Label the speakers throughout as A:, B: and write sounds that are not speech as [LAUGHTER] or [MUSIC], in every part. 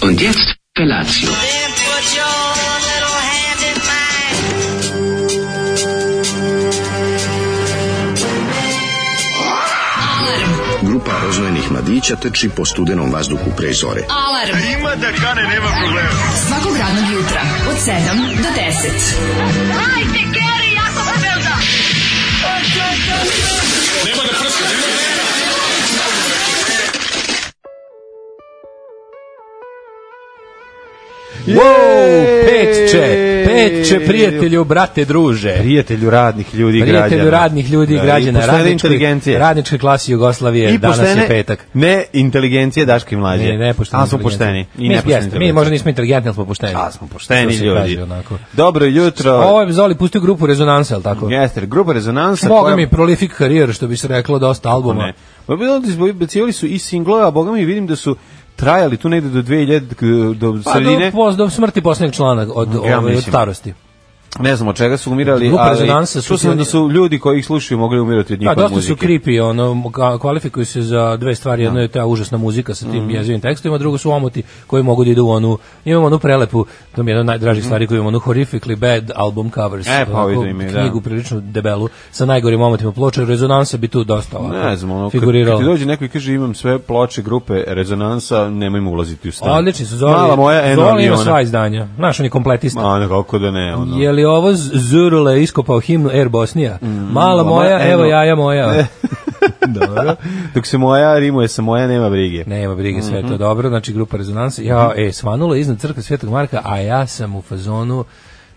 A: Und jetzt Felatio.
B: Then put your little hand in mine.
C: Grupa roznojenih mladića teči po studenom vazduhu pre zore.
D: Alarm. E, Ima da kane, nema problema. Svakog radnog jutra, od 7 do 10.
E: Wow,
F: pet
E: petče,
F: će, pet
E: petče
F: će prijatelju, brate, druže.
E: Prijatelju radnih ljudi i građana.
F: Prijatelju radnih ljudi i
E: Da,
F: građana,
E: I poštene inteligencije.
F: radničke, radničke klasi Jugoslavije,
E: I
F: danas
E: poštene
F: je petak.
E: Ne inteligencije Daške i mlađe.
F: Ne, ne, pošteni.
E: A smo pošteni.
F: inteligencija.
E: I
F: mi,
E: ne
F: smo- jeste,
E: pošteni.
F: mi možda nismo inteligentni, ali smo pošteni.
E: A smo pošteni
F: Što se
E: ljudi.
F: kaže onako.
E: Dobro jutro.
F: Ovo je Zoli pustio grupu Rezonansa, ali tako?
E: Jester, grupa rezonansa.
F: Boga
E: koja-
F: mi prolific karijer, što bi se reklo, dosta albuma.
E: Ne. Ma bilo da izbo- bacivali su i singlove, a boga mi vidim da su trajali tu negde do 2000 k- do
F: Pa
E: sredine.
F: do, pos- do smrti posljednjeg člana od,
E: Ja
F: ovaj, od
E: mislim.
F: starosti.
E: Ne znam od čega su umirali,
F: Grupa
E: ali
F: Rezonansa
E: su
F: su
E: sam da su ljudi koji ih slušaju mogli umirati od
F: Da,
E: njihove
F: dosta
E: muzike.
F: su creepy, ono, ka- kvalifikuju se za dve stvari, jedno je ta užasna muzika sa
E: Mhm.
F: tim jezivim tekstovima, drugo su omoti koji mogu da idu u onu, imamo onu prelepu, to mi je jedna od najdražih stvari koju imamo, onu horrifically bad album covers,
E: Mhm. E, pa
F: onako,
E: ovi da imaju, da.
F: knjigu prilično debelu, sa najgorim omotima ploče, rezonansa bi tu dosta ovako,
E: Ne znam, ono, kad, kad
F: figurirala.
E: ti dođe neko i kaže imam sve ploče grupe rezonansa, nemojmo ulaziti u stan.
F: Odlični su, Zoli,
E: Mala moja, eno,
F: Zoli
E: Zoli
F: ima sva izdanja, znaš, on je kompletista.
E: Ma, ono, kako da ne, ono.
F: Je li ovo Z- Zurule iskopao himnu Air Bosnija? Mala
E: Mm, mala moja,
F: moja, evo
E: eno.
F: jaja
E: [LAUGHS]
F: moja. Dobro.
E: Dok se moja rimuje sa moja, nema brige.
F: Nema brige, sve je
E: Mhm.
F: to dobro, znači grupa rezonansa. Ja, e, svanulo je iznad crkve Svetog Marka, a ja sam u fazonu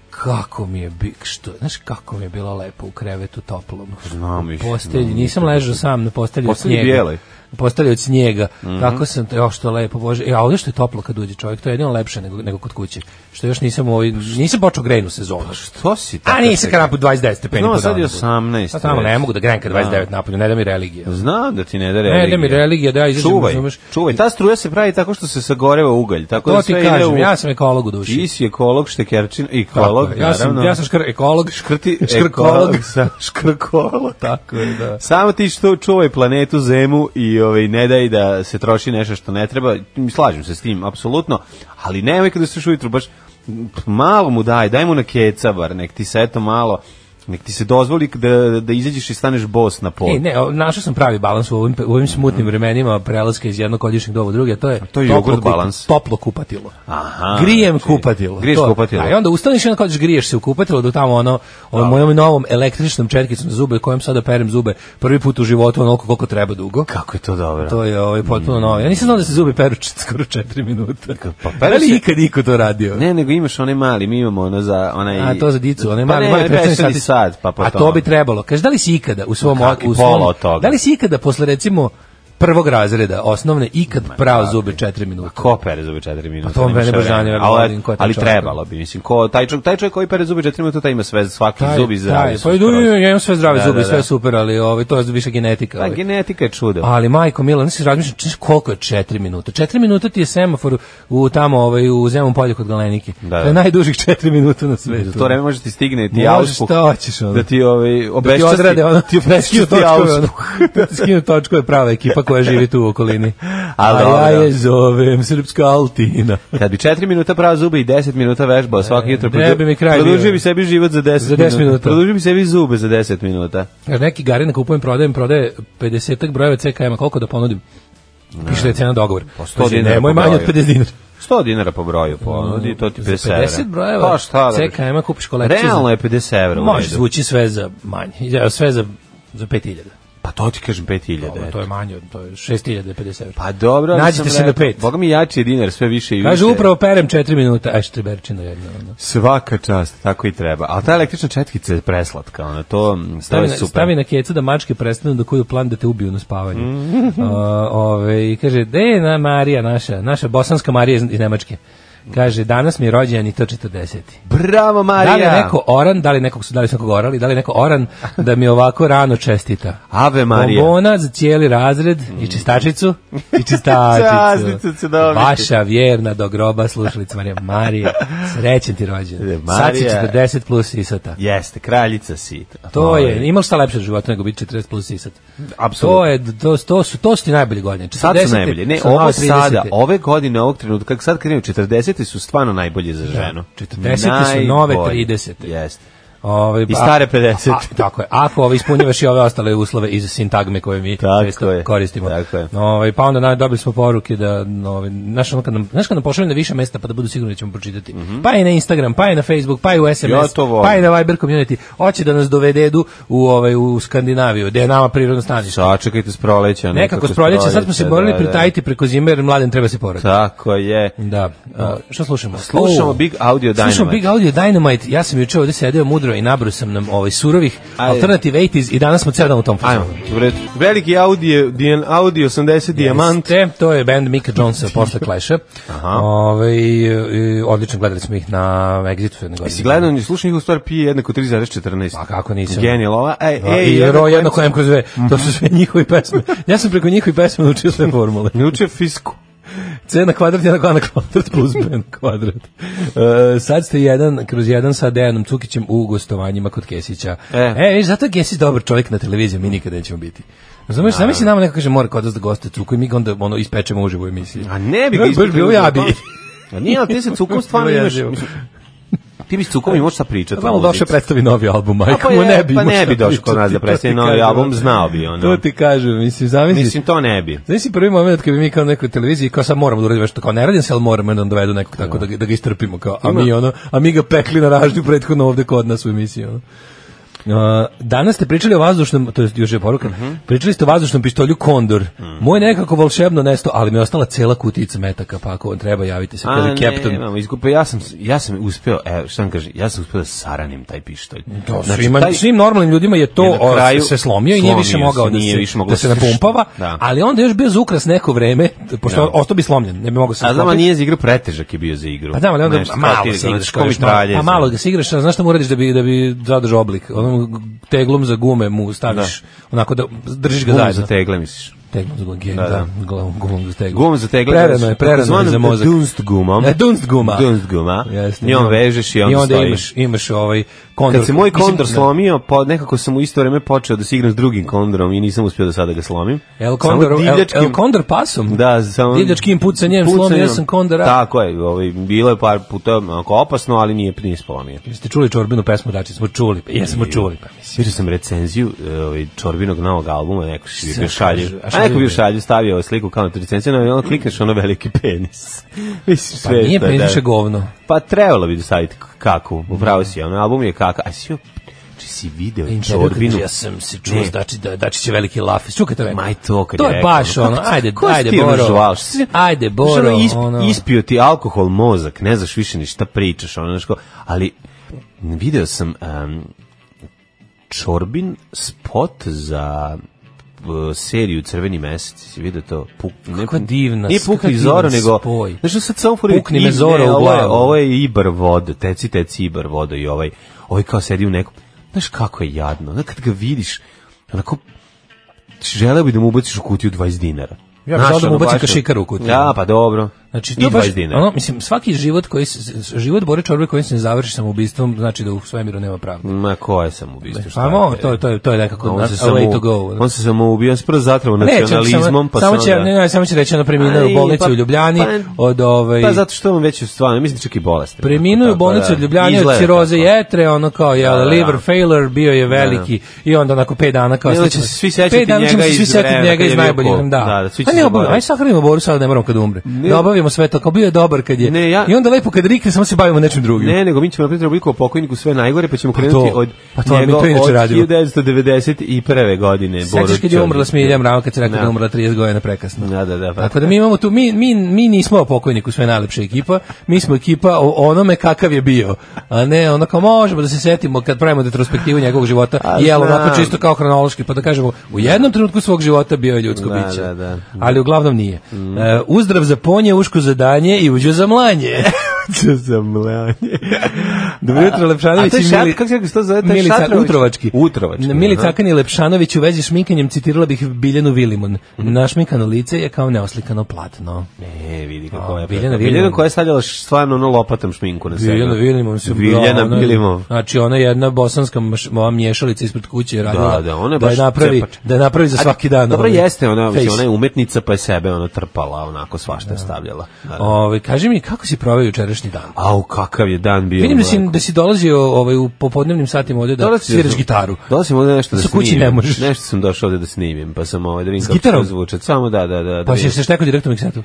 F: kako mi je bi, što, znaš kako mi je bilo lepo u krevetu toplom.
E: Znam,
F: U
E: iš-
F: postelji,
E: znam,
F: nisam ležao sam na postelji od
E: Postelji Mhm.
F: snijega.
E: bijeloj.
F: Postelji od snijega. Tako sam, jo što je lepo, bože. Ja, ovdje što je toplo kad uđe čovjek, to je jedino lepše nego, nego kod kuće. Što još nisam, u ovoj, nisam počeo grejnu sezonu.
E: Pa Što si tako?
F: A nisam
E: se-
F: kada napod 29 stepeni.
E: Znamo,
F: po
E: sad je
F: danu.
E: 18.
F: A tamo ne
E: već.
F: mogu da grejem kad 29 napolju, ne da mi religija.
E: Znam da ti ne
F: Ne
E: da religija.
F: da mi religija, da ja izađem,
E: Čuvaj,
F: razumeš?
E: čuvaj, ta struja se pravi tako što se sagoreva ugalj, tako
F: To
E: da
F: ti
E: sve ide
F: kažem,
E: u...
F: ja sam ekolog u duši.
E: Ti si ekolog, štekerčin,
F: Tako
E: ekolog,
F: je. ja sam,
E: naravno.
F: ja sam škr, ekolog,
E: Škrti,
F: škrkolog.
E: ekolog, [LAUGHS] sa-
F: [LAUGHS]
E: škrkolog.
F: Tako je, da.
E: Samo ti što čuvaj planetu Zemu i ovaj, ne daj da se troši nešto što ne treba, slažem se s tim, apsolutno, ali nemoj kada se ujutru baš pf, malo mu daj, daj mu na keca bar, nek ti se eto malo, nek ti se dozvoli da, da izađeš i staneš bos na pol.
F: E, ne, o, našao sam pravi balans u ovim, u ovim smutnim vremenima prelaska iz jednog godišnjeg doba u druge, to je,
E: to je jogurt
F: kup-
E: balans.
F: toplo kupatilo.
E: Aha, znači,
F: Grijem kupatilo.
E: griješ
F: To-
E: kupatilo.
F: Da, I onda ustaneš i onda kažeš griješ se u kupatilo do tamo ono, ono mojom novom električnom četkicom za zube kojom sada perem zube prvi put u životu onoliko koliko treba dugo.
E: Kako je to dobro?
F: To je ovaj potpuno novo. Ja nisam znao da se zubi peru čet- [LAUGHS] skoro 4 minuta.
E: Pa peru
F: da li
E: se-
F: ikad iko to radio?
E: Ne, nego imaš onaj mali, mi imamo ono za onaj...
F: A to za dicu, one
E: Pa
F: mali
E: ne,
F: mali
E: onaj
F: prestani
E: veseli
F: sati.
E: sat, pa po
F: A to
E: tome.
F: bi trebalo. Kaže da li si ikada u svom
E: Kakvi
F: u svom
E: pola od toga.
F: Da li si ikada posle recimo prvog razreda osnovne ikad prao zube 4 minuta?
E: Ko pere zube 4 minuta?
F: Pa to
E: Nemaš
F: mene baš
E: vremena.
F: zanima,
E: Ali,
F: Vladin, ko je taj
E: ali
F: čovjek?
E: trebalo bi, mislim, ko, taj, čovjek, taj čovjek koji pere zube 4 minuta, taj ima sve, svaki
F: Taj-
E: zubi ovaj
F: taj,
E: zdravi. su
F: Pa idu,
E: skroz.
F: ja imam sve zdrave
E: Da,
F: zube,
E: da,
F: sve
E: da.
F: je super, ali ovaj to je više genetika.
E: Pa
F: ovaj.
E: genetika je čudo.
F: Ali majko Milan, nisi razmišljam češ, koliko je 4 minuta. 4 minuta ti je semafor u tamo ovaj u Zemun polju kod Galenike.
E: Da, da.
F: To je najdužih 4 minuta na svetu.
E: Za to vreme može ti stigne ti
F: Možeš
E: auspuh.
F: šta hoćeš, ono.
E: Da ti ovaj
F: da ti
E: obeščasti.
F: odrade
E: [LAUGHS]
F: ono, ti preskinu [LAUGHS]
E: obeščasti
F: točkove, ono,
E: auspuh.
F: [LAUGHS] da ti skinu točkove prava ekipa koja živi tu u okolini. [LAUGHS]
E: A
F: A ja
E: dobro.
F: je zovem Srpska Altina.
E: Kad bi 4 minuta prao zube i 10 minuta vežbao svaki jutro,
F: E, ne bi mi kraj
E: produžio
F: bio.
E: bi sebi život za 10,
F: Za 10 minuta.
E: Produžio bi sebi zube za 10 minuta.
F: Jer neki garina kupujem, prodajem, prodaje 50 brojeva CKM-a, koliko da ponudim? Piše da je cena dogovor.
E: Po 100
F: Znači,
E: dinara
F: Nemoj
E: po
F: manje od
E: broju.
F: 50 dinara.
E: 100 dinara po broju, po ono, i to ti 50
F: Za
E: evra.
F: 50 brojeva
E: Pa šta da bi-
F: CKM-a kupiš kolekciju.
E: Realno
F: za-
E: je 50 evra. u
F: Može
E: redu.
F: zvuči sve za manje. Ja, Sve za, za 5000.
E: Pa to ti kažem 5000.
F: Ovo, To je manje, od- to je 6050 evra.
E: Pa dobro, ali
F: Nađite
E: sam
F: se na
E: rekao,
F: pet.
E: Boga mi jači je dinar, sve više i više.
F: Kaže, upravo perem 4 minuta. Aj, štreberčina jedna. ono.
E: Svaka čast, tako i treba. Ali ta električna četkica je preslatka, ona to, to
F: Stavi
E: je
F: na,
E: super.
F: stavi na kecu da mačke prestanu da kuju plan da te ubiju na spavanju.
E: Mm.
F: [LAUGHS] Uh, ove, i kaže, gde je na Marija naša, naša bosanska Marija iz, iz Nemačke? Kaže, danas mi je rođen i to 40.
E: Bravo,
F: Da
E: Marija!
F: li je neko oran, da li nekog su, da li su nekog orali, da li je neko
E: [LAUGHS]
F: oran da mi ovako rano čestita.
E: Ave Marija.
F: Bombona za cijeli razred i čistačicu i
E: Časnicu ću
F: čistačicu.
E: dobiti.
F: Vaša vjerna do groba slušalica Marija. Marija, srećen ti rođen.
E: Marija.
F: Sad si 40 plus isata.
E: Jeste, kraljica si. Ovaj,
F: To je, imaš šta lepše u životu nego biti 40 plus isat.
E: Apsolutno.
F: To, je, to, to, su, to su ti najbolje godine. 40,
E: Sad su najbolje. Ne,
F: sa
E: ovo
F: malo 30.
E: sada, ove godine, ovog trenutka, kako sad krenu, 40. su stvarno najbolje za ženu.
F: 40-te su nove
E: Najbolje.
F: 30-te.
E: Jeste.
F: Ovaj,
E: I
F: a-
E: stare 50.
F: a- tako je. Ako ovaj ispunjavaš i ove ostale uslove iz sintagme koje mi
E: Tako
F: često
E: je,
F: koristimo.
E: tako je.
F: Ovaj, pa onda na, dobili smo poruke da ovaj, znaš, ono kad nam, znaš kad nam pošalju na više mesta pa da budu sigurni da ćemo pročitati. Pa i na Instagram, pa i na Facebook, pa i u SMS,
E: Mhm. Ja to volim.
F: pa i na Viber community. Hoće da nas dovededu u, ovaj, u Skandinaviju, gde je nama prirodno stanište.
E: Sačekajte s proleća.
F: Pa Nekako s proljeća, sad smo se borili
E: da, da.
F: pritajiti preko zime jer mladen treba se porati.
E: Tako je.
F: Da. A, šta slušamo?
E: Slušamo
F: O,
E: Big Audio
F: Slušamo
E: Dynamite.
F: Big Audio Dynamite. Ja sam juče ovdje sedeo mudro i nabrao sam nam ovaj surovih
E: Ajde.
F: Alternative 80s i danas smo cijel dan u tom
E: Ajmo,
F: fazonu.
E: Pa u redu. Veliki Audi, Dijan Audi 80 dijamant.
F: Jeste, to je band Mika Jonesa posle
E: [LAUGHS]
F: Clash-a.
E: Aha.
F: Ovaj, i odlično, gledali smo ih na Exitu. jedne godine.
E: Jesi gledao, ni slušao njih u stvari pije jednako 3,14.
F: A Pa kako nisam?
E: Genijal ova. Ej,
F: Da,
E: ej,
F: I
E: jednako
F: Ro
E: je-
F: jedno kojem kroz dve. To su
E: Mhm.
F: sve njihovi pesme. Ja sam preko njihovi pesme [LAUGHS] naučio sve formule.
E: Juče fisku.
F: C na kvadrat, 1 na kvadrat [LAUGHS] plus B na kvadrat. E, sad ste jedan kroz jedan sa Dejanom Cukićem u gostovanjima kod Kesića.
E: E.
F: E, viš, zato je Kesić dobar čovjek na televiziji, mi nikada nećemo biti. Razumeš, sam si nama neko kaže mora kod nas da goste Cuku i mi ga onda ono, ispečemo uživo u emisiji.
E: A ne bi
F: Baš bilo ja bi. [LAUGHS]
E: A nije, ali ti se cukom stvarno
F: Bilo
E: imaš...
F: jezivo.
E: mislim, Ti bi s cukom i možeš sad ono, pričati.
F: Samo
E: malo
F: došao
E: dice.
F: predstavi novi album,
E: A
F: majko
E: pa,
F: mu
E: je,
F: ne bi.
E: pa
F: imao
E: ne
F: šta
E: bi došao kod
F: pričati,
E: nas da
F: to ti
E: predstavi novi
F: kažem.
E: album, znao bi
F: To
E: ono.
F: ti kažem, mislim, zamisli.
E: Mislim, to ne bi.
F: Znaš si prvi moment kad bi mi kao na nekoj televiziji kao sad moramo da uradimo nešto kao ne radim se, ali moramo da dovedu nekog tako da, ga- da ga istrpimo kao, a mi ono, a mi ga pekli na ražnju prethodno ovde kod nas u emisiji ono. Uh, danas ste pričali o vazdušnom, to je još je poruka,
E: Mhm.
F: pričali ste o vazdušnom pištolju Kondor. Moj nekako volšebno nesto, ali mi je ostala cela kutica metaka, pa ako vam treba javite se,
E: A
F: kaže
E: ne,
F: Captain.
E: imamo izgupe. Ja sam, ja sam uspeo, evo, šta vam kažem, ja sam uspeo da saranim taj pištolj.
F: To
E: Znači,
F: svima,
E: taj-
F: svim normalnim ljudima je to
E: je na
F: o,
E: kraju
F: se slomio i nije više
E: slomio
F: mogao
E: se,
F: da
E: nije
F: se,
E: više mogao
F: da se
E: da se-
F: napumpava,
E: Da.
F: ali onda je još bio za ukras neko vreme, pošto
E: Da.
F: ostao bi slomljen, ne bi mogao se
E: A znam, a
F: sklopiti.
E: nije za igru pretežak je bio za igru.
F: Pa da, ali onda
E: Nešto,
F: a
E: kao
F: malo
E: ti,
F: se
E: ono,
F: igraš,
E: kao
F: kao
E: mitralje,
F: a
E: znam.
F: pa malo ga se igraš, a znaš šta mu uradiš da bi, da bi zadržao oblik? Onom teglom za gume mu staviš, onako da držiš ga
E: Gum za
F: zajedno.
E: tegle, misliš?
F: Teglom za gume,
E: Da,
F: da,
E: da.
F: da. Glavom, gumom za teglom.
E: Gum za tegle.
F: Prerano je, prerano je
E: Takozvanom
F: za mozak.
E: Dunst gumom.
F: E, dunst guma.
E: Dunst guma.
F: Jeste.
E: Njom vežeš i onda,
F: I onda
E: stojiš.
F: imaš, imaš ovaj kondor.
E: Kad se moj
F: Mislim,
E: kondor
F: da.
E: slomio, pa nekako sam u isto vreme počeo da se igram s drugim kondorom i nisam uspio do sada da ga slomim.
F: El
E: Samo
F: kondor, el,
E: divljačkim-
F: el kondor pasom?
E: Da, samo
F: Divljačkim pucanjem
E: pucanjem.
F: slomio sam kondora.
E: Tako je, ovaj bilo je par puta onako opasno, ali nije nije slomio.
F: Jeste čuli Čorbinu pesmu, dači smo čuli, pa jesmo čuli. Pa mislim.
E: Sviđa sam recenziju e, ovaj, Čorbinog novog albuma, neko si bio
F: Sad
E: šalju.
F: kaže, a
E: A
F: šalju
E: neko bio
F: mi.
E: šalju, stavio ovaj sliku kao na tu recenziju, no, i ono klikneš ono veliki penis. [LAUGHS] Mislim,
F: Pa
E: sve
F: nije
E: što je, da.
F: peniše govno.
E: Pa trebalo bi da staviti k- kaku, upravo si, ono album je kaka. A si joj, či si video
F: Intervju kad
E: Čorbinu?
F: kaže, Ja sam se čuo,
E: Ne.
F: znači da dači će veliki laf. Čukajte me.
E: Ma i to kad
F: to je
E: rekao,
F: baš
E: ono,
F: ono.
E: kako-
F: Ajde,
E: ko si
F: ajde
E: ti
F: Boro.
E: ražvalš? Si-
F: Ajde
E: Znaš, ono,
F: Boro.
E: isp-
F: ono.
E: Ispio ti alkohol mozak, ne znaš više ni šta pričaš, ono, znaš ko, ali video sam em, Čorbin spot za e, seriju Crveni mesec, si vidio to? Puk, ne,
F: Kakva divna-
E: Nije
F: kakva
E: pukni
F: divan
E: Zoro, nego...
F: spoj.
E: Znaš, ono sad samo furaju
F: Pukni me
E: knjige,
F: Zoro u
E: ovo je-
F: glavu.
E: Ovo je Ibar voda, teci, teci Ibar voda i ovaj, ovaj kao sedi u nekom... Znaš kako je jadno, znaš kad ga vidiš, onako želeo bi da mu ubaciš u kutiju 20 dinara.
F: Ja bih
E: Znaš,
F: želeo da mu
E: ono,
F: ubacim
E: baš-
F: kašikar u kutiju.
E: Ja, pa dobro.
F: Znači,
E: I
F: to
E: 20
F: baš,
E: dinara.
F: ono, mislim, svaki život koji se, s- život Bore Čorbe koji se ne završi samoubistvom, znači da u svemiru nema pravde.
E: Ma ko je sam ubistvo? šta
F: Samo,
E: je?
F: Pa to, to, je- to je nekako
E: On
F: na-
E: se
F: a
E: samo,
F: way to go. ono.
E: on se samo ubio, on se prvo zatrao
F: Neće,
E: nacionalizmom,
F: samo,
E: pa
F: samo
E: se
F: će,
E: onda-
F: ne, ne, samo će reći ono preminuo
E: Aj,
F: u bolnici
E: pa-
F: u Ljubljani
E: pa-
F: od ovaj
E: Pa zato što on već je stvarno, mislim da čak i bolest.
F: Preminuo je u bolnici od Ljubljana od ciroze jetre, ono kao je
E: Da, da,
F: liver
E: da.
F: failure, bio je veliki i onda onako 5 dana kao
E: Ne, onda će
F: slično-
E: se svi sećati
F: pet dana ćemo
E: njega
F: se svi
E: iz
F: sećati
E: vremena
F: njega
E: kad je
F: iz
E: bio
F: najboljih,
E: cool.
F: da.
E: Da, da, svi će
F: A ne,
E: zaboraviti.
F: obo- Aj sahranimo Boru sad da ne moramo kad umre. Da obavimo sve to, kao bio je dobar kad je.
E: Ne, ja-
F: I onda lepo kad rikne samo se bavimo nečim drugim.
E: Ne, nego mi ćemo napraviti rubriku o pokojniku sve najgore, pa ćemo krenuti
F: to-
E: od
F: pa to mi
E: njegov-
F: to inače
E: od
F: radimo.
E: 1991. godine. Boru
F: Sećaš kad je umrla
E: Čorbića.
F: Smilja Mrava kad se rekao
E: Da.
F: da je umrla 30 godina prekasno.
E: Da, da, da, pa-
F: Tako da mi imamo tu, mi, mi, mi nismo pokojniku sve najlepša ekipa, mi smo ekipa o onome kakav je bio. A ne, ono kao možemo da se setimo kad pravimo retrospektivu njegovog života,
E: A,
F: jel
E: znam.
F: onako čisto kao hronološki, pa da kažemo u jednom trenutku svog života bio je ljudsko
E: Da,
F: biće.
E: da, Mm. da.
F: Ali uglavnom nije. E, uzdrav za ponje, uško za danje i uđe za mlanje.
E: kuća
F: [LAUGHS]
E: za mlanje.
F: Dobro jutro, Lepšanović
E: A taj
F: i
E: šat-
F: Mili-
E: kako se kako se [LAUGHS] to zove? Taj
F: Milica
E: šatrović?
F: Utrovački.
E: Utrovački,
F: Na Milica
E: aha.
F: Akan i Lepšanović u vezi s šminkanjem citirala bih Biljanu Vilimon.
E: Mhm.
F: Našminkano lice je kao neoslikano platno.
E: E, vidi kako
F: A, Biljana
E: je. Biljana,
F: Vilimov.
E: Biljana koja je stavljala š- stvarno ono lopatom šminku na sebe.
F: Biljana Vilimon se
E: Biljana
F: ona-
E: Vilimov.
F: Znači ona je jedna bosanska maš- ova mješalica ispred kuće je radila.
E: Da, da, ona je
F: da
E: baš
F: napravi
E: cepač.
F: da je napravi za
E: A,
F: svaki dan.
E: Dobro
F: ovaj
E: jeste, ona, mislim,
F: face.
E: ona je umetnica pa je sebe ona trpala, onako svašta je stavljala. Da, da.
F: Ovaj kaži mi kako si proveo jučerašnji dan?
E: Au, kakav je dan bio.
F: Vidim da si,
E: mleko.
F: da si dolazio ovaj, u popodnevnim satima ovde da
E: Dolazio
F: sviraš
E: sam-
F: gitaru. Pa
E: Dolazim ovde nešto da
F: Sa kući
E: snimim.
F: ne možeš.
E: Nešto sam došao ovde da snimim, pa sam ovaj da vidim kako
F: gitarom?
E: to zvuče. Samo da, da, da. da
F: Pa si
E: vidim.
F: se štekao direktno u miksetu.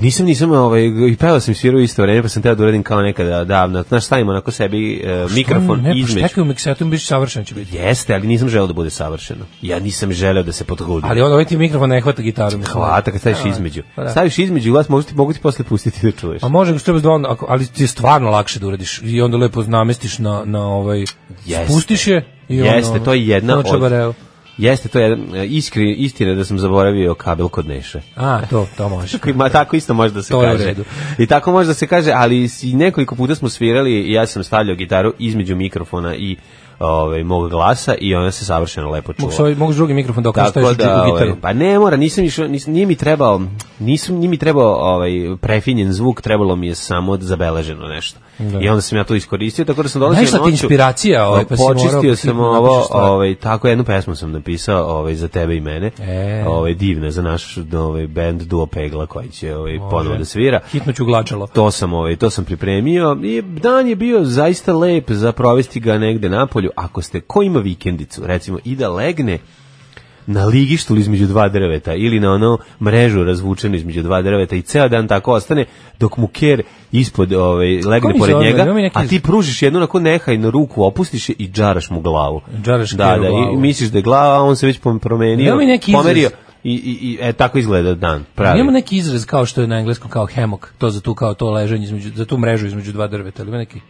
E: Nisam, nisam, ovaj, i pevao sam i svirao u isto vreme, pa sam teo da uradim kao nekada davno. Znaš, stavim onako sebi e, mikrofon
F: ne, pa
E: između.
F: štekaj u miksetu, biš savršen će biti.
E: Jeste, ali nisam želeo da bude savršeno. Ja nisam želeo da se potrudim.
F: Ali on ovaj ti mikrofon ne hvata gitaru. mislim.
E: Hvata kad staviš između.
F: pa da. Pa
E: Staviš između glas, mogu ti, mogu ti posle pustiti da čuješ.
F: A može ga treba dva, ako, ali ti je stvarno lakše da uradiš i onda lepo namestiš na, na ovaj,
E: Jeste.
F: spustiš je i ono-
E: Jeste, to je jedna
F: ono
E: od-
F: čabareo.
E: Jeste, to je jedan, e, iskri, istina da sam zaboravio kabel kod Neše.
F: A, to, to
E: [LAUGHS]
F: može.
E: Tako ima- tako isto može da se
F: To je u
E: kaže.
F: redu.
E: I tako može da se kaže, ali si nekoliko puta smo svirali i ja sam stavljao gitaru između mikrofona i ovaj mog glasa i ona se savršeno lepo čula.
F: Mogu, s ovaj- mogu s drugi mikrofon da okreštaju
E: Tako da,
F: da, gitaru.
E: ovaj, pa ne mora, nisam išao, nis, nije mi trebao, nisam, nije mi trebao ovaj, prefinjen zvuk, trebalo mi je samo zabeleženo nešto. I onda sam ja to iskoristio, tako da sam dolazio
F: Naišla ti inspiracija, ovaj, pa si morao
E: počistio sam
F: hitno
E: ovo,
F: napišeš stvar.
E: ovaj, tako jednu pesmu sam napisao ovaj, za tebe i mene,
F: E.
E: ovaj, divna za naš ovaj, band Duo Pegla koji će ovaj, ponovo da svira.
F: Hitno ću glačalo.
E: To sam, ovaj, to sam pripremio i dan je bio zaista lep za provesti ga negde napolju. Ako ste, ko ima vikendicu, recimo, i da legne na ligištu ili između dva drveta ili na ono mrežu razvučenu između dva drveta i ceo dan tako ostane dok mu ker ispod ovaj, legne
F: mi
E: pored
F: zove?
E: njega,
F: Ima mi neki-
E: a ti pružiš jednu onako nehajnu ruku, opustiš je i džaraš mu glavu.
F: Džaraš
E: da,
F: keru
E: da, i-
F: glavu.
E: i misliš da je glava, a on se već pom- promenio,
F: Ima mi neki izraz?
E: pomerio i, i, i e, tako izgleda dan. Pravi.
F: Ima neki izraz kao što je na engleskom kao hammock, to za tu kao to leženje između za tu mrežu između dva drveta, ali ima neki.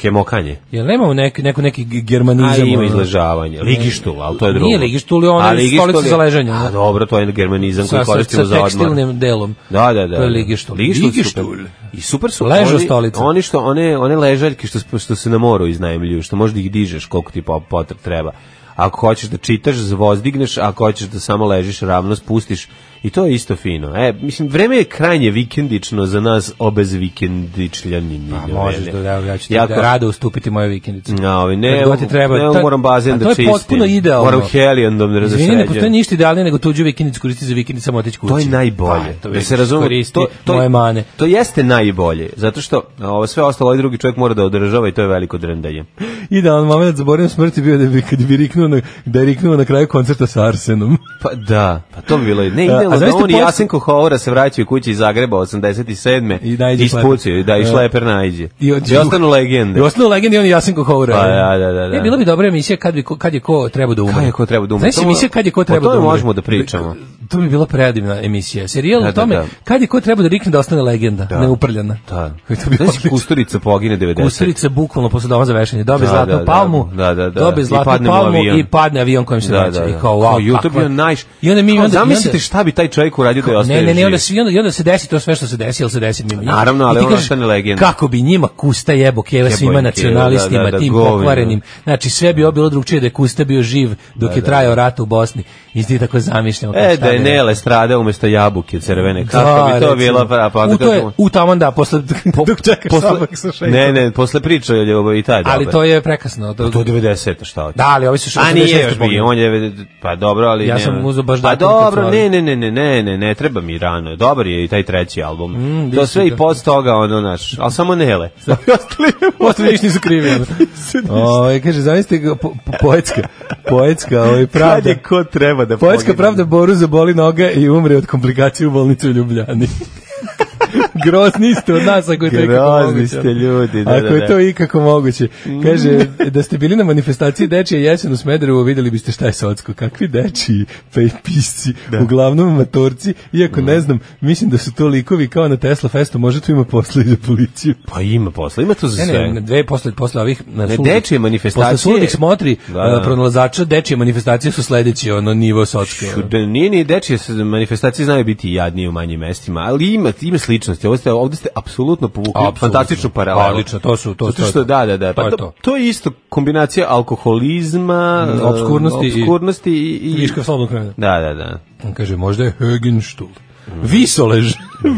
E: Hemokanje.
F: Jel nemamo neki neko neki ge-
E: A
F: germanizam?
E: ima
F: ono?
E: izležavanje, ligištul, ali to je drugo.
F: Nije ligištul, je ona
E: A ligištul
F: stolica
E: je-
F: za leženje,
E: A
F: da.
E: dobro, to je germanizam koji
F: sa, sa,
E: koristimo
F: sa
E: za odmor.
F: tekstilnim delom.
E: Da, da, da.
F: To je ligištul.
E: Ligištul,
F: Ligištul.
E: super. I super su
F: Leža
E: oni,
F: stolica.
E: oni što one one ležaljke što sp- što se na moru iznajmljuju, što možda ih dižeš koliko ti po- potreb treba. Ako hoćeš da čitaš, zvozdigneš, ako hoćeš da samo ležiš ravno, spustiš. I to je isto fino. E, mislim, vreme je krajnje vikendično za nas obez vikendičljanini.
F: A možeš da, evo, ja ću ti da rado ustupiti moju vikendicu.
E: Ja, ovaj, ne,
F: Kad god ti treba.
E: ne
F: Ta-
E: moram bazen
F: a
E: da
F: to je
E: čistim.
F: potpuno idealno.
E: Moram helijandom da
F: Izvini, ne postoji
E: razasređujem.
F: ništa idealnije nego tuđu vikendicu koristiti za vikendicu samo otići kući.
E: To je najbolje.
F: Pa, to
E: da se razumemo,
F: koristi moje mane.
E: To jeste najbolje, zato što a, ovo sve ostalo ovaj drugi čovjek mora da održava i to je veliko drndanje.
F: Idealan moment, zaboravim smrti bio da bi, kad bi riknuo na, da je riknuo na kraju koncerta sa Arsenom.
E: Pa da, pa to bi bilo. Ne,
F: [LAUGHS] A,
E: idealno
F: a
E: da
F: zamislite
E: on i
F: post-
E: Jasenko Hovora se vraćaju kući iz Zagreba 87.
F: I naiđe
E: ispucaju,
F: šleper.
E: da i
F: E.
E: šleper najđe.
F: I
E: I,
F: od-
E: ostanu legende.
F: I ostalo legendi, on i Jasenko Houra.
E: Pa da, da, da, da.
F: E, bila bi dobra emisija kad, bi, ko- kad je ko treba da umre.
E: Kad je ko treba da umre?
F: Znaš
E: To-
F: emisija kad je ko
E: o
F: treba da
E: tome
F: umre?
E: možemo da pričamo.
F: To bi bila predivna emisija. Serijal
E: Da,
F: o
E: da,
F: tome
E: da.
F: kad je ko treba da rikne da ostane legenda, neuprljena.
E: Da.
F: To bi
E: Znaš,
F: [LAUGHS]
E: Kusturica pogine 90.
F: Kusarica bukvalno posle doma za vešanje. Dobe
E: Da,
F: zlatnu
E: da, da.
F: palmu,
E: Da, da, da.
F: dobe
E: I
F: zlatnu
E: padne mu
F: palmu
E: avion.
F: i padne avion kojim se
E: Da, da,
F: vraća.
E: da.
F: I znači, kao, wow,
E: Kao, ju, to
F: kakva-
E: bio najš...
F: I onda mi
E: Kao,
F: i onda, i
E: Zamislite
F: onda-
E: šta bi taj čovjek uradio da je ostaje
F: Ne, ne, ne,
E: živ.
F: onda, svi, onda, i onda se desi to sve što se desi, ali se desi mimo njih.
E: Naravno, ali
F: I ti
E: on
F: kažeš,
E: ostane legenda.
F: Kako bi njima Kusta jebo keva
E: Jebo
F: svima
E: im keva,
F: nacionalistima,
E: da, da, da,
F: tim
E: govinu.
F: pokvarenim. Znači, sve bi ovo bilo drugčije da je Kusta bio živ dok je trajao rat u Bosni. I ti tako zamišljamo.
E: E, da je Nele strada umesto jabuke crvene. Kako bi to bilo prava? Pa,
F: u, to je,
E: kako-
F: u taman da, posle, dok čekaš
E: posle-
F: sabak sa šećerom.
E: Ne, Pa ne, posle priče je ovo i taj dobar.
F: Ali to je prekasno. To,
E: Do 90 šta hoće.
F: Da, ali ovi su što
E: A nije još
F: [LAUGHS]
E: bio, on je, 90 pa dobro, ali
F: Ja
E: nema.
F: sam uzeo baš
E: Pa
F: datum kad su
E: dobro,
F: ovi-
E: ne, ne, ne, ne, ne, ne, ne, treba mi rano. Dobar je i taj treći album.
F: vidim
E: to sve
F: Mm, da.
E: i post toga, ono, naš, ali samo
F: [LAUGHS]
E: Nele. Ostali
F: Ostali ništa nisu krivi.
E: [LAUGHS]
F: ono. Ovaj, kaže, zamislite ga, po, po, poetska, poetska, ovaj,
E: Kad
F: pravda.
E: je ko treba da
F: Poetska
E: pogine?
F: pravda Boru zaboli noga i umre od komplikacije u bolnici u Ljubljani. [LAUGHS] Grozni ste od nas, ako je to ikako moguće.
E: Grozni ste ljudi, da,
F: Ako
E: da,
F: je
E: da.
F: to ikako moguće. Kaže, da ste bili na manifestaciji Dečije jesen u Smederevu, videli biste šta je socko. Kakvi dečiji, pa i pisci, uglavnom matorci, iako ne znam, mislim da su to likovi kao na Tesla festu, možda tu ima posla i za policiju.
E: Pa ima posla, ima to za
F: Ne,
E: sve.
F: ne, ne, dve posle, posle ovih ne,
E: dečije manifestacije-
F: Posle suludih smotri
E: Da, da.
F: e, pronalazača, dečije manifestacije su sledeći ono nivo sotske.
E: Ču- Da nije ni dečije se- manifestacije znaju biti jadnije u manjim mestima, ali ima, ima ličnosti. Ovdje ste, ovdje ste apsolutno povukli
F: Apsolutno. Pa,
E: fantastičnu paralelu.
F: Odlično, to su- to-
E: Zato
F: to je
E: što,
F: to.
E: da, da, da.
F: To
E: Pa
F: je
E: to,
F: to.
E: to je isto kombinacija alkoholizma,
F: Mm,
E: e,
F: opskurnosti i-
E: opskurnosti i, i,
F: Viška slobodnog vremena.
E: Da, da, da.
F: On kaže, možda je Högenstuhl.
E: [LAUGHS]
F: Visolež.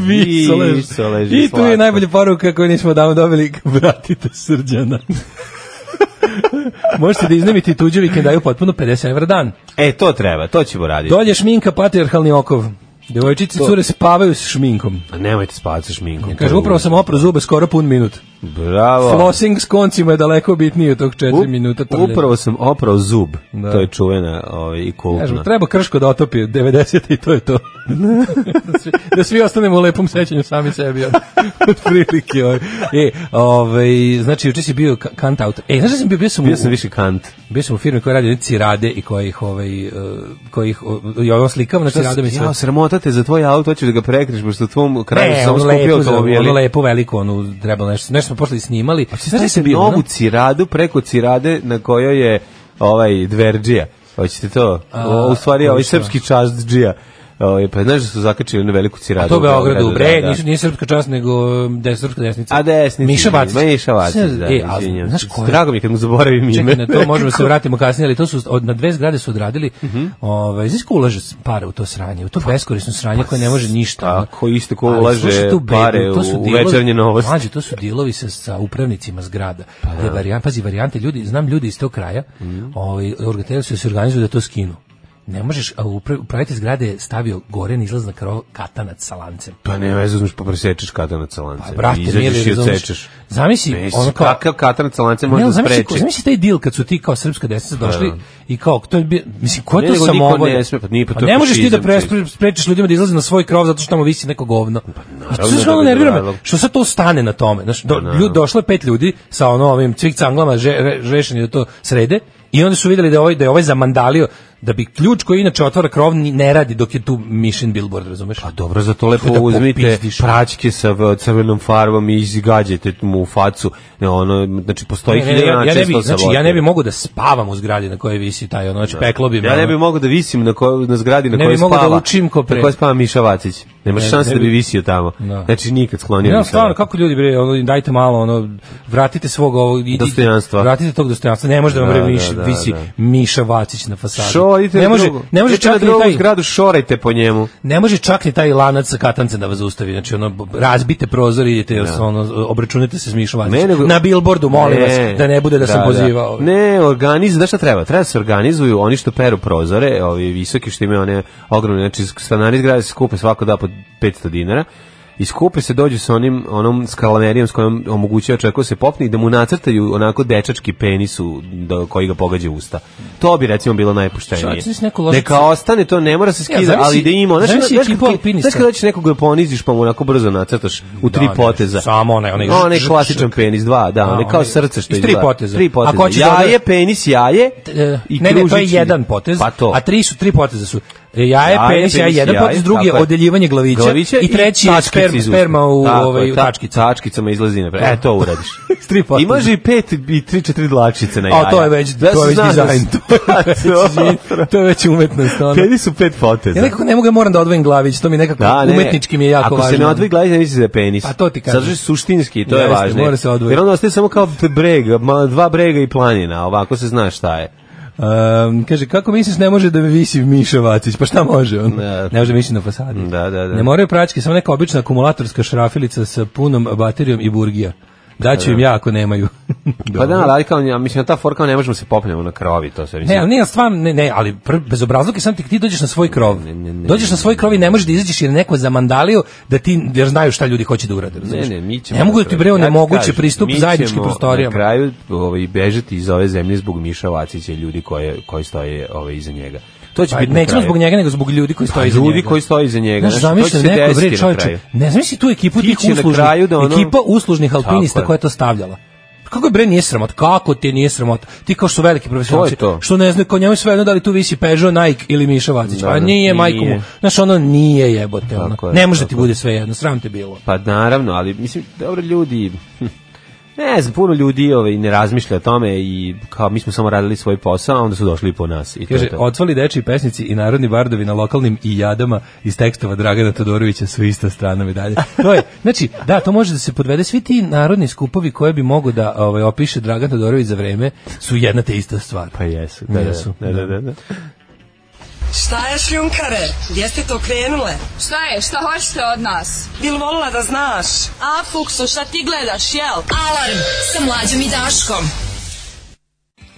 F: Visolež.
E: Mhm. Visolež je
F: I tu je
E: slatko.
F: najbolja poruka koju nismo odavno dobili. [LAUGHS] Vratite srđana. [LAUGHS] Možete da iznajmite tuđe vikendaju potpuno 50 evra dan.
E: E, to treba, to ćemo raditi.
F: Dolje šminka, patriarhalni okov. Devojčice cure se pavaju s šminkom.
E: A Pa Nemojte spavati sa šminkom. to
F: Kaže,
E: je
F: upravo sam oprao zube skoro pun minut.
E: Bravo.
F: Flossing s koncima je daleko bitniji od tog 4
E: Up-
F: minuta. trljanja.
E: Upravo sam oprao zub.
F: Da.
E: To je čuvena ovaj, i kultna.
F: Kažem, treba Krško da otopi 90 i to je to. da, svi, da svi ostanemo u lepom sećanju sami sebi. [LAUGHS] ono. Od prilike. Ovaj. E, ovaj, znači, juče si bio ka- kant autor. E, znaš da sam bio, bio sam, u-
E: Bio sam više kant.
F: bio sam u firmi koja radi one cirade i koja ih, ovaj, eh, koja ih, o- i ono slikam na ciradama i sve.
E: Ja, sramota te za tvoj auto, hoćeš da ga prekriš, pošto u tvom kraju
F: Ne,
E: sam
F: ono
E: skupio
F: lepo, za- ono
E: automobili.
F: lepo, veliko, ono, trebalo nešto, nešto smo posle i snimali. A
E: Znaš se bio
F: ono,
E: novu ciradu preko cirade na kojoj je ovaj Dverđija. Hoćete to?
F: A,
E: O, u stvari ovaj
F: hoću.
E: srpski častđija. Ovaj pa znaš da su zakačili na veliku ciradu.
F: A to u Beogradu, bre,
E: da, da.
F: nisu nije srpska čast, nego um, da je srpska desnica.
E: A desnici.
F: Miša Vacić.
E: Miša Vacić,
F: Sve-
E: da.
F: e, a
E: izvinjam
F: znaš
E: se.
F: ko je?
E: Drago mi je kad mu zaboravim ime.
F: Čekaj, na to
E: [LAUGHS]
F: možemo se vratimo kasnije, ali to su od, na dve zgrade su odradili.
E: Mhm.
F: Ovaj znaš ko ulaže pare u to sranje, u to beskorisno sranje koje ne može ništa. ono.
E: Pa, Tako, isto ko
F: Ali
E: ulaže
F: slušaj tu bedu,
E: pare
F: to su
E: u
F: dilovi-
E: Večernje novosti.
F: Mlađe, to su dilovi sa, sa upravnicima zgrada. Pa, varijan, pazi, varijante ljudi, znam ljudi iz tog kraja,
E: Mhm.
F: ovaj organizatori su se organizuju da to skinu. Ne možeš, a upra- upravitelj zgrade je stavio gore na izlaz na krov katanac sa lancem.
E: Pa ne, veze uzmeš pa presečeš katanac sa lancem.
F: Pa, brate,
E: Izađeš
F: mili,
E: i
F: razumeš?
E: odsečeš.
F: Zamisli,
E: Mislim,
F: ono kao-
E: Kakav katanac sa lancem može
F: Ne,
E: da
F: ali zamisli,
E: spreči?
F: ko- zamisli taj deal kad su ti kao srpska desnica došli
E: da.
F: i kao to je bio, mislim ko
E: Ne,
F: je to
E: nego niko
F: samovolja?
E: ne sme, pa nije, pa to je
F: ne možeš ti da
E: fašizam,
F: pres- sprečiš ljudima da izlaze na svoj krov zato što tamo visi neko govno. Pa
E: naravno da bi Pa
F: nervira me.
E: radilo.
F: Što sad to stane na tome? Znaš, do, ljud, došlo je pet ljudi sa ono ovim cvik-canglama že, re- rešeni da to srede i onda su videli da je ovaj da je ovaj zamandalio da bi ključ koji inače otvara krov ni- ne radi dok je tu mission billboard, razumeš?
E: Pa dobro, za to lepo
F: da
E: uzmite
F: popizdiš.
E: praćke sa v- crvenom farbom i izgađajte mu u facu. Ne, ono, znači, postoji
F: Ne, ne,
E: hiljada
F: ja, ja,
E: načina
F: ne
E: što
F: bi, znači,
E: sabotirate.
F: ja ne bi mogu da spavam u zgradi na kojoj visi taj ono, znači peklo bi me,
E: Ja ne
F: ono.
E: bi mogao da visim na, kojoj- na zgradi na
F: Ne bi
E: kojoj
F: mogao
E: spava.
F: da učim ko pre.
E: Na kojoj spava Miša Vacić. Nemaš
F: Ne,
E: šanse
F: ne
E: da bi
F: bi-
E: visio tamo.
F: Da.
E: Znači, nikad sklonio
F: Ja,
E: bi se.
F: stvarno, kako ljudi bre, ono, dajte malo, ono, vratite svog ovog... i-
E: Dostojanstva.
F: Vratite tog dostojanstva, ne može da vam
E: Da,
F: bre
E: da,
F: viš-
E: da,
F: visi
E: da.
F: Miša Vacić na fasadi.
E: Šorite
F: ne
E: na
F: može,
E: drugu.
F: ne može
E: Idite na
F: čak ni
E: drugu
F: taj,
E: zgradu, šorajte po njemu.
F: ne može čak ni taj lanac sa katancem da vas zaustavi, znači ono, b- razbite prozor i idete, ono, obračunite se s Mišom
E: Ne,
F: Vacićem.
E: nego-
F: Na billboardu, molim
E: Ne.
F: vas, da ne bude da, sam pozivao.
E: Ne, organiz, znaš šta treba? Treba da se organizuju oni što peru prozore, ovi visoki što imaju one ogromne, znači stanari zgrade se skupe svako da po 500 dinara. I skupe se dođu sa onim onom skalamerijom s kojom omogućava čovjeku da se popne i da mu nacrtaju onako dečački penis u, do, koji ga pogađa usta. To bi recimo bilo
F: Šta,
E: najpoštenije.
F: znaš neku lošu-
E: Neka ostane to, ne mora se skida,
F: zamisli-
E: ali da ima. Znaš, ono,
F: zamisli
E: znaš,
F: ekipu
E: znaš, kad-
F: alpinista.
E: znaš kada ćeš nekog da poniziš pa mu onako brzo nacrtaš u tri
F: ne,
E: poteza.
F: samo onaj- onaj
E: No, onaj
F: žrk- žrk-
E: klasičan penis, dva, da,
F: A,
E: onaj kao
F: onaj-
E: srce što
F: iz tri
E: izgleda.
F: poteza.
E: Tri poteza.
F: Ako hoćeš da
E: jaje,
F: odra-
E: penis, jaje
F: E,
E: i
F: ne, ne, to je
E: kružić i-
F: jedan potez,
E: Pa to.
F: a tri su tri poteza su. E, Jaje,
E: Jaje,
F: penis, jaje,
E: penis,
F: jedan
E: jaje,
F: potez, drugi je
E: tako je.
F: odjeljivanje glavića,
E: Glaviće
F: i treći je
E: tačkice
F: sperma,
E: iz usta.
F: sperma u,
E: Tako je,
F: ovaj, u
E: ta-
F: tačkici.
E: Tačkicama izlazi napred. E, to
F: [LAUGHS]
E: uradiš.
F: S tri poteza.
E: Imaš i pet i tri, četiri dlačice na
F: A,
E: jaja.
F: to je već- to je
E: se
F: već
E: zna
F: dizajn,
E: se-
F: [LAUGHS] to je
E: [LAUGHS] Pa,
F: Izvini, to je već umetnost. Ono.
E: Penis su pet poteza.
F: Ja nekako ne mogu, ja moram da odvojim glavić, to mi nekako
E: Da, ne.
F: umetnički mi je jako
E: Ako
F: važno.
E: se ne odvoji glavica, ne misli za penis.
F: Pa to ti kažem.
E: Zato što je suštinski, to je
F: Jeste,
E: važno.
F: mora se odvojiti.
E: Jer onda ostaje samo kao breg, ma- dva brega i planina, a ovako se zna šta je.
F: Ehm, kaže, kako misliš ne može da visi Miša Vacić? Pa šta može on?
E: Da.
F: Ne može da visi na fasadi.
E: Da, da, da.
F: Ne moraju praćke, samo neka obična akumulatorska šrafilica sa punom baterijom i burgija. Daću im ja ako nemaju. [LAUGHS]
E: Pa da, ali kao, ja mislim, ta forka ne možemo se popnemo na krovi, to sve
F: Ne,
E: mislim.
F: ali nije stvarno, ne, ne, ali pr, bez obrazluka sam ti ti dođeš na svoj krov. dođeš na svoj krov i ne možeš da izađeš jer je neko zamandalio da ti jer znaju šta ljudi hoće da urade, razumeš?
E: Ne, ne, mi ćemo.
F: Ne mogu da ti bre
E: napraviti. Ja ti
F: onemoguće
E: kažem,
F: pristup
E: mi
F: zajedničkim
E: ćemo
F: prostorijama.
E: Na kraju ovaj, bežati iz ove zemlje zbog Miša Vacića i ljudi koje, koji stoje ovaj, iza njega. To će
F: Pa,
E: biti na
F: nećemo
E: kraju.
F: zbog njega, nego zbog ljudi koji stoje
E: Pa,
F: iza
E: ljudi
F: njega.
E: koji stoje iza njega.
F: Znaš,
E: znaš, to će
F: zamisli
E: se
F: neko,
E: desiti
F: bre,
E: na
F: čoveče,
E: kraju.
F: ne zamisli tu ekipu
E: Ti
F: tih
E: će na
F: uslužnih,
E: kraju da ono-
F: ekipa uslužnih
E: Tako
F: alpinista
E: je.
F: koja je to stavljala. Pa Kako je bre nije sramot? Kako ti nije sramot? Ti kao što su veliki profesionalci,
E: To je to.
F: što ne znaju kao njemu sve jedno da li tu visi Peugeot, Nike ili Miša Vacić.
E: Da,
F: Pa
E: da,
F: nije, majku mu.
E: nije.
F: Znaš, ono nije jebote. ono.
E: Tako je,
F: Ne može da
E: tako
F: ti bude sve jedno, sram te bilo.
E: Pa naravno, ali mislim, dobro ljudi... hm, Ne znam, puno ljudi ovaj, ne razmišlja o tome i kao mi smo samo radili svoj posao, a onda su došli i po nas. I to
F: Kaže,
E: je to.
F: odsvali dečiji pesnici i narodni bardovi na lokalnim i jadama iz tekstova Dragana Todorovića su ista strana medalje. To je, znači, da, to može da se podvede. Svi ti narodni skupovi koje bi mogo da ovaj, opiše Dragan Todorović za vreme su jedna te ista stvar.
E: Pa jesu, da,
F: Jesu,
E: da, da, da, da.
A: Šta je šljunkare? Gdje ste to krenule?
G: Šta je? Šta hoćete od nas?
A: Bil volila da znaš?
G: A, Fuksu, šta ti gledaš, jel?
D: Alarm sa mlađom i Daškom.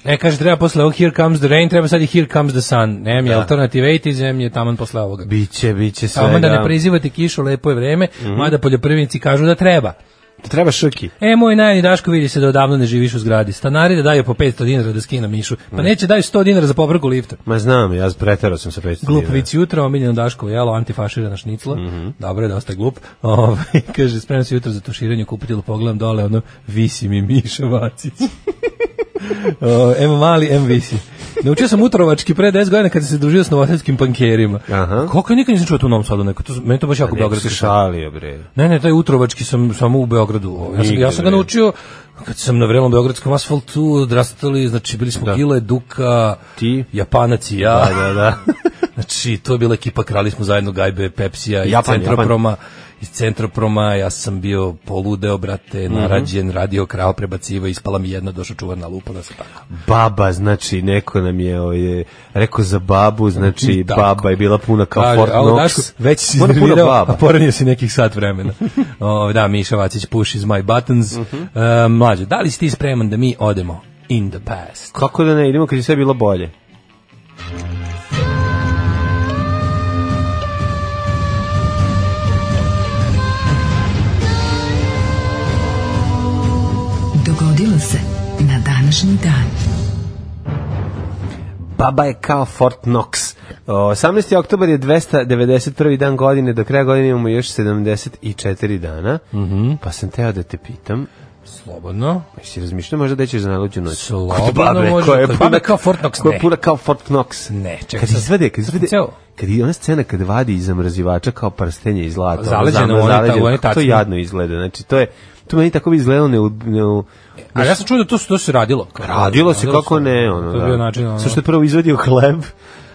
F: E, kaže, treba posle ovog Here Comes the Rain, treba sad i Here Comes the Sun. Nem je Alternative 80s, nem je taman posle ovoga.
E: Biće, biće sve.
F: Samo da ne prizivate kišu, lepo je vreme,
E: Mhm.
F: mada poljoprivrednici kažu da treba.
E: Treba šuki.
F: E, moj najni Daško vidi se da odavno ne živiš u zgradi. Stanari da daju po 500 dinara da skina mišu.
E: Mm.
F: Pa neće daju 100 dinara za popravku lifta.
E: Ma znam, ja preterao sam sa 500
F: Glup
E: dinara.
F: vic jutro, omiljeno Daškovo jelo, antifaširana šnicla.
E: Mhm.
F: Dobro je, dosta je glup. [LAUGHS] Ove, kaže, spremam se jutro za tuširanje, kupitilu pogledam dole, ono, visi mi Miša Vacić. [LAUGHS] O, M mali, M visi. Naučio sam utrovački pre 10 godina kad sam se družio s novosadskim pankerima.
E: Aha.
F: Koliko ja nikad nisam čuo tu u Novom Sadu neko. To, su- meni je to baš jako
E: Neko
F: beogradski
E: se
F: šal.
E: šalio, bre.
F: Ne, ne, taj utrovački sam samo u Beogradu. ovaj. Ja sam, ja sam ga
E: Nigde, bre.
F: naučio kad sam na vrelom beogradskom asfaltu odrastali, znači bili smo Gile, Duka,
E: Ti?
F: Japanac i ja.
E: Da, da, da.
F: [LAUGHS] znači, to je bila ekipa, krali smo zajedno gajbe, Pepsija iz
E: Japan,
F: Centroproma. Iz Centroproma, ja sam bio poludeo, brate,
E: Mhm.
F: narađen, radio, krao, prebacivo, ispala mi jedna, došao čuvar na lupu, da se tako.
E: Baba, znači, neko nam je ovaj, rekao za babu, znači,
F: Tako.
E: baba je bila puna kao
F: Kaže,
E: Fort
F: "Au,
E: Knox.
F: Daško, već si
E: Ona puna
F: iznervirao, a
E: baba.
F: poranio si nekih sat
E: [LAUGHS]
F: vremena. o, da, Miša Vacić, push is my buttons.
E: Mhm.
F: E, mlađe, da li si ti spreman da mi odemo in the past?
E: Kako da ne, idemo kad je sve bilo bolje.
D: Dogodilo se na današnji dan.
E: Baba je kao Fort Knox. O, 18. oktobar je 291. dan godine, do kraja godine imamo još 74 dana. Pa sam teo da te pitam,
F: Slobodno.
E: jesi razmišljao možda da ćeš za najluđu noć?
F: Slobodno
E: Kod babe,
F: može,
E: koja je
F: kod
E: puna-
F: babe kao Fort Knox,
E: koja je
F: ne.
E: puna kao Fort Knox.
F: Ne, čekaj
E: Kad
F: sad.
E: izvede, kad izvede,
F: Ceo.
E: kad je ona scena kad vadi iz zamrzivača kao prstenje iz zlata. ono,
F: Zaleđeno,
E: zama-
F: oni ta-
E: zaleđeno,
F: oni
E: kako to
F: tacni.
E: jadno izgleda. Znači, to je, to meni tako bi izgledalo ne, ne,
F: A ja sam čuo da to, se- to se radilo. Kao-
E: Radilo se kako ne, ono,
F: To je
E: da.
F: bio način, ono.
E: Sve što je prvo izvadio hleb,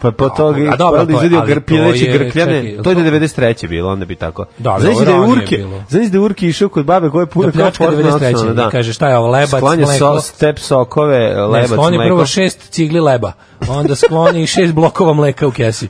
E: pa po toga
F: a
E: je
F: dobro,
E: onda
F: to je-
E: izvadio
F: ali to
E: grpileći
F: je-
E: grkljane.
F: čekaj,
E: To je
F: to-
E: 93. bilo, onda bi tako.
F: Da, ali
E: Znaš
F: ovo je
E: da je
F: ranije
E: Urke,
F: bilo.
E: znaš da je Urke išao kod babe koje je puno
F: Da
E: kao
F: pljačka
E: Fort Knox,
F: 93.
E: ono, da.
F: I kaže, šta je ovo, lebac,
E: Sklanja
F: mleko?
E: so, step sokove,
F: Ne,
E: lebac,
F: skloni
E: mleko.
F: prvo šest cigli leba, onda skloni šest blokova mleka u kesi.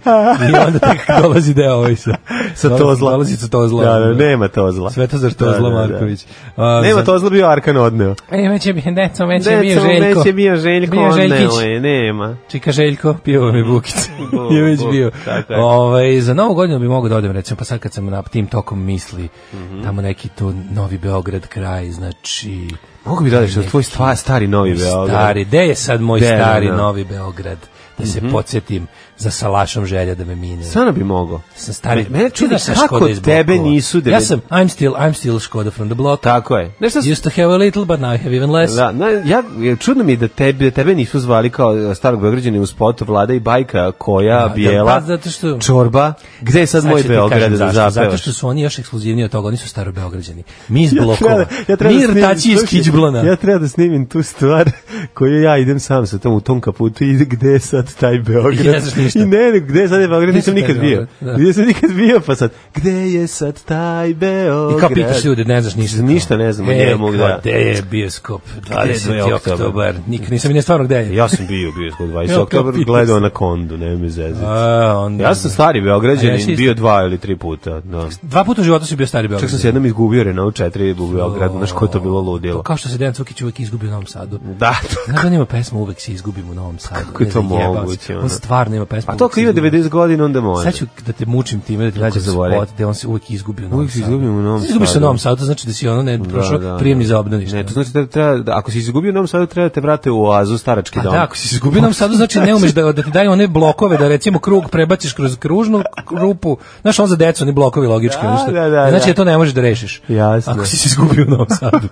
F: I onda tek dolazi deo ovaj sa,
E: [LAUGHS] Sa to zla.
F: Dolazi sa to zla.
E: Da, da, nema to zla.
F: Sve to za što
E: Da,
F: zla
E: da, da.
F: Marković. A,
E: Nema
F: za-
E: to zla bio Arkan odneo.
F: E, već je, deco, već je bio
E: Deco,
F: Željko.
E: neće bio Željko, ovaj.
F: Bio
E: odneo
F: Željkić.
E: je, nema.
F: Čika Željko, pio
E: Mm.
F: vam je
E: [LAUGHS]
F: bukice.
E: Bu-
F: [LAUGHS] je već
E: bu-
F: bio.
E: tako je.
F: Ovaj, za novu godinu bi mogao da odem, recimo, pa sad kad sam na tim tokom misli,
E: Mhm.
F: tamo neki to Novi Beograd kraj, znači...
E: Mogu bi da odeš na tvoj stva- stari novi Beograd.
F: Stari, gde je sad moj
E: Gde je,
F: stari
E: da. Mhm.
F: Novi Beograd? Da se podsjetim za salašom želja da me mine.
E: Stvarno bi mogao.
F: sam stari.
E: Me- mene čudi
F: Znaš šta,
E: kako
F: Škoda iz
E: tebe
F: blokova.
E: nisu
F: Ja
E: devet-
F: sam, I'm still, I'm still Škoda from the block.
E: Tako je. Nešto sam-
F: Used to have a little, but now I have even less.
E: Da, no, ja, ja- čudno mi je da tebe, tebe nisu zvali kao e, starog Beograđana u spotu Vlada i Bajka, koja,
F: da,
E: Bijela,
F: pa zato što-
E: Čorba. Gde je sad
F: Sad
E: moj
F: ću ti
E: Beograd
F: kažem
E: da
F: zašto. Zato
E: zapevaš?
F: što su oni još ekskluzivniji od toga, oni su starobeograđani. Mi iz blokova.
E: treba- ja treba
F: mi
E: da snimim-
F: rtači iz
E: slušaj,
F: Kiđblana.
E: Ja treba da snimim tu stvar koju ja idem sam sa tom u tom kaputu i gde je sad taj Beograd.
F: I ne znaš ništa.
E: I ne, ne, gde je sad taj Beograd,
F: Gde sad
E: nisam
F: taj
E: nikad bio.
F: Beograd, da.
E: Gde sam nikad bio, pa sad, gde je sad taj Beograd?
F: I kao pitaš ljude, ne znaš ništa.
E: Ništa ne znam o
F: E,
E: njemu,
F: kao,
E: da.
F: Gde je bioskop?
E: je
F: 20.
E: oktobar?
F: oktobar. Nik, nisam i ne stvarno gde je.
E: Ja sam bio bio kod 20.
F: Evo,
E: oktobar,
F: pitaš.
E: gledao na kondu, ne mi zezati.
F: A, onda,
E: Ja sam stari
F: A ja si
E: Beograđanin,
F: isto.
E: bio dva ili tri puta. Da.
F: Dva puta u životu si bio stari Beograd.
E: Čak sam se jednom izgubio Renault 4 u Beogradu, znaš ko je to bilo ludilo.
F: Kao što se Dejan Cukić uvek izgubi u Novom Sadu.
E: Da, to-
F: Znaš da on ima pesmu Uvek se izgubim u Novom Sadu.
E: Kako je
F: Ne
E: to
F: znam, jebao
E: moguće,
F: se.
E: ono?
F: On stvarno ima pesmu.
E: A
F: Uvek
E: to ako
F: se
E: ima
F: izgubim.
E: 90 godina, onda može.
F: Sad ću da te mučim time da ti nađem
E: zaboravim.
F: spot gde on se uvijek izgubi u Novom
E: Uvijek se
F: Sadu.
E: izgubim u Novom
F: Izgubiš se u
E: Sadu.
F: Novom Sadu, to znači da si ono ne prošao
E: da, da.
F: prijemni za obdanište.
E: Ne, to znači da treba, da, ako si izgubio u Novom Sadu, treba da te vrate u oazu starački
F: A
E: dom.
F: da, ako si se izgubio u Novom Sadu, znači ne umeš da, da ti daju one blokove, da recimo krug prebaciš kroz kružnu rupu. Znaš, on za decu, oni blokovi logički.
E: Da,
F: ono što-
E: da, da,
F: znači
E: da.
F: da to ne možeš da rešiš.
E: Jasno. [LAUGHS]
F: Ako si se izgubio u Novom Sadu.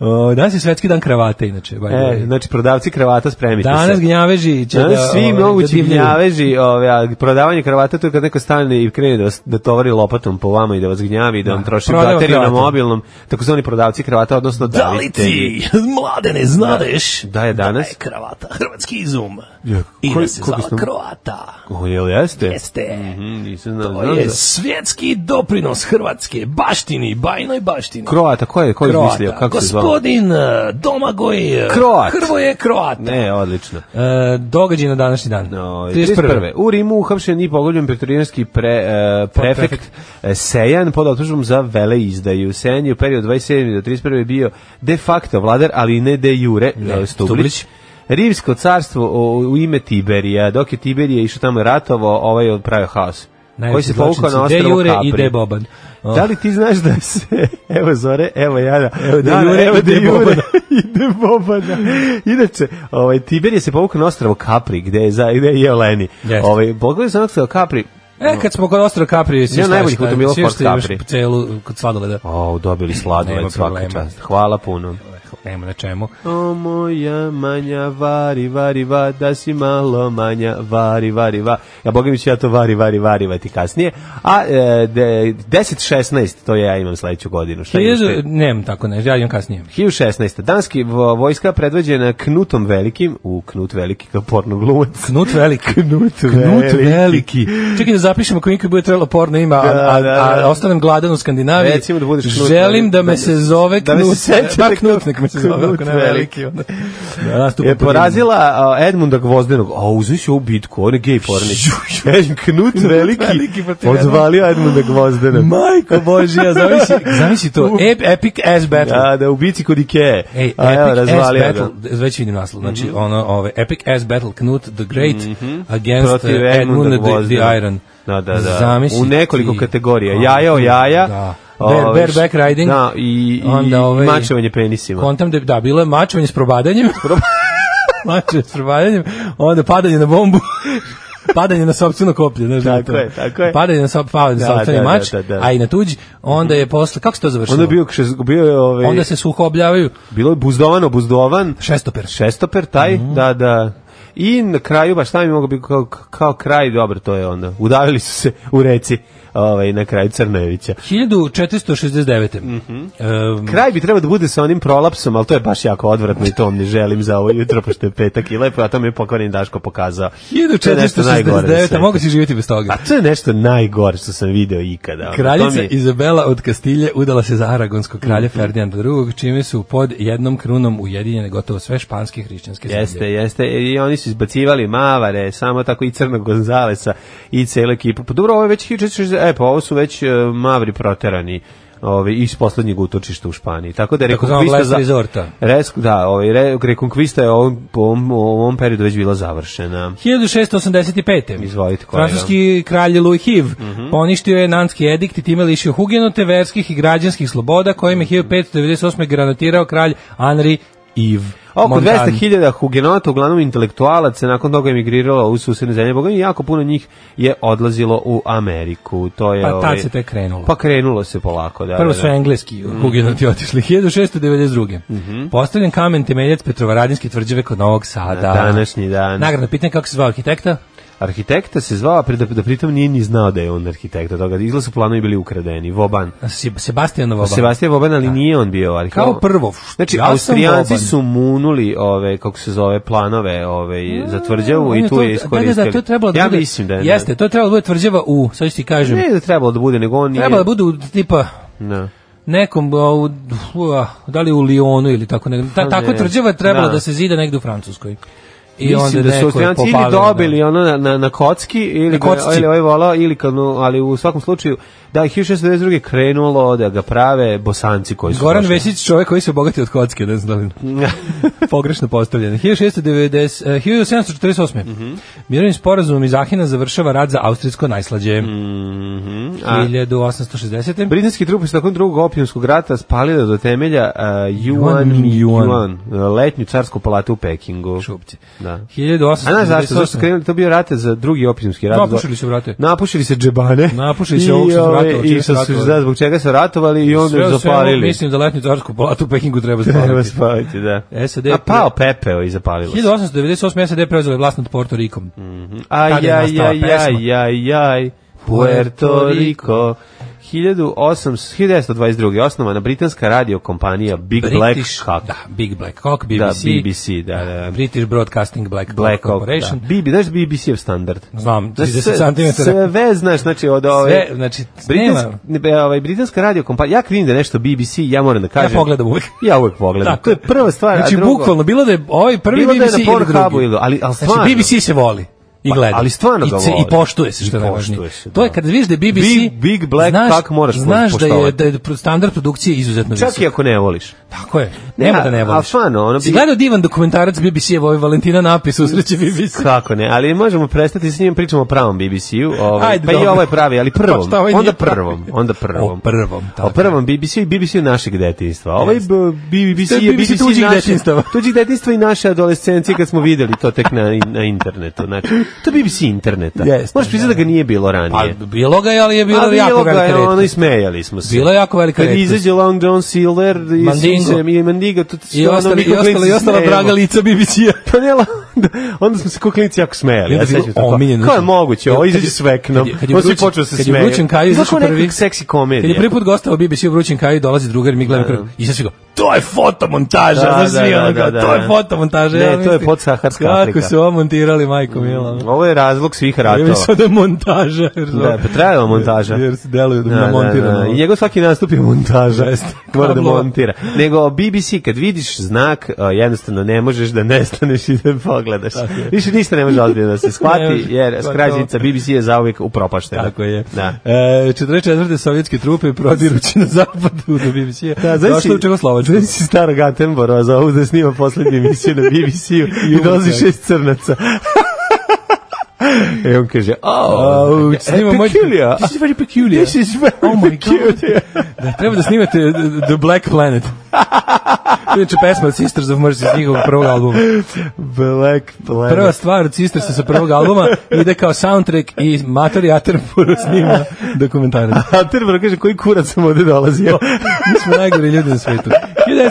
F: O, danas je svetski dan kravate, inače. by the
E: E,
F: way.
E: znači prodavci kravata spremite se.
F: Danas gnjaveži će
E: Danas
F: da,
E: svi
F: ovaj, da
E: mogući
F: divljaju.
E: gnjaveži, ove, a prodavanje kravata, to je kad neko stane i krene da, vas, da tovari lopatom po vama i da vas gnjavi i da vam troši
F: prodava
E: bateriju na
F: kravate.
E: mobilnom, takozvani prodavci kravata, odnosno
F: Da li ti, mladene, znadeš
E: Da je danas?
F: da je kravata hrvatski izum
E: Ja,
F: i
E: koji-
F: da se
E: koliko
F: zvala
E: sam-
F: kroata?
E: O, jel jeste?
F: Jeste.
E: Mhm, nisam znao.
F: To
E: Znam
F: je
E: za-
F: svjetski doprinos Hrvatske baštini, bajnoj baštini.
E: Kroata, ko je, ko je izmislio, kako se zvao?
F: Gospodin eh, Domagoj eh,
E: Kroat.
F: Hrvoje Kroat.
E: Ne, odlično.
F: E, događaj na današnji dan.
E: No, 31. U Rimu uhapšen i pogođen pretorijanski pre, e, prefekt e, Sejan pod optužbom za veleizdaju. Sejan je u periodu 27. do 31. bio de facto vladar, ali ne de jure, ne, Stublić.
F: Stublić.
E: Rimsko carstvo o, u ime Tiberija. Dok je Tiberije išao tamo i ratovao, ovaj je odpravio haos. koji se povukao na
F: De
E: ostrovo
F: Jure
E: Capri.
F: i De Boban. O,
E: Da li ti znaš da se, [LAUGHS] evo Zore, evo Jana,
F: Evo De
E: Dana,
F: Jure i De Bobana.
E: [LAUGHS] ide Bobana. Inače, ovaj, Tiber je se povukao na ostravo Capri, gde je, za, gde je jeo Leni.
F: Jeste.
E: Ovaj, pogledaj se na ostravo Capri,
F: E, kad smo kod Ostra Capri, svi
E: Ja
F: šta
E: najbolji
F: šta-
E: automobil
F: svi
E: Ford
F: šta imaš
E: Capri.
F: celu kod sladoleda.
E: o, dobili
F: Nema
E: sladoled svaka
F: problema.
E: čast. Hvala puno.
F: Nema na čemu.
E: O moja manja, vari, vari, va, da si malo manja, vari, vari, va. Ja, boga mi ću ja to vari, vari, varivati kasnije. A e, de- 10-16, to ja imam sledeću godinu. Šta imaš ti?
F: Hiljadu, nemam tako nešto, ja imam kasnije.
E: 1016. Danski vo- vojska predvođena Knutom Velikim, u Knut Veliki kao porno glumac.
F: Knut
E: [LAUGHS]
F: veliki. Knut,
E: veliki.
F: veliki. Čekaj da zapišemo ako nikad bude trebalo porno ima, a,
E: Da,
F: a,
E: da, da.
F: a ostanem gladan u Skandinaviji.
E: Recimo da budeš Knut
F: Želim
E: veliki.
F: da me se zove
E: Da
F: Knut.
E: me se sećate
F: Ba, Knut, nek me se zove.
E: Knut
F: ako ne
E: veliki.
F: veliki. onda. Da, nastupam
E: Je
F: po
E: porazila a, Edmunda Gvozdenog. A uzeš ovu bitku, on je gej pornić. Knut Veliki,
F: Veliki protiv
E: odvalio Edmunda
F: Rimu.
E: Gvozdenog.
F: Majko Božja, zamisli, [LAUGHS] zamisli to. Ep, epic ass battle.
E: Da, da, u bici kod Ikee.
F: Ej,
E: A, evo,
F: Epic S
E: razvalio
F: Battle,
E: ga. Mhm.
F: već vidim naslov, znači ono, ove, Epic S Battle Knut the Great against
E: Protiv
F: eh,
E: Edmunda
F: Edmund the,
E: Gvozdena.
F: the Iron.
E: Da, da, da.
F: Zamisli
E: U nekoliko
F: ti.
E: kategorija. Jaja o jaja.
F: Da.
E: Ovaj,
F: Bare- bareback riding.
E: Da, i, i,
F: Onda ovaj-
E: i mačevanje penisima.
F: Kontam da, da, bilo je mačevanje s probadanjem. [LAUGHS] mačevanje s probadanjem, onda padanje na bombu. [LAUGHS] padanje na sopstveno koplje, znaš da
E: Tako
F: to.
E: je, tako je.
F: Padanje na sop, padanje na
E: Da,
F: sopstveni
E: da, da,
F: mač,
E: da, da.
F: a i na tuđ, onda je posle kako se to završilo?
E: Onda je bio, kšes- bio je, ovaj,
F: Onda se suhobljavaju
E: bilo je buzdovan, obuzdovan.
F: šestoper.
E: šestoper taj,
F: Mhm.
E: da, da. I na kraju, baš šta mi mogu biti kao, kao kraj, dobro, to je onda. Udavili su se u reci ovaj, na kraju Crnojevića.
F: 1469.
E: Mhm.
F: Ehm,
E: Kraj bi trebao da bude sa onim prolapsom, ali to je baš jako odvratno i to vam ne želim za ovo jutro, pošto je petak i lepo, a to mi je pokvareni Daško pokazao. To je nešto najgore na
F: 1469.
E: svetu.
F: a Mogu si živjeti bez toga.
E: A to je nešto najgore što sam video ikada. ono, to
F: Kraljica
E: mi je-
F: Izabela od Kastilje udala se za aragonskog kralja
E: Mhm.
F: Ferdinanda II, čime su pod jednom krunom ujedinjene gotovo sve španske i hrišćanske zemlje.
E: Jeste, jeste. I oni su izbacivali Mavare, samo tako i Crnog Gonzalesa i celu ekipu. Pa dobro, ovo je već 1460, e pa ovo su već e, Mavri proterani ovaj iz poslednjeg utočišta u Španiji. Tako da je
F: Tako zvano
E: Reconquista
F: Last Resorta.
E: Res- da, ovaj re, Reconquista je u ovom, po ovom, u ovom periodu već bila završena.
F: 1685.
E: Izvolite, Mhm. kolega.
F: Francuski kralj Louis HIV poništio je nanski edikt i time lišio hugenote verskih i građanskih sloboda kojim
E: Mhm.
F: je 1598. granatirao kralj Henri Yves
E: Oko
F: Montan.
E: 200.000 hugenota, uglavnom intelektualaca, nakon toga emigriralo u susedne zemlje. Boga mi, jako puno njih je odlazilo u Ameriku. To je,
F: Pa tad
E: ovaj,
F: se tek krenulo.
E: Pa krenulo se polako, da.
F: Prvo
E: da,
F: su
E: da. Mhm.
F: engleski hugenoti otišli. 1692. Postavljen kamen temeljac Petrovaradinske tvrđave kod Novog Sada.
E: današnji dan.
F: Nagradno pitanje kako se zvao arhitekta?
E: Arhitekta se zvao, a pri- da, da pritom nije ni znao da je on arhitekta toga. Izgleda su planovi bili ukradeni. Voban.
F: Se- Sebastian Voban.
E: Sebastijan Voban, ali nije on bio arhitekta.
F: Kao prvo,
E: Znači,
F: ja sam
E: Austrijanci
F: Voban.
E: su munuli ove, kako se zove, planove ove, za tvrđavu
F: Mm, On
E: i tu je
F: to- Da, da,
E: iskoristili.
F: da, to je trebalo da
E: ja
F: bude-
E: mislim da je.
F: Jeste, to je trebalo da bude tvrđava u, sad ću ti kažem,
E: Ne da je trebalo da bude, nego on nije.
F: trebalo da bude u, tipa
E: Da.
F: nekom, a, u, u, a, da li u Lionu ili tako negdje. Ta,
E: Pa
F: tako
E: ne.
F: tvrđava je trebalo
E: Da.
F: da. se zida negdje u Francuskoj. I
E: Mislim da su
F: neko je
E: Austrijanci ili
F: popalio, da.
E: dobili ono na, na, na kocki ili,
F: Na
E: ga-
F: kocki.
E: ili ovaj volao, ili kad, no, ali u svakom slučaju da je 1692. krenulo da ga prave bosanci koji su
F: Goran
E: došli.
F: Vesić, čovjek koji se obogati od kocke, ne znam da li-
E: [LAUGHS]
F: pogrešno postavljen. 1690, eh, 1748.
E: Mhm.
F: Mirovnim sporazumom iz Ahina završava rad za austrijsko najslađe.
E: Mhm. A
F: 1860.
E: Britanski trupi su nakon drugog opijumskog rata spalili do temelja uh, Yuan
F: Yuan Mingyuan.
E: Mingyuan, uh, letnju carsku palatu u Pekingu.
F: Šupci.
E: Da. A
F: 1868.
E: znaš zašto? Zašto su krenuli? To je bio rate za drugi opijumski rat.
F: Napušili su, brate.
E: Napušili se džebane.
F: Napušili
E: I,
F: se ovog što su
E: ovaj, ove
F: ratovali,
E: i
F: čim su
E: što su
F: ratovali.
E: da, zbog čega su ratovali i onda
F: Sve
E: ju
F: u svemu,
E: zapalili. [LAUGHS]
F: Mislim da letnju carsku palatu u Pekingu treba
E: Treba
F: zapaliti.
E: spaliti, da.
F: SAD
E: A pao pepeo i zapalilo se.
F: 1898. SAD preuzela je vlast nad Porto Rikom.
E: Aj,
F: Tad je
E: aj,
F: nastala
E: aj,
F: pesma.
E: aj, aj, aj, Puerto Rico. 1800 1922. osnovana britanska radio kompanija Big Black Cock.
F: Da, Big Black Hawk, BBC.
E: Da, BBC, da, da.
F: British Broadcasting Black,
E: Black Hawk,
F: Corporation.
E: da. BB, znaš BBC-ev standard?
F: Znam,
E: Znaš,
F: 30
E: sve-
F: cm.
E: Sve znaš, znači, od ove...
F: Sve, znači,
E: Britansk,
F: nema-
E: ne, ovaj, britanska radio kompanija, ja krivim da je nešto BBC, ja moram da
F: Ja
E: kažem.
F: pogledam uvek.
E: Ja uvek pogledam.
F: Tako.
E: To je prva stvar,
F: Znači,
E: a drugo...
F: bukvalno, bilo da je ovaj prvi
E: Bilo da je
F: BBC
E: na
F: ili
E: Pornhubu
F: drugi.
E: ili- ali- ali stvarno.
F: znači, BBC se voli. I
E: Pa,
F: gleda.
E: ali stvarno
F: I,
E: ga
F: ce-
E: voli.
F: I poštuje se, što
E: I
F: je najvažnije.
E: poštuje se,
F: To je
E: da.
F: kad vidiš da je BBC...
E: Big- Big Black Cock moraš
F: Znaš da je,
E: poštovati.
F: da je standard produkcije izuzetno visok.
E: Čak i ako ne voliš.
F: Tako je. Nema
E: Ne,
F: da ne
E: a-
F: voliš.
E: a stvarno, ono
F: Si
E: bi-
F: gledao divan dokumentarac BBC-evo ovaj Valentina Napis usreće BBC.
E: Kako ne, ali možemo prestati s njim, pričamo o pravom BBC-u, ovaj,
F: Ajde,
E: pa i
F: dobro.
E: ovaj pravi, ali
F: Pa
E: prvom,
F: šta ovaj
E: onda
F: nije pravi?
E: prvom, onda prvom.
F: O prvom, tako
E: O prvom BBC-u i BBC-u našeg detinjstva. Ovaj
F: Jeste.
E: b- BBC
F: To je
E: je
F: BBC
E: BBC
F: tuđih
E: naše-
F: detinjstava.
E: [LAUGHS] Tuđih detinjstva i naše adolescencije kad smo videli to tek na, na internetu. Znači, to je BBC interneta.
F: Jeste,
E: Možeš priznati da ga nije bilo
F: Pa,
E: ranije.
F: bilo ga je, ali je bilo,
E: A
F: jako
E: ga je,
F: velika
E: ono,
F: redkost.
E: i smejali smo se.
F: Bilo je jako velika
E: Kad
F: redkost.
E: izađe Long John Silver i
F: Mandingo.
E: Suzem i Mandigo, to, ono,
F: I ostali, i ostali, i ostala draga lica BBC-a.
E: Pa ne, la- [LAUGHS] onda- onda smo se ko klinci jako smejali.
F: I onda
E: Ja
F: je bilo
E: sećam se toga.
F: omiljeno. znači,
E: Kao je moguće, ovo
F: Kad je-
E: izađe s veknom.
F: kad je- kad je
E: Ovo svi
F: vrućen-
E: počeo se
F: kad je
E: smejaju.
F: vrućen Kajo izašao
E: Znaš kao
F: prvi-
E: neka seksi
F: Kad je
E: komedija.
F: prvi put gostao BBC u Vrućim Kaju, dolazi drugar, mi gledamo prvi. I sad svi go, to je fotomontaža,
E: Da,
F: znaš svi
E: da,
F: ono
E: da,
F: kao,
E: da,
F: to
E: da.
F: je fotomontaža.
E: Ne,
F: ja
E: to je
F: mislim,
E: podsaharska Afrika.
F: Kako su ovo montirali, majko mila.
E: Ovo je razlog svih
F: ono? Ja
E: ratova.
F: mislim da je montaža. jer su-
E: Da, pa trajala montaža.
F: Jer se deluju da
E: Da,
F: je
E: da, da. I
F: montirano.
E: njegov svaki nastup je montaža.
F: [LAUGHS] Jeste.
E: Mora da
F: Kablova.
E: montira. Nego BBC, kad vidiš znak, a, jednostavno ne možeš da nestaneš i da pogledaš. Više ništa ne može ozbiljno da
F: [LAUGHS]
E: se
F: Ne
E: shvati,
F: može.
E: jer
F: To je
E: skraćenica BBC je zauvijek upropaštena.
F: Tako je.
E: Da.
F: E, 44. sovjetske trupe prodirući na zapadu do BBC-a.
E: Da, znaš
F: došlo
E: si-
F: u Čegoslovačku.
E: Znaš si starog Attenborough za ovu da snima poslednju emisiju na BBC-u [LAUGHS] i dolazi
F: umre.
E: šest crnaca. [LAUGHS] I on kaže, oh,
F: Au, snima moj-
E: peculiar.
F: This is very peculiar.
E: This is very
F: Oh my God.
E: peculiar.
F: Da, treba da snimate uh, The Black
E: [LAUGHS]
F: Planet. To je Inače pesma od Sisters of Mercy s njihovog prvog albuma.
E: Black Planet.
F: Prva stvar od Sisters sa prvog albuma ide kao soundtrack i Matori Attenborough snima dokumentarac.
E: Attenborough kaže, koji kurac sam ovde dolazio?
F: Mi smo najgori ljudi na svetu.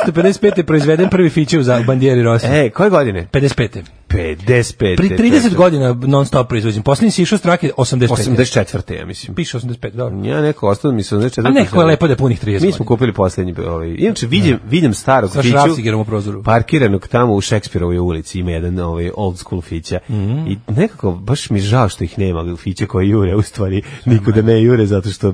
F: 1955. je proizveden prvi feature u za- bandijeri Rosije.
E: [LAUGHS] e, koje godine?
F: 55.
E: 55.
F: Pri 30 godina non stop proizvođen. Posljednji si išao strake 85.
E: 84. ja mislim.
F: Piše 85, dobro.
E: Ja neko ostalo mi se 84.
F: A nekako je lepo da je punih 30
E: Mi smo
F: godina.
E: kupili poslednji ovaj. Inače vidim vidim starog
F: Sa šrafcigerom u prozoru.
E: Pa- parkiranog tamo u Šekspirovoj ulici ima jedan ovaj old school fića
F: Mhm.
E: i nekako baš mi žao što ih nema fića koji jure u stvari nikuda ne jure zato što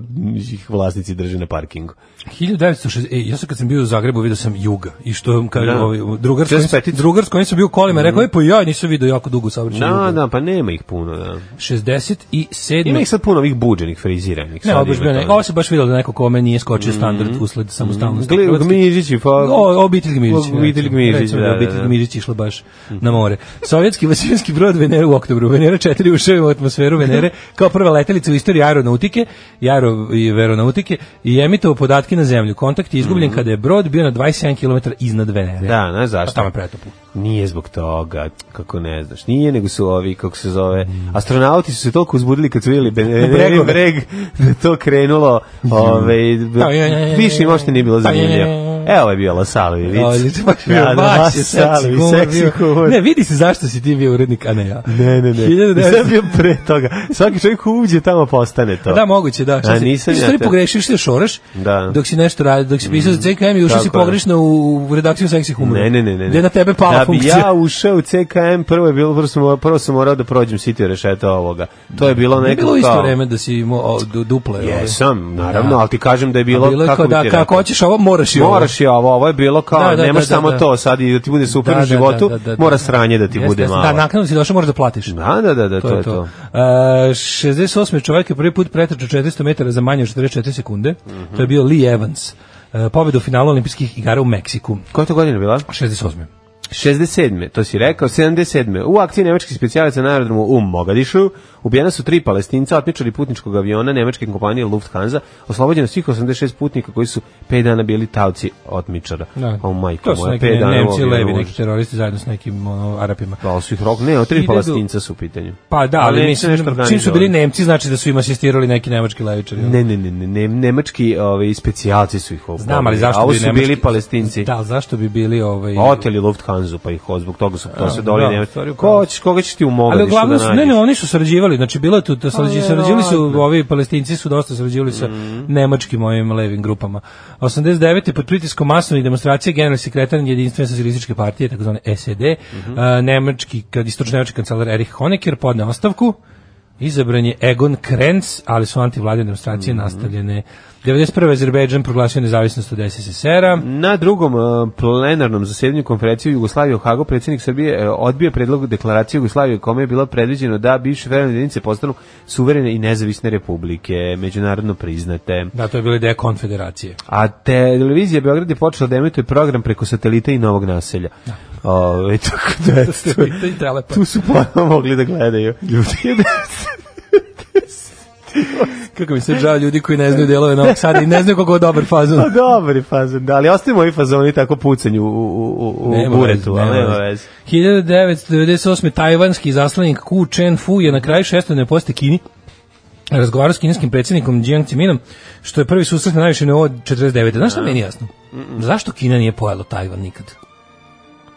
E: ih vlasnici drže na parkingu
F: 1960, e, ja sam kad sam bio u Zagrebu video sam Juga i što vam kaže
E: Da. Mhm.
F: ovaj drugar s kojim sam-
E: 45.
F: drugar s kojim sam bio u kolima rekao je pa ja nisam video jako dugo saobraćaj.
E: da da pa nema ih puno da
F: 67.
E: ima ih sad puno ovih buđenih friziranih
F: Ne,
E: sad
F: ovo baš
E: ima Mhm.
F: bio ne.
E: toga.
F: Ovo se baš videlo da neko kome nije skočio standard usled samostalnosti.
E: Gle-
F: Hrvatske.
E: Gmižići, pa-
F: O, obitelj Gmižić.
E: Obitelj Gmižić,
F: recimo,
E: da, da,
F: Obitelj
E: da. Mhm.
F: Gmižić išla baš na more. Sovjetski vasilijski brod Venera u oktobru. Venera 4 ušao je u atmosferu
E: [LAUGHS]
F: Venere kao prva letelica u istoriji aeronautike, i aero i veronautike i emitovo podatke na zemlju. Kontakt je izgubljen kada je brod bio na 27 km iznad Venere.
E: Mhm. Da, znaš zašto?
F: Pa tamo je pretoplo.
E: Nije zbog toga, kako ne znaš. Nije, nego su ovi, kako se zove, astronauti su se toliko uzbudili kad su vidjeli Benerin
F: [LAUGHS] Bregove.
E: breg, da je to krenulo, ove, b-
F: Aj, aj, aj, aj.
E: više im ošte nije bilo
F: Aj,
E: zanimljivo.
F: aj, aj, aj.
E: Evo je bio Lasalovi, vic.
F: Odlično, baš bio,
E: Da, da,
F: baš je seksi
E: Lasalovi,
F: humor
E: seksi
F: bio.
E: humor.
F: Ne, vidi se zašto si ti bio urednik, a ne ja.
E: Ne, ne, ne.
F: 1900
E: Sad bio pre toga. Svaki čovjek ko uđe tamo postane to.
F: Pa Da, moguće, da. Šta
E: A,
F: si-
E: nisam
F: ti
E: ja
F: stvari
E: te-
F: pogrešio, što šoraš,
E: Da. Mm,
F: dok si nešto radi, dok si pisao za CKM i ušao si
E: Tako je.
F: pogrešno u, u redakciju seksi humora.
E: Ne, ne, ne, ne.
F: Gde je na tebe pala
E: da
F: funkcija.
E: bi ja ušao u CKM, prvo je bilo, prvo sam, morao- prvo sam morao da prođem sitio rešeta ovoga. To je bilo
F: Nije
E: neko
F: bilo u isto
E: kao-
F: vreme da si imao o, du- duple. ove.
E: Jesam, naravno,
F: Da.
E: ali ti kažem da je bilo,
F: A bilo je
E: kako
F: kao
E: bi
F: da,
E: ti
F: kako
E: rekao?
F: hoćeš ovo, moraš i ovo.
E: Moraš je ovo, ovo je bilo kao,
F: Da, da,
E: nemaš
F: da, da,
E: samo
F: da.
E: to sad i da ti bude super
F: Da,
E: u
F: da,
E: životu,
F: da, da, da.
E: mora sranje da ti
F: Jeste,
E: bude
F: jeste.
E: malo.
F: Da, naknadno si došao, moraš da platiš.
E: Da, da, da, da, to, je to.
F: E, 68. čovjek je prvi put pretračao 400 metara za manje od 44 sekunde. To
E: Mhm.
F: je bio Lee Evans. E, pobjeda u finalu olimpijskih igara u Meksiku.
E: Koja je to godina bila?
F: 68.
E: 67. to si rekao, 77. U akciji nemačkih specijalaca na aerodromu u Mogadišu ubijena su tri palestinca, otmičali putničkog aviona nemačke kompanije Lufthansa, oslobođeno svih 86 putnika koji su 5 dana bili tavci otmičara.
F: Da.
E: O majko
F: to su
E: moja,
F: neki
E: 5 dana u
F: Nemci,
E: avionu,
F: levi,
E: užas.
F: neki teroristi zajedno s nekim ono, Arapima.
E: Pa, ali su ih rok, ne, o tri
F: Hiljadu-
E: palestinca su u pitanju.
F: Pa da, ali,
E: Nemci
F: mislim,
E: nešto
F: čim su bili
E: organizovali.
F: Nemci, znači da su im asistirali neki nemački levičari. ono.
E: Ne, ne, ne, ne, ne, nemački ovi, specijalci su ih oborili.
F: Znam, ali zašto
E: A ovo
F: bi
E: su
F: nemački-
E: bili palestinci.
F: Da, ali zašto bi bili ovaj...
E: Oteli Lufthansa, pa ih od- zbog toga su to se doli
F: da,
E: da, Nemci.
F: stvari u pravu.
E: Ko će, koga će ti u Mogadišu
F: Ali uglavnom,
E: da
F: su-
E: nađeš?
F: ne, ne, oni su sarađivali, znači bilo je tu, da sarađi,
E: Pa,
F: sarađivali su
E: verovatno.
F: ovi palestinci su dosta sarađivali sa
E: Mhm.
F: nemačkim ovim levim grupama. 89. pod pritiskom masovnih demonstracija generalni sekretar jedinstvene socijalističke partije, takozvane SED,
E: Mhm.
F: a, nemački, kad istočnemački kancelar Erich Honecker podne ostavku, Izabran je Egon Krenz, ali su antivladine demonstracije
E: Mhm.
F: nastavljene. 91. Azerbejdžan proglasio nezavisnost od SSSR-a.
E: Na drugom e, plenarnom zasjedanju konferencije u Jugoslaviji u Hagu predsjednik Srbije e, odbio predlog deklaracije Jugoslavije u kome je bilo predviđeno da bivše verene jedinice postanu suverene i nezavisne republike, međunarodno priznate.
F: Da, to je bila ideja
E: [LAUGHS]
F: konfederacije.
E: A televizija Beograd je počela da emituje program preko satelita i novog naselja. Ove, [LAUGHS] tako da, eto,
F: [LAUGHS] Satelita i telefon.
E: tu su ponovno mogli da gledaju. [LAUGHS] Ljudi,
F: Kako mi se žao ljudi koji ne znaju delove Novog Sada i ne znaju kogo je dobar fazon.
E: Pa dobar je fazon, da, ali ostavimo ovi fazoni tako pucanju u, u, u, u
F: Nema
E: buretu,
F: veze,
E: ali
F: nema
E: nema
F: veze.
E: veze.
F: 1998. tajvanski zaslanik Ku Chen Fu je na kraju šestodne poste Kini razgovarao s kineskim predsjednikom Jiang Zeminom, što je prvi susret na najviše nivo od 49. Znaš šta meni je jasno? Zašto Kina nije pojela Tajvan nikad?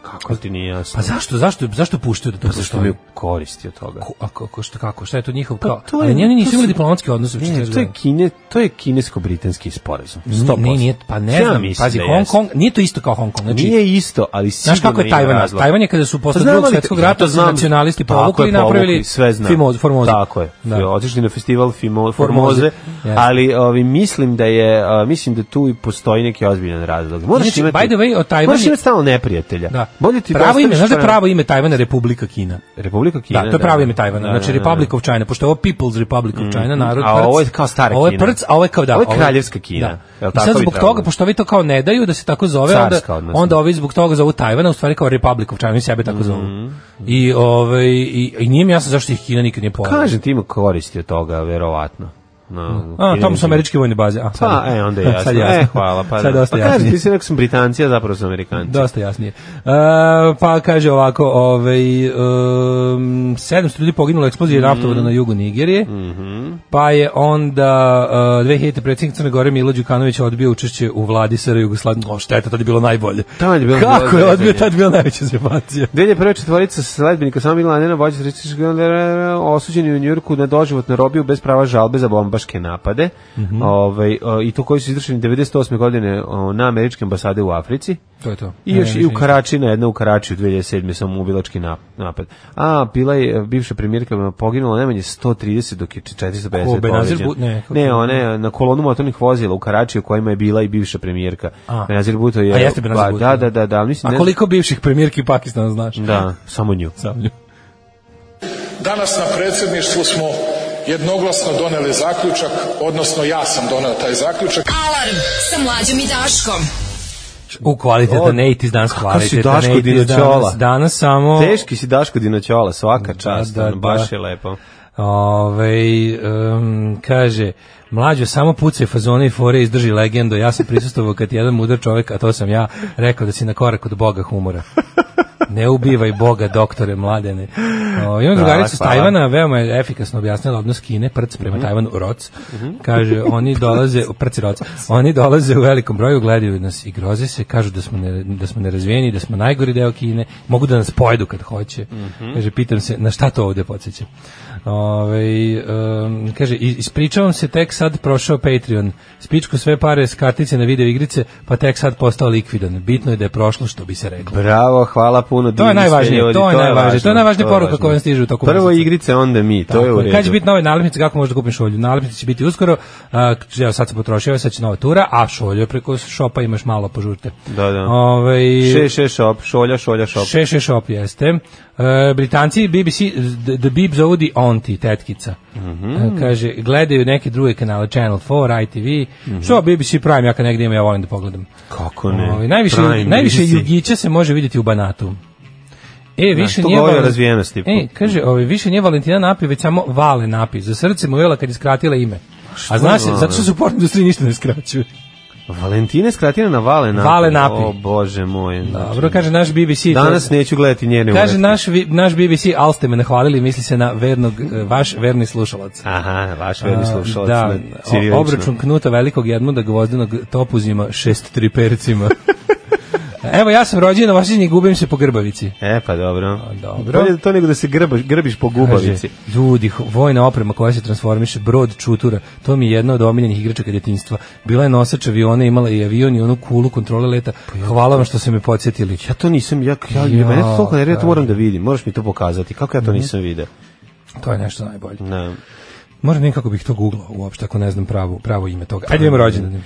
E: Kako ti nije jasno?
F: Pa zašto, zašto, zašto puštaju da to
E: Zato što mi
F: postoji?
E: je koristi od toga.
F: Ko- a kako, šta, kako, šta je to njihov
E: Pa
F: kao?
E: to je-
F: ali njeni
E: to
F: nisu imali
E: su-
F: diplomatske odnose. u
E: Ne,
F: 40
E: to je,
F: godina.
E: kine, to je kinesko-britanski sporazum. 100%.
F: Ne, nije, pa ne
E: Ja
F: znam,
E: mislim
F: pazi,
E: da
F: Hong
E: jeste.
F: Kong, nije to isto kao Hong Kong. Znači,
E: Nije isto, ali sigurno
F: Znaš kako je
E: ima
F: Tajvan?
E: razloga.
F: Tajvan je kada su posle
E: Pa znam,
F: drugog
E: ali-
F: svjetskog
E: ja
F: rata
E: to
F: su
E: znam.
F: nacionalisti
E: Tako je,
F: povukli i napravili
E: povukli, sve znam.
F: Fimo- Formozu.
E: Tako je.
F: Da.
E: Otišli na festival Fimo,
F: Formoze.
E: Formoze,
F: Jeste.
E: ali ovi, mislim da je a, mislim da tu i postoji neki ozbiljan razlog. Moraš
F: Znači,
E: imati
F: by the way, o Tajvan
E: Moraš
F: je-
E: imati stalno neprijatelja.
F: Da.
E: Bolje ti
F: pravo ime,
E: ostaviš
F: znaš da je
E: pravo-
F: pravo ime Tajvana Republika Kina.
E: Republika Kina.
F: Da, to je pravo ime Tajvana.
E: Da,
F: znači
E: da, da.
F: Republic of China, pošto je ovo People's Republic of China, narod
E: A
F: prc.
E: ovo je kao stara
F: Ovo je
E: Kina.
F: prc, a ovo je kao da.
E: Ovo je kraljevska Kina.
F: Da.
E: Jel
F: I sad
E: tako bi
F: zbog
E: trebalo?
F: toga, pošto ovi to kao ne daju da se tako zove, onda,
E: Carska, odnosno. Mhm.
F: onda ovi zbog toga zovu Tajvana, u stvari kao Republic of China, oni sebe tako zovu. I, ovaj, i, i nije mi jasno zašto ih Kina nikad nije pojela.
E: Kažem ti ima koristi od toga, verovatno. No,
F: Mm. A, tamo su američke vojne baze. A,
E: Pa,
F: [LAUGHS] sad-
E: e, onda je jasno.
F: sad
E: E, hvala. Pa,
F: sad
E: da.
F: dosta
E: pa kažem,
F: jasnije.
E: ti si rekao sam Britanci, a zapravo sam Amerikanci.
F: Dosta jasnije. E, pa kaže ovako, ovaj, um, 700 ljudi poginulo u eksploziji
E: Mm.
F: naftovoda na jugu Nigerije,
E: Mhm.
F: pa je onda uh, 2000. predsjednik Crne Gore Milo Đukanović odbio učešće u vladi SR Jugoslavije. O, šteta, tad je bilo najbolje.
E: Tad je bilo
F: Kako je
E: najbolje.
F: odbio, tad je bila najveća zepacija.
E: Delje prve četvorica sledbenika Sama Milanina, vođa sredističkog osuđeni u Njurku na doživotnu robiju bez prava žalbe za bombaške napade.
F: Mhm.
E: Ovaj, o, I to koji su izvršeni 98. godine o, na američke ambasade u Africi.
F: To je to.
E: I
F: Ne,
E: još
F: ne,
E: i u
F: ne.
E: Karači, na jedna u Karači u 2007. samoubilački nap- napad. A, bila je e, bivša premijerka poginula najmanje 130 dok je 450
F: Ko, Benazir
E: povređeno.
F: Bu- ne, kako-
E: ne, ona je na kolonu motornih vozila u Karači u kojima je bila i bivša premijerka.
F: A.
E: Benazir Bhutto je...
F: A jeste Benazir
E: Pa,
F: Bhutto,
E: Da,
F: da.
E: da, da, da. Mislim,
F: A
E: ne-
F: koliko bivših premijerki Pakistana znaš?
E: Da, samo nju.
F: Sam nju.
H: Danas na predsjedništvu smo jednoglasno doneli zaključak, odnosno ja sam doneo taj zaključak.
D: Alarm sa mlađom i Daškom.
F: U kvalitetan
E: O,
F: 80's danas
E: kako si
F: kvalitetan
E: Daško
F: 80's danas,
E: Dinoćola.
F: danas samo...
E: Teški si Daško Dinoćola, svaka čast,
F: da,
E: ono, baš
F: da.
E: je lepo.
F: Ove, um, kaže, mlađo, samo pucaj fazone i fore izdrži legendu. Ja sam prisustovao kad je jedan mudar čovjek, a to sam ja, rekao da si na korak od Boga humora. Ne ubivaj Boga, doktore mladene. O, imam drugaricu s
E: hvala.
F: Tajvana, veoma je efikasno objasnila odnos Kine, prc prema Tajvanu, roc. Kaže, oni dolaze, prc i roc, oni dolaze u velikom broju, gledaju nas i groze se, kažu da smo, ne, da smo nerazvijeni, da smo najgori deo Kine, mogu da nas pojedu kad hoće. Kaže, pitam se, na šta to ovdje podsjeća? Ovaj, em, kaže, "I- ispričavam se, tek sad prošao Patreon. Spičku sve pare s kartice na video igrice, pa tek sad postao likvidan. Bitno je da je prošlo što bi se reklo.
E: Bravo, hvala puno puno
F: To je
E: divnih
F: najvažnije,
E: ljudi,
F: to je najvažnije,
E: važno,
F: to je najvažnija
E: je
F: poruka
E: važno.
F: koja nam stiže u toku
E: Prvo
F: meseca.
E: igrice, onda mi, to je u
F: Tako
E: redu.
F: Kad će biti nove nalepnice, kako možeš da kupiš šolju? Nalepnice će biti uskoro, a, evo sad se potrošio, sad će nova tura, a šolju preko šopa imaš malo, požurte.
E: Da, da.
F: Ovaj,
E: Še, še, šop, šolja, šolja, šop.
F: Še, še shop jeste. E, Britanci BBC, the, the Bib zovu di onti, tetkica.
E: Mhm.
F: E, kaže, gledaju neke druge kanale, Channel 4, ITV,
E: Mhm.
F: što BBC Prime, ja kad negdje imam, ja volim da pogledam.
E: Kako ne?
F: Ovaj, najviše
E: Prime,
F: najviše
E: BBC.
F: Jugića se može vidjeti u Banatu. E, više
E: to
F: nije
E: govori o
F: Valen-
E: razvijenosti.
F: E, kaže, ovaj više nije Valentina Napi, već samo Vale Napi. Za srce mu jela kad je skratila ime. A znaš,
E: Vale?
F: zato što su u porno industriji ništa ne skraćuju.
E: Valentina je skratina na Vale Napi.
F: Vale Napi.
E: O, Bože moj. Znači,
F: Dobro, kaže naš BBC. to-
E: Danas neću gledati njene
F: Kaže
E: uretke.
F: naš, vi- naš BBC, al ste me nahvalili, misli se na vernog, eh, vaš verni slušalac.
E: Aha, vaš verni slušalac.
F: da,
E: na Cirilično.
F: o- obračun knuta velikog jedmuda gvozdenog topuzima šest
E: [LAUGHS]
F: tripercima. Evo, ja sam rođen u Vasinji, gubim se po Grbavici.
E: E, pa dobro.
F: dobro.
E: Bolje da to nego da se grbaš, grbiš po gubavici.
F: Kaže, ljudi, ho- vojna oprema koja se transformiše, brod čutura, to mi je jedna od omiljenih igračaka djetinjstva. Bila je nosač aviona, imala je i avion i onu kulu kontrole leta. Hvala vam što ste me podsjetili.
E: Ja to nisam, ja, ja,
F: Ja, Mhm.
E: mene to toliko nervira,
F: da.
E: to moram da vidim. Moraš mi to pokazati. Kako ja to nisam video?
F: To je nešto najbolje.
E: Ne.
F: Moram nekako bih to googlao uopšte, ako ne znam pravo, pravo ime toga. Ajde idemo rođendan.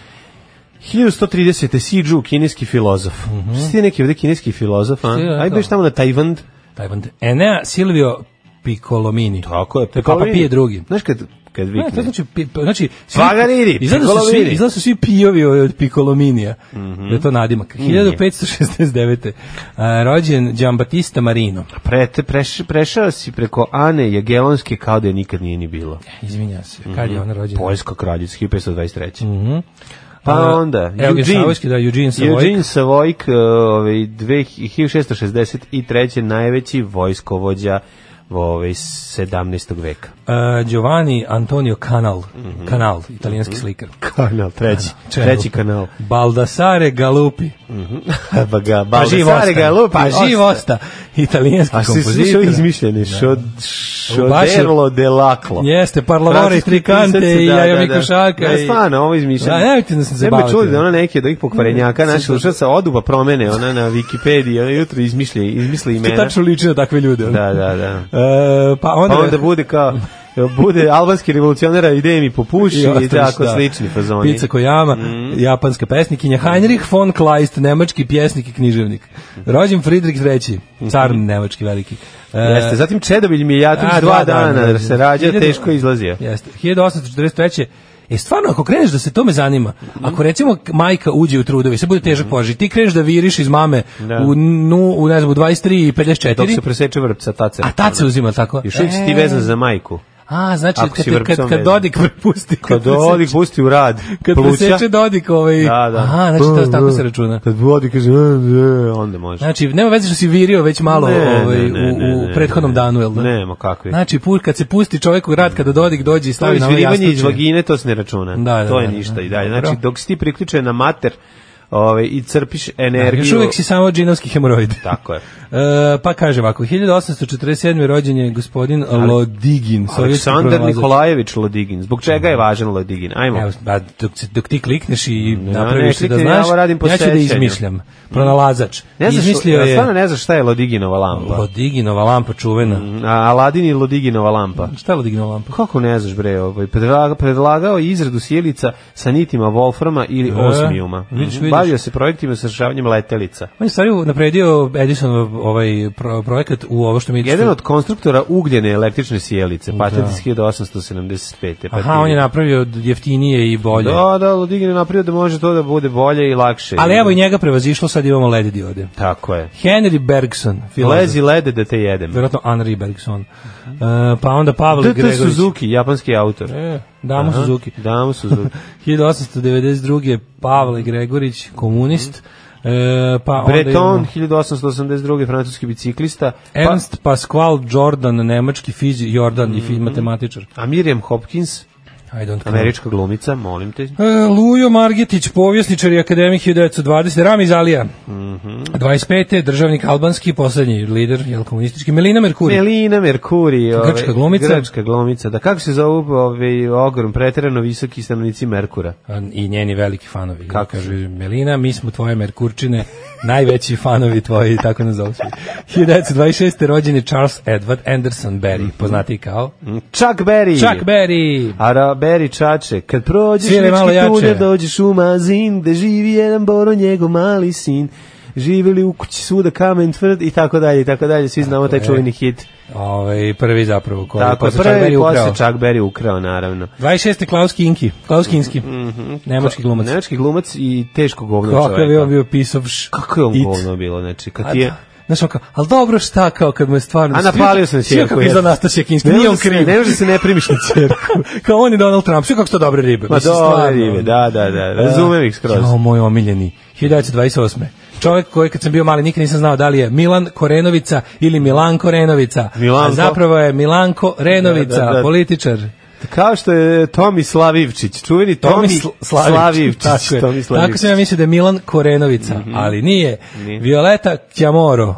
E: 1130. Siđu, kineski filozof.
F: Mhm.
E: Mm -hmm. Ti je neki ovde kineski filozof, a?
F: Ti je
E: Ajde
F: to.
E: beš tamo na Tajvand.
F: Tajvan. Enea Silvio Piccolomini.
E: Tako je.
F: To je Papa Pije drugi.
E: Znaš kad, kad
F: Ne, to
E: vikne?
F: znači, pi, pa- znači svi,
E: Paganini,
F: izgleda su svi,
E: Piccolomini.
F: izgleda su svi pijovi od Piccolominija. Da je to nadimak. 1569. A, rođen Giambattista Marino.
E: Pre, te, preš, prešao si preko Ane Jagelonske kao da je nikad nije ni bilo.
F: Izvinja se, kad
E: Mhm.
F: je ona rođena?
E: Poljska kraljica, 1523. Pa
F: Mhm. A,
E: onda,
F: evo ga Savojski, da, Eugene Savojk.
E: Eugene Savojk, e, ovaj, 1663. najveći vojskovođa ovaj, 17. veka.
F: A, Uh, Giovanni Antonio Canal.
E: Mhm.
F: Canal, italijanski slikar.
E: Kanal, treći.
F: Čemu?
E: Treći kanal.
F: Baldassare Galupi.
E: pa ga,
F: Pa živ osta.
E: Baldasare ga lupi.
F: Pa živ osta. Italijanski
E: A si
F: kompozitor.
E: slušao izmišljeni, šod, šoderlo de laklo.
F: Jeste, Parlavore i
E: Francuski pisac,
F: Trikante i
E: da, da,
F: Jaja
E: da.
F: Mikošaka.
E: Da, stvarno, ovo izmišljeno.
F: Da, nemojte da se
E: Sve bi
F: zabavite.
E: čuli da ona neke od ovih pokvarenjaka, naša
F: Sad-
E: slušalca oduba promene, ona na Wikipediji, ona jutro izmišlja, izmisli
F: To
E: imena.
F: tačno liči na takve ljude. ono.
E: Da, da, da. [LAUGHS]
F: E, pa onda,
E: Pa onda bude kao bude albanski revolucionar ide mi popuši
F: I
E: i
F: ostaviš,
E: tako
F: da.
E: slični fazoni. Mhm.
F: Pica Kojama, japanska pesnikinja, Heinrich von Kleist, nemački pjesnik i književnik. Rođen Friedrich III, car nemački veliki. E,
E: Mhm. Jeste, zatim Čedobilj mi je
F: a,
E: dva dana,
F: rođen.
E: da se rađa,
F: Hiljadu-
E: teško je izlazio.
F: Jeste, 1843. E, stvarno, ako kreneš da se tome zanima,
E: Mhm.
F: ako recimo majka uđe u trudovi, se bude težak poži, ti kreneš da viriš iz mame
E: Da.
F: u, nu, u, ne znam, u 23 i 54,
E: Dok se preseče vrpca, tad se...
F: a tad se uzima tako.
E: Još uvijek si ti
F: E,
E: vezan za majku.
F: A, znači,
E: Ako
F: kad,
E: si
F: te- kad,
E: vrpcom
F: kad
E: vezan.
F: Dodik [LAUGHS] prepusti.
E: Kad
F: preseče-
E: Dodik pusti u rad
F: Kad
E: pluća,
F: preseče Dodik ovaj...
E: da, da.
F: Aha, znači, to, tako se računa.
E: Kad Dodik kaže, "E, e", onda može.
F: Znači, nema veze što si virio već malo
E: Ne,
F: ovaj,
E: ne, ne,
F: u,
E: ne,
F: u
E: ne,
F: prethodnom
E: ne.
F: danu, jel da?
E: Nema kakvi.
F: Znači, pur, kad se pusti čovjek u rad, kada Dodik dođe i
E: To je
F: stavi na ovaj
E: izvirivanje iz
F: jastuče.
E: vagine, to se ne računa.
F: Da, da,
E: to je
F: da, da,
E: ništa
F: da.
E: i dalje.
F: Dobro.
E: Znači, dok si ti priključen na mater ovaj, i crpiš energiju...
F: Još uvijek si samo džinovski hemoroid.
E: Tako je.
F: E, pa kaže ovako, 1847. rođen je gospodin Lodigin. sovjetski
E: Aleksandar
F: pronalazač.
E: Nikolajević Lodigin. Zbog čega je važan Lodigin? Ajmo.
F: Evo, ba, dok, se- dok ti klikneš i
E: ne
F: napraviš se da
E: kliknem, ja
F: znaš,
E: ovo radim po
F: ja ću da
E: sećanju. Mm.
F: izmišljam. Pronalazač.
E: Ne znaš,
F: Izmislio
E: ja stvarno Mm.
F: je
E: ne znaš šta je Lodiginova lampa.
F: Lodiginova lampa čuvena.
E: A, Aladin i Lodiginova lampa. Pa
F: Šta je Lodiginova lampa?
E: Kako ne znaš bre, ovaj, predla- predlagao je izradu sjelica sa nitima Wolframa ili
F: E,
E: osmijuma.
F: vidiš,
E: Mhm.
F: vidiš.
E: Bavio se projektima sa rešavanjem letelica.
F: On je stvari napredio Edisonov ovaj pro, projekat u ovo što mi
E: Jedan od konstruktora ugljene električne sjelice, patent iz 1875.
F: Aha, on je napravio jeftinije i bolje.
E: Da, da, Lodigin je napravio da može to da bude bolje i lakše.
F: Ali evo i njega prevazišlo, sad imamo LED diode.
E: Tako je.
F: Henry Bergson, filozof.
E: Lezi lede da te jedem.
F: Vjerojatno Henry Bergson. E, pa onda Pavel
E: DT
F: Gregorić.
E: Suzuki, japanski autor.
F: E, Damo
E: Aha,
F: Suzuki. [LAUGHS]
E: Damo Suzuki.
F: 1892. Pavle Gregorić, komunist. E, pa onda
E: Breton,
F: imamo
E: 1882. francuski biciklista. Pa,
F: Ernst Pasqual Jordan, nemački fizi, Jordan i fi- matematičar.
E: a Miriam Hopkins,
F: I don't care.
E: američka glumica, molim te.
F: E, Lujo Margetić, povjesničar i akademik 1920, Ramiz Alija,
E: Mhm.
F: 25. državnik albanski, poslednji lider, jel komunistički, Melina Merkuri,
E: Melina Merkuri, ove,
F: Grčka glumica.
E: Grčka glumica. Da kako se zovu ove ogrom preterano visoki stanovnici Merkura?
F: A, i njeni veliki fanovi.
E: Kako
F: Kaže, Melina, mi smo tvoje Merkurčine, Najveći fanovi tvoji, tako nas zovu svi. 1926. rođen je Charles Edward Anderson Berry,
E: Mhm.
F: poznati kao
E: Mm, Chuck Berry.
F: Chuck Berry.
E: A ra- Berry Čače, kad prođeš
F: Svire malo
E: lički
F: jače.
E: tunel, dođeš u mazin, gde živi jedan boro, njegov mali sin. Živeli u kući svuda kamen tvrd i tako dalje, i tako dalje. Svi znamo taj
F: je.
E: čuveni hit.
F: Ovaj prvi zapravo koji je
E: Tako, je,
F: posle Chuck
E: prvi
F: Berry
E: posle
F: ukrao.
E: Chuck Berry ukrao, naravno.
F: 26. Klaus Kinski, Klaus Kinski, nemački glumac.
E: Mhm. Nemački glumac i teško govno
F: Kako je on
E: čoveka.
F: bio pisovš?
E: Kako je on
F: It.
E: govno bilo, znači, kad
F: A
E: ti je...
F: Pa da. Znaš, on kao, ali dobro šta, kao kad mu je stvarno...
E: A napalio sam
F: Svi
E: sjeku.
F: kako izgleda Nastasija Kinski,
E: Ne
F: nije on
E: može se-
F: kriv.
E: Ne može se ne primiš na cerku.
F: [LAUGHS] kao on je Donald Trump, sve kako su to dobre ribe.
E: Ma
F: mislim,
E: dobro,
F: stvarno.
E: ribe, da, da, da, razumem ih skroz.
F: Jao, moj omiljeni. 1928. Čovjek koji kad sam bio mali nikad nisam znao da li je Milan Korenovica ili Milan Korenovica. A
E: Milanko.
F: zapravo je Milanko Renovica,
E: Da, da, da.
F: političar.
E: [LAUGHS] Kao što je Tomi Slavivčić, čuveni Tomi
F: Tomi Sl-
E: Slavivčić.
F: Tako, je.
E: Tomi
F: tako
E: Slavivčić.
F: sam ja mislio da je Milan Korenovica,
E: Mhm.
F: ali nije. Violeta Kjamoro,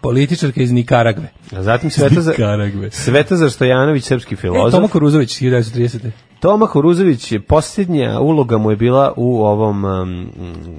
F: političarka iz Nikaragve.
E: A zatim Svetozar,
F: Nikaragve.
E: Svetozar Stojanović, srpski
F: E,
E: filozof.
F: Toma Koruzović, 1930.
E: Toma Horuzović je posljednja uloga mu je bila u ovom, um,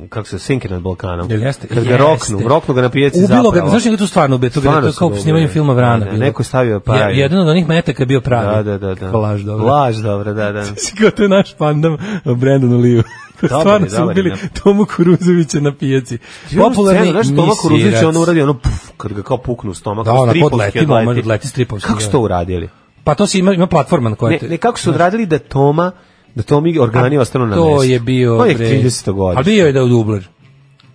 E: kako se, Sinke nad Balkanom.
F: Jel jeste?
E: Kad ga
F: Jeste.
E: roknu, roknu ga na pijaci
F: Ubilo
E: zapravo.
F: ga, znaš njega tu stvarno ubio, to ga- to je
E: su
F: kao
E: ga
F: snimanje
E: ubili.
F: filma Vrana.
E: Da,
F: bilo.
E: neko je stavio
F: Je-
E: pravi.
F: Jedan od onih metaka je bio
E: Da,
F: pravi.
E: da, da, da.
F: Laž, dobro. [LAUGHS]
E: Laž, dobro, da, da.
F: Si kao to je naš pandam Brandonu
E: [LAUGHS]
F: Liju.
E: Dobar je,
F: Stvarno su
E: dobar je,
F: ubili
E: da.
F: Tomu Kuruzovića na pijaci.
E: Scena,
F: Popularni
E: znaš, Toma Horuzović,
F: misirac.
E: on uradi ono, puf, kad ga kao puknu u stomak.
F: Da,
E: kao
F: ona
E: stripovski
F: podleti,
E: odleti.
F: moment odleti stripovski,
E: Kako su
F: da.
E: to uradili?
F: Pa to si ima, ima platforma na kojoj
E: Ne,
F: Pa te...
E: ne, kako su odradili da Toma, da Tomi organi ostanu na
F: to
E: mestu?
F: je bio...
E: On je
F: bre,
E: 30
F: A
E: godišnje.
F: bio je da je dubler.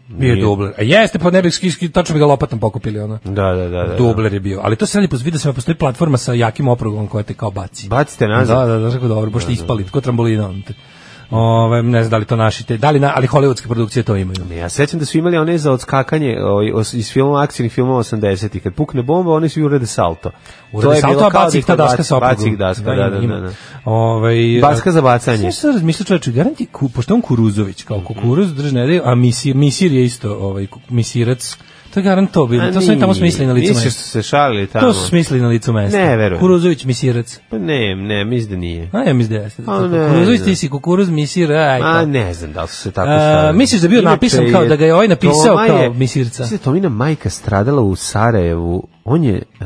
F: Bio je
E: Nije.
F: dubler. A jeste, pa ne bih skiski, tačno bi ga lopatom pokupili, ono.
E: Da, da, da. da.
F: Dubler je bio. Ali to se radi, vidio sam da postoji platforma sa jakim oprugom koja te kao baci.
E: Bacite nazad.
F: Da, da, da, tako dobro, pošto ispali, tako trambolina. ono te. Ove, ne znam da li to naši te, da li na, ali hollywoodske produkcije to imaju.
E: Ne, Ja sećam da su imali one za odskakanje ovaj, os- iz filmova, akcijnih filmova 80-ih. Kad pukne bomba, oni su urede salto.
F: U to je
E: bilo kao
F: baci
E: da
F: ih
E: ih
F: ta daska
E: baci-
F: sa oprugom.
E: Baci ih daska, da,
F: ima,
E: da, da.
F: ima.
E: da.
F: Ovaj,
E: Baska za bacanje. Mhm.
F: Sve sam razmišljao čoveče, garanti, ku, pošto je on Kuruzović, kao kukuruz, drži ne daju, a misir, misir je isto ovaj, ku- misirac, to je garant to bilo,
E: A
F: to su oni tamo
E: nije.
F: smislili na licu
E: Misliš
F: mesta.
E: su se šalili tamo?
F: To su smislili na licu mesta.
E: Ne, verujem.
F: Kuruzović, misirac.
E: Pa ne, ne, mislim da nije.
F: A ja mi da jeste.
E: A
F: Tako,
E: ne,
F: Kuruzović,
E: ne.
F: ti si kukuruz, misir, aj.
E: A
F: E tako.
E: ne znam da li su se tako
F: A,
E: šalili.
F: misliš da je bio
E: Inače
F: napisan kao da ga je ovaj napisao
E: Toma
F: kao
E: je-
F: misirca?
E: Mislim da je Tomina majka stradala u Sarajevu. On je... e,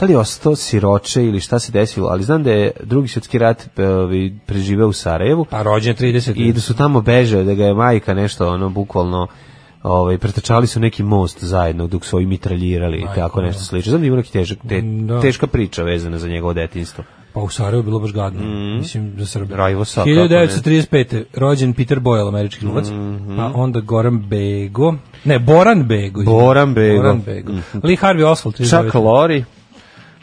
E: da li je ostao siroče ili šta se desilo, ali znam da je drugi svjetski rat e, ovaj, preživeo u Sarajevu
F: Pa rođen je 30.
E: i da su tamo beže, da ga je majka nešto ono bukvalno ovaj pretrčali su neki most zajedno dok su ovi mitraljirali i tako nešto slično. Znam da ima neki težak, te,
F: Da.
E: teška priča vezana za njegovo detinjstvo.
F: Pa u Sarajevu je bilo baš gadno. Mislim, za Srbe.
E: Mhm. Rajvo Saka,
F: 1935. Rođen Peter Boyle, američki glumac.
E: Mhm.
F: Pa onda Goran Bego. Ne, Boran Bego. izvinite.
E: Boran Bego. Mhm.
F: Boran Bego. Lee Harvey Oswald. 39.
E: Chuck Lori.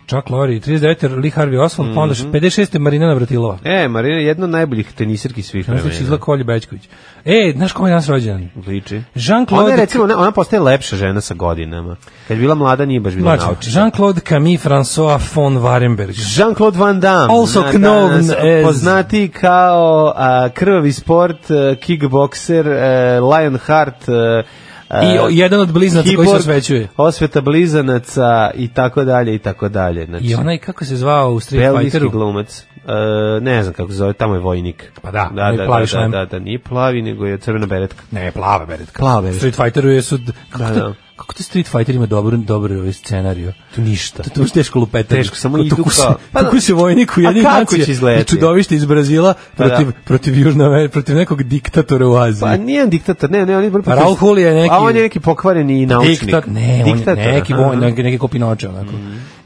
F: Chuck Lorre, 39. Lee Harvey Oswald. Pa onda 56. Marina Navratilova.
E: Mhm. E, Marina je jedna od najboljih tenisirki svih
F: Znaš da
E: vremena.
F: će znači izgleda Kolje Bećković. E, znaš kome je danas rođen?
E: Liči.
F: Jean-Claude-
E: Ona je recimo, ona, ona postaje lepša žena sa godinama. Kad je bila mlada nije baš bila
F: Mlađe.
E: naučna.
F: Jean-Claude Camille François von Warenberg.
E: Jean-Claude Van Damme.
F: Also
E: na-
F: known
E: danas
F: as-
E: Poznati kao a, krvavi sport, a, kickbokser, a, Lionheart, a, a,
F: I o- jedan od bliznaca koji se
E: Kiborg,
F: osvećuje.
E: Osveta blizanaca i tako dalje i tako dalje. Znači,
F: I onaj, kako se zvao u Street
E: belgijski
F: Fighteru?
E: glumac. E, ne znam kako se zove, tamo je vojnik.
F: Pa da,
E: da,
F: onaj
E: da,
F: plavi
E: da, da,
F: šlem.
E: da, da, nije plavi, nego je crvena beretka.
F: Ne, plava beretka.
E: Plava beretka.
F: Street Fighteru je su... Kako,
E: Da,
F: te-
E: da.
F: kako te Street Fighter ima dobro, dobro ovaj scenariju?
E: Tu ništa.
F: To, to je baš teško lupetanje.
E: Teško, samo
F: Kao
E: idu
F: tuku se-
E: kao- pa da.
F: tuku se vojnik u
E: A
F: jednih
E: kako
F: nacija
E: će izgledati?
F: i čudovište iz Brazila
E: Pa da.
F: protiv, protiv, Južne Amer- protiv nekog diktatora u Aziji.
E: Pa nije on diktator, ne, ne, on je vrlo
F: Pa Raul Julia je neki-
E: A on je neki pokvareni naučnik.
F: Diktat, ne, on
E: Diktator,
F: je neki
E: aha. Mhm.
F: vojnik, neki, neki kopinoče onako.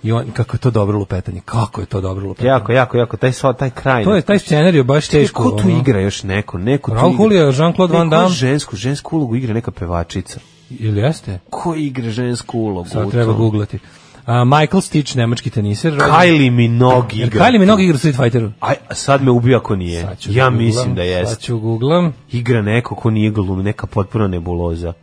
F: I on, kako je to dobro lupetanje, kako je to dobro lupetanje.
E: Jako, jako, jako, taj, sva- taj kraj.
F: To je taj scenarij je baš teško.
E: Ko tu
F: ono.
E: igra još neko? Neko tu
F: Raul
E: igra.
F: Julia, Jean-Claude Van
E: Neko
F: Damme.
E: Žensku, žensku ulogu igra neka pevačica.
F: Ili jeste?
E: Ko igra žensku ulogu? u
F: Sad treba
E: tom?
F: googlati. A, Michael Stitch, nemački teniser. rođen-
E: Kylie Minogue
F: Jer
E: igra.
F: Kylie Minogue igra u Street Fighteru.
E: Aj, a sad me ubio ako nije.
F: Sad Pa ću
E: Ja
F: googlam,
E: mislim da
F: Sad
E: jeste.
F: ću googlam.
E: Igra neko ko nije glum, neka potpuna nebuloza.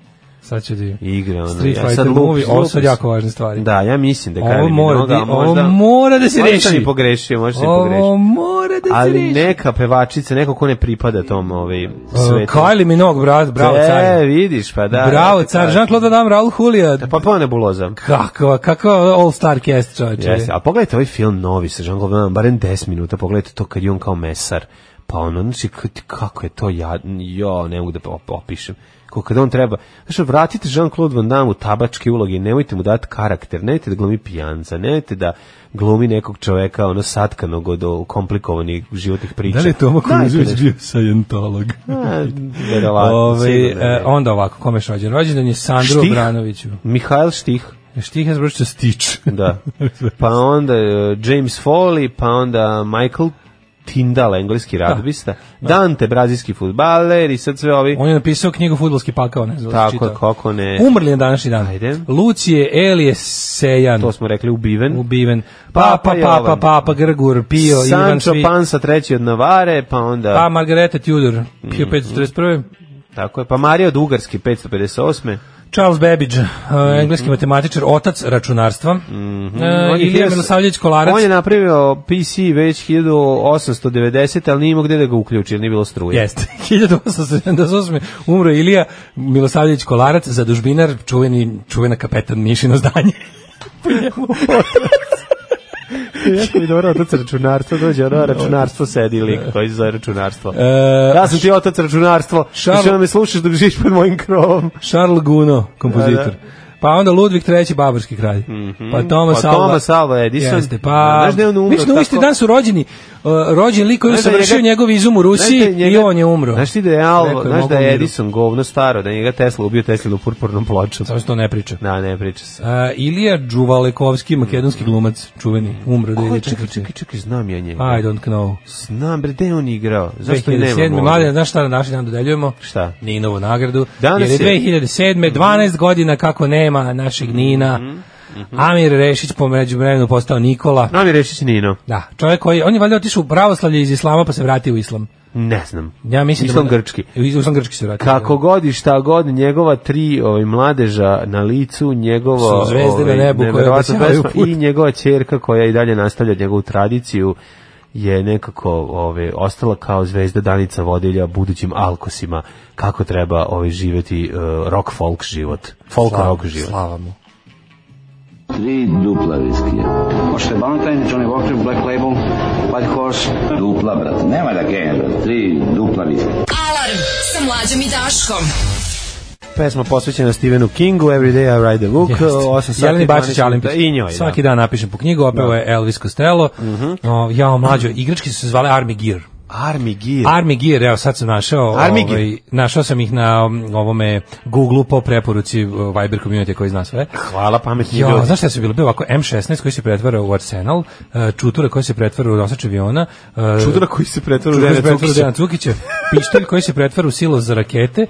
F: Sad ću da vidim.
E: Igra ona.
F: Street
E: ja
F: Fighter
E: sad lup-
F: movie, ovo
E: lup-
F: su jako važne stvari.
E: Da, ja mislim da je
F: Ovo
E: Kylie
F: mora
E: Minogue, a
F: da- ovo
E: možda...
F: mora da se
E: Možda sam
F: reši.
E: i pogrešio, možda sam i pogrešio.
F: Ovo mora da se
E: ali
F: reši.
E: neka pevačica, neko ko ne pripada tom ovaj
F: Uh,
E: svetu.
F: Kylie Minogue, brat, bravo
E: E,
F: car.
E: vidiš, pa da.
F: Bravo
E: ja ti
F: car,
E: kažem.
F: Jean-Claude Van Damme, Raul Julia.
E: Pa pa nebulozam.
F: Kakva, kakva all-star cast čovječe.
E: Jeste, a pogledajte ovaj film novi sa Jean-Claude Van Damme, barem 10 minuta, pogledajte to kad je on kao mesar. Pa ono, znači, k- kako je to jadno, jo, ne mogu da op- opišem. Ko kada on treba, znači vratite Jean-Claude Van Damme u tabačke uloge i nemojte mu dati karakter, nemojte da glumi pijanca, nemojte da glumi nekog čoveka ono satkanog od o, komplikovanih životnih priča.
F: Da li je Toma
E: Dajte
F: Kruzović
E: nešto.
F: bio sajentolog?
E: A, verovatno,
F: Ove,
E: Pa, sigurno je.
F: e, onda ovako, kome je rođen? Rođen je Sandro
E: Štih?
F: Obranoviću.
E: Mihajl Štih.
F: Štih je zbročio Stič.
E: Da. Pa onda e, James Foley, pa onda Michael Tindall, engleski radbista, Dante, brazilski futbaler i sad sve ovi...
F: [LAUGHS] On je napisao knjigu Futbolski pakao, ne znam, da li si
E: Tako,
F: čitao.
E: kako ne...
F: Umrli je na današnji dan.
E: Ajde.
F: Lucije Elije Sejan.
E: To smo rekli, ubiven.
F: ubiven. Pa,
E: Papa
F: Papa, papa,
E: Jovan.
F: papa, Grgur, Pio, Ivan
E: Sancho
F: Svi.
E: Pansa, treći od Navare, pa onda...
F: Pa Margareta Tudor,
E: Mhm.
F: Pio 541.
E: Tako je, pa Mario od Ugarski, 558.
F: Charles Babbage, uh,
E: Mhm.
F: engleski matematičar, otac računarstva. E,
E: On je
F: Ilija
E: hiljadu-
F: Milosavljević Kolarac.
E: On je napravio PC već 1890, ali nije imao gde da ga uključi, jer nije bilo struje.
F: Jeste, [LAUGHS] 1878. umro je Ilija Milosavljević Kolarac, zadužbinar, čuveni, čuvena kapetan Mišino zdanje.
E: Jako mi je dobro otac računarstva dođe, ono računarstvo sedi lik koji se zove računarstvo.
F: E,
E: Ja sam ti otac računarstvo,
F: Šalo-
E: što me slušaš dok živiš pod mojim krovom.
F: Charles Guno, kompozitor.
E: Da, da.
F: Pa onda Ludvig III, babarski kralj. Pa Thomas
E: Pa
F: Alva.
E: Thomas Alva Edison.
F: Jeste, pa...
E: Znaš da je on umro
F: Mislim da u isti
E: tako?
F: dan su rođeni, uh, rođen lik koji
E: Znaš
F: se
E: da je
F: vršio
E: njega-
F: njegov izum u
E: Znaš
F: Rusiji
E: da njega-
F: i on je umro.
E: Znaš ti da je, Alva-
F: Rekao je,
E: znaš da
F: mogu u
E: je
F: miru.
E: Edison govno staro, da je njega Tesla ubio Tesla u purpurnom ploču.
F: Samo se to ne priča.
E: Da, ne, priča se.
F: Uh, Ilija Đuvalekovski, makedonski glumac, čuveni, umro.
E: Mhm. Ko je,
F: 94..
E: čekaj, čekaj, čekaj, znam ja njega.
F: I don't know.
E: Znam, bre, gde je on igrao? Zašto je nema?
F: 2007. Mladen, znaš šta na naši dan dodeljujemo?
E: Šta?
F: Ninovu nagradu.
E: Danas
F: jer je
E: je- Mhm,
F: 2007. 12 godina kako nema našeg Nina. Amir Rešić po međuvremenu postao Nikola.
E: Nam je rešić Nino.
F: Da, čovjek koji, on je valjda otišao u pravoslavlje iz islama pa se vratio u islam.
E: Ne znam.
F: Ja mislim
E: Islam
F: da mu-
E: grčki.
F: U islam grčki se vratio.
E: Kako god i šta god, njegova tri ovaj, mladeža na licu, njegovo
F: Su zvezde
E: ovaj,
F: na nebu koje
E: neverovatna
F: obasjavaju
E: pesma
F: put.
E: i njegova ćerka koja i dalje nastavlja njegovu tradiciju je nekako ove ostala kao zvezda Danica vodilja budućim alkosima kako treba ove živeti eh, rock folk život folk
F: Slava-
E: rock život
F: Slava mu.
I: Tri dupla viskija. Možete Valentine, Johnny Walker, Black Label, White Horse. Dupla, brate, nema da genja, brate. Tri dupla viskija.
D: Alarm sa mlađom i Daškom.
E: pesma posvećena Stephenu Kingu Every Day I Ride a Book
F: Jeste.
E: 8 sati
F: Jeleni Bačić
E: 12
F: Alimpić.
E: minuta. i njoj da. Mhm.
F: Svaki dan napišem po knjigu, opet je Elvis Costello. o, jao, mlađo, igrački su se zvale Army Gear.
E: Army Gear
F: Army Gear, evo sad sam našao,
E: Army Gear.
F: ovaj, našao sam ih na um, ovome Google po preporuci uh, Viber community koji zna sve.
E: hvala pametni
F: Jo,
E: ljudi
F: znaš šta su bili? Bio ovako M16 koji se pretvara u Arsenal, uh, čutura koji se pretvara u nosač aviona, uh,
E: čudra koji se pretvara u
F: čutura koji se
E: Dene
F: pretvara u
E: Cukića.
F: Dejana Cukića, pištolj koji se pretvara u silo za rakete,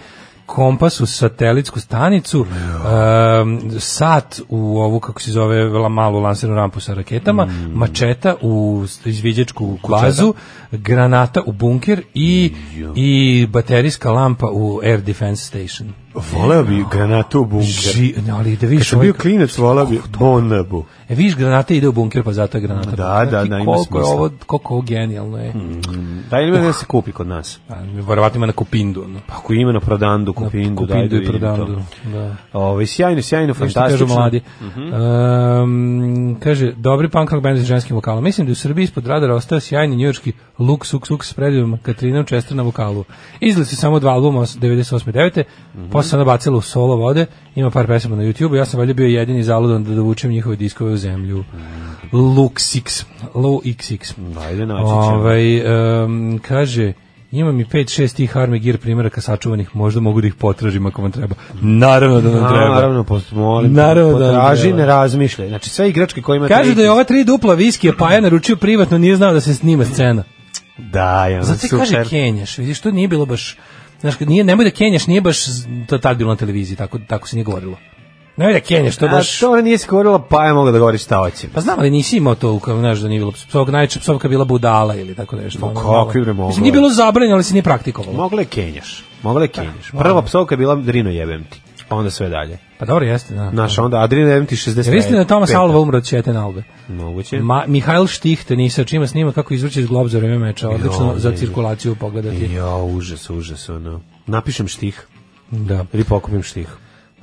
F: kompas u satelitsku stanicu, um, sat u ovu, kako se zove, la- malu lansernu rampu sa raketama, mačeta u s- izviđačku bazu, granata u bunker i, i baterijska lampa u air defense station.
E: Voleo bi granatu u bunker.
F: Ži, ne, ali da vidiš
E: Što
F: ovaj-
E: bio klinac, volao bi Bonabu.
F: E, vidiš, granata ide u bunker, pa zato je granata.
E: Da, da,
F: Ti
E: da, ima
F: koliko je
E: smisla. Mm.
F: ovo, koliko ovo genijalno je.
E: Daj li da se kupi kod nas?
F: A, Verovatno ima na Kupindu. ono.
E: Pa ako ima na prodandu, kupi
F: Na
E: Indu, daj da
F: Kupindu i
E: vidim
F: Prodandu.
E: to.
F: Da.
E: Ovaj, sjajno, sjajno,
F: Što kažu
E: fantastično. Mhm.
F: mladi. Ehm, kaže, dobri punk rock band s ženskim vokalom. Mislim da je u Srbiji ispod radara ostao sjajni njujorski Luk Suk Suk s predivima Katrinom Čester na vokalu. Izgledali su samo dva albuma os- 98. i 9.
E: Mhm.
F: Posle se ona bacila u solo vode. Ima par pesama na YouTube. Ja sam valjda bio jedini zaludan da dovučem njihove diskove u zemlju.
E: Mhm.
F: Luk Six. Low XX.
E: Ajde, naći ćemo.
F: Ovaj, em, kaže, imam i 5-6 tih Army Gear primjeraka sačuvanih, možda mogu da ih potražim ako vam treba. Naravno da nam
E: A,
F: treba.
E: Naravno, post, molim.
F: Naravno da
E: Potraži,
F: treba.
E: ne razmišljaj. Znači, sve igračke koje ima...
F: Kaže da je ova tri dupla viskija Paja naručio privatno, nije znao da se snima scena.
E: Da, ja,
F: ovaj- Zato ti
E: super.
F: kaže Kenjaš, vidiš, to nije bilo baš... Znaš, kad nije, nemoj da Kenjaš, nije baš z- to tad bilo na televiziji, tako, tako se nije govorilo. Nemoj da Kenjaš, to
E: A
F: baš...
E: što ona nije skorila, pa je mogla da govori šta hoće.
F: Pa znam, ali nisi imao to, kao, znaš, da nije bilo psovka, najčešća psovka je bila budala ili tako nešto. ono,
E: Pa kako
F: malo.
E: je bre mogla?
F: Mislim, nije bilo zabranjeno, ali se nije praktikovalo.
E: Mogla je Kenjaš. Mogla je Kenjaš. Prva psovka je bila Drino jebem ti. Pa onda sve dalje.
F: Pa dobro, jeste, da.
E: Znaš, onda Adrino jebem ti 60.
F: Jer istina da je Thomas Alva umro od ćete nalbe.
E: Moguće.
F: Ma, Mihajl Štih tenisa, čima snima kako izvrće iz glob za vreme meča, odlično za cirkulaciju pogledati.
E: Jo, užas, užas, ono. Napišem štih.
F: Da.
E: Ili pokupim štih.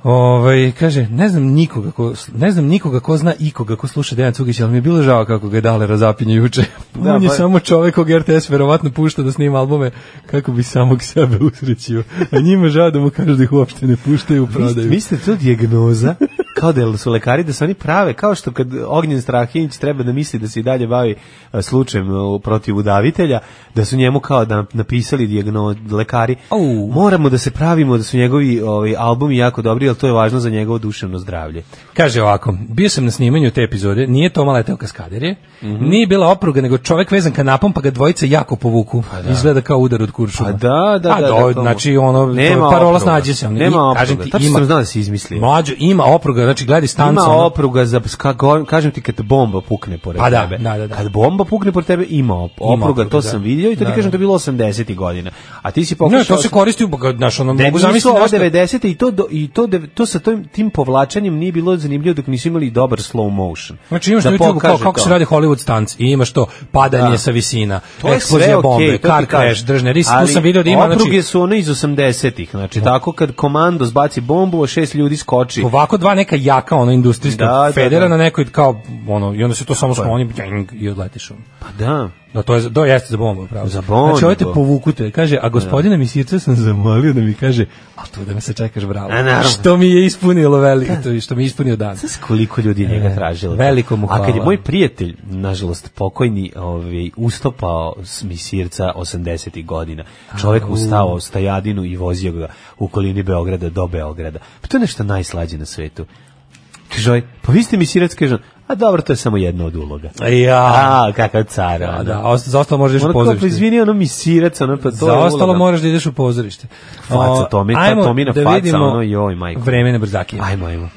F: Ovaj kaže, ne znam nikoga ko ne znam nikoga ko zna ikoga ko sluša Dejan Cugić, ali mi je bilo žao kako ga je dale razapinje juče.
E: Da,
F: On je
E: pa-
F: samo čovjek kog RTS verovatno pušta da snima albume kako bi samog sebe usrećio. A njima žao da mu kažu da ih uopšte ne puštaju u prodaju.
E: Vi ste to dijagnoza, kao da su lekari, da se oni prave, kao što kad Ognjen Strahinić treba da misli da se i dalje bavi e, slučajem e, protiv udavitelja, da su njemu kao da napisali dijagnoz lekari.
F: Au.
E: Moramo da se pravimo da su njegovi ovaj, albumi jako dobri, ali to je važno za njegovo duševno zdravlje.
F: Kaže ovako, bio sam na snimanju te epizode, nije Toma leteo kaskaderje,
E: Mhm.
F: nije bila opruga, nego čovjek vezan kanapom, pa ga dvojice jako povuku. Izgleda kao udar od kuršuma.
E: Pa da, da,
F: A do-
E: da, da, to mu-
F: znači, ono, to je
E: Nema
F: parola
E: opruga.
F: snađe se. ono,
E: Nema
F: i-
E: opruga,
F: kažem ti,
E: tačno
F: ima-
E: sam znao da si izmislio.
F: Mlađo, ima opruga, znači, gledi stanca.
E: Ima
F: ono,
E: opruga za ka- go- kažem ti kad bomba pukne pored
F: Pa da,
E: tebe.
F: da, da, da.
E: Kad bomba pukne pored tebe ima op- opruga,
F: opruga,
E: to
F: da.
E: sam vidio i to
F: Da,
E: ti
F: da.
E: kažem da je bilo 80 godina. A ti si
F: Ne,
E: pokušao
F: to se koristi, u- znaš, ono,
E: Da
F: mogu
E: nisu
F: zamisliti
E: ovo
F: nešto.
E: 90 i to do, i to de- to sa tim tim povlačenjem nije bilo zanimljivo dok nisu imali dobar slow motion.
F: Znači imaš na YouTube kao
E: pokaže
F: kako
E: to.
F: se radi Hollywood stunts i imaš to padanje
E: Da.
F: sa visina,
E: To je sve
F: eksplozija
E: okej,
F: bombe,
E: to ti
F: car
E: kažem.
F: crash, držne ris, tu
E: Ali
F: sam video da ima znači
E: Opruge su one iz 80-ih, znači tako kad komando zbaci bombu, a šest ljudi skoči.
F: Ovako dva neka jaka ono industrijska
E: Da, da,
F: federa
E: da.
F: na nekoj kao ono i onda se to samo
E: Tako je.
F: skloni bjeng, i odletiš. ono.
E: Pa da.
F: Da to je do jeste za bombu, pravo.
E: Za bombu.
F: Znači ovo te povukute, kaže, a gospodina mi sirce sam zamolio da mi kaže, a to da me se čekaš bravo.
E: A, E, naravno.
F: što mi je ispunilo veliko, to je što mi je ispunio dan.
E: Znaš koliko ljudi je njega
F: E,
E: tražilo.
F: veliko mu
E: A kad je
F: hvala.
E: moj prijatelj, nažalost pokojni, ovaj, ustopao s misirca 80. godina, čovjek ustao u stajadinu i vozio ga u kolini Beograda do Beograda. Pa to je nešto najslađe na svetu. Kaže, ovaj, pa vi ste misirac, kaže on, a dobro, to je samo jedna od uloga.
F: Ja.
E: A, kakav car,
F: Da,
E: ono.
F: da, a ost- za ostalo možeš
E: Ono kao, pa
F: pozorište.
E: izvini, ono misirac, ono, pa to
F: Za
E: je
F: ostalo
E: uloga.
F: moraš da ideš u pozorište.
E: Faca
F: O,
E: Tomi, ta
F: ajmo
E: Tomina
F: da
E: faca,
F: vidimo
E: ono, joj, majko.
F: Vreme na brzakije.
E: Ajmo, ajmo.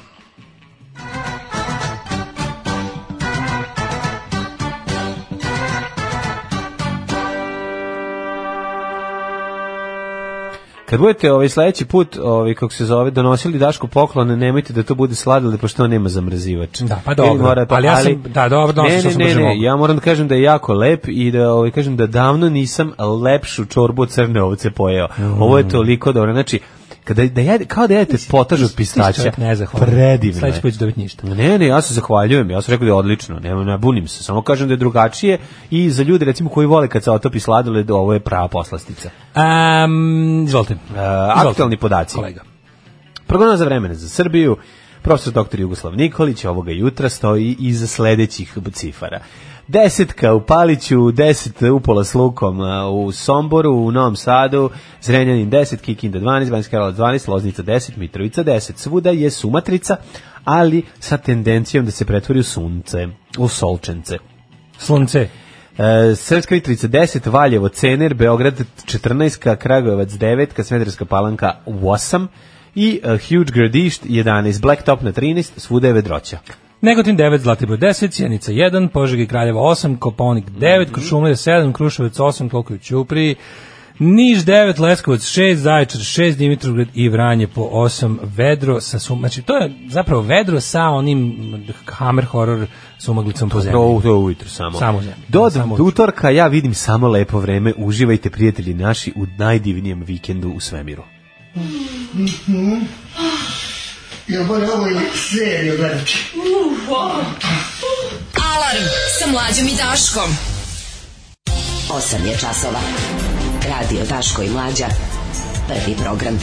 E: Kad budete ovaj sledeći put, ovaj kako se zove, donosili Dašku poklone, nemojte da to bude sladili pošto on nema zamrzivač.
F: Da, pa
E: Ili
F: dobro.
E: morate-
F: Ali ja sam- da, dobro, donosio
E: ne,
F: sam
E: ne,
F: brže
E: ne, ne,
F: mogu.
E: ja moram da kažem da je jako lep i da ovaj kažem da davno nisam lepšu čorbu od crne ovce pojeo. Ovo je toliko dobro. Znači, kada da jede, kao da jedete potaž od pistaća.
F: Ne
E: Predivno.
F: Sledeći
E: je.
F: put ću dobiti ništa.
E: Ne, ne, ja se zahvaljujem, ja sam rekao da je odlično, ne, ne bunim se, samo kažem da je drugačije i za ljude recimo koji vole kad se otopi sladoled, ovo je prava poslastica.
F: Um, izvolite.
E: E, aktualni podaci.
F: Kolega.
E: Prognoza za vremena za Srbiju, profesor dr. Jugoslav Nikolić ovoga jutra stoji iza sledećih cifara. Desetka u Paliću, deset upola s lukom a, e, u Somboru, u Novom Sadu, Zrenjanin 10, Kikinda 12, Banjska Karola 12, Loznica 10, Mitrovica 10. Svuda je sumatrica, ali sa tendencijom da se pretvori u sunce, u solčence.
F: Slunce.
E: E, Srpska Mitrovica 10, Valjevo, Cener, Beograd 14, Kragujevac 9, Smederska Palanka 8 i e, Huge Gradišt 11, Blacktop na 13, svuda je vedroća.
F: Negotin 9, Zlatibor 10, Sjenica 1, Požega i Kraljeva 8, Koponik 9, Krušumlija 7, Kruševac 8, koliko je u Ćupriji, Niš 9, Leskovac 6, Zaječar 6, Dimitrovgrad i Vranje po 8, Vedro sa sum... Znači, to je zapravo Vedro sa onim Hammer horror sumaglicom po zemlji.
E: To, to je ujutro samo.
F: Samo zemlja.
E: Do
F: Samo ujutro.
E: utorka ja vidim samo lepo vreme. Uživajte prijatelji naši u najdivnijem vikendu u svemiru.
J: Ja moram ovo i seriju gledati.
D: Alarm sa mlađom i Daškom. 8 je časova. Radio Daško i mlađa. Prvi program.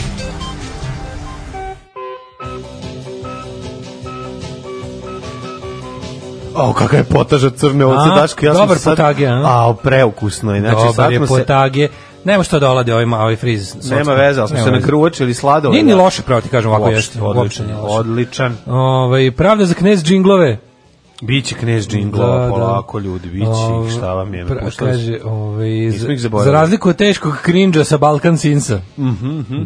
E: O, kakva je potaža crne
F: ovce, A, Daško, ja sam dobar se sad- potage, a?
E: a, preukusno je. Znači,
F: Dobar
E: sad
F: je
E: smo se,
F: potage. Nema što da olade ovaj, ma- ovaj friz. s
E: nema
F: ocem.
E: veze, ali smo
F: Nema
E: se
F: veze.
E: nakruočili sladoled.
F: Nije ni loše, pravo ti kažem, ovako
E: Uopšte,
F: jeste. Uopšte
E: Odličan,
F: nije loše.
E: odličan.
F: Ovaj, pravda za knez džinglove.
E: Biće knez džinglova, polako ljudi, biće ih, šta vam je,
F: Ovaj, Pra-
E: napuštali su.
F: kaže, ovaj,
E: Nismo
F: za,
E: ih zaboravili. Mhm,
F: za razliku od teškog krinđa sa Balkan Sinsa.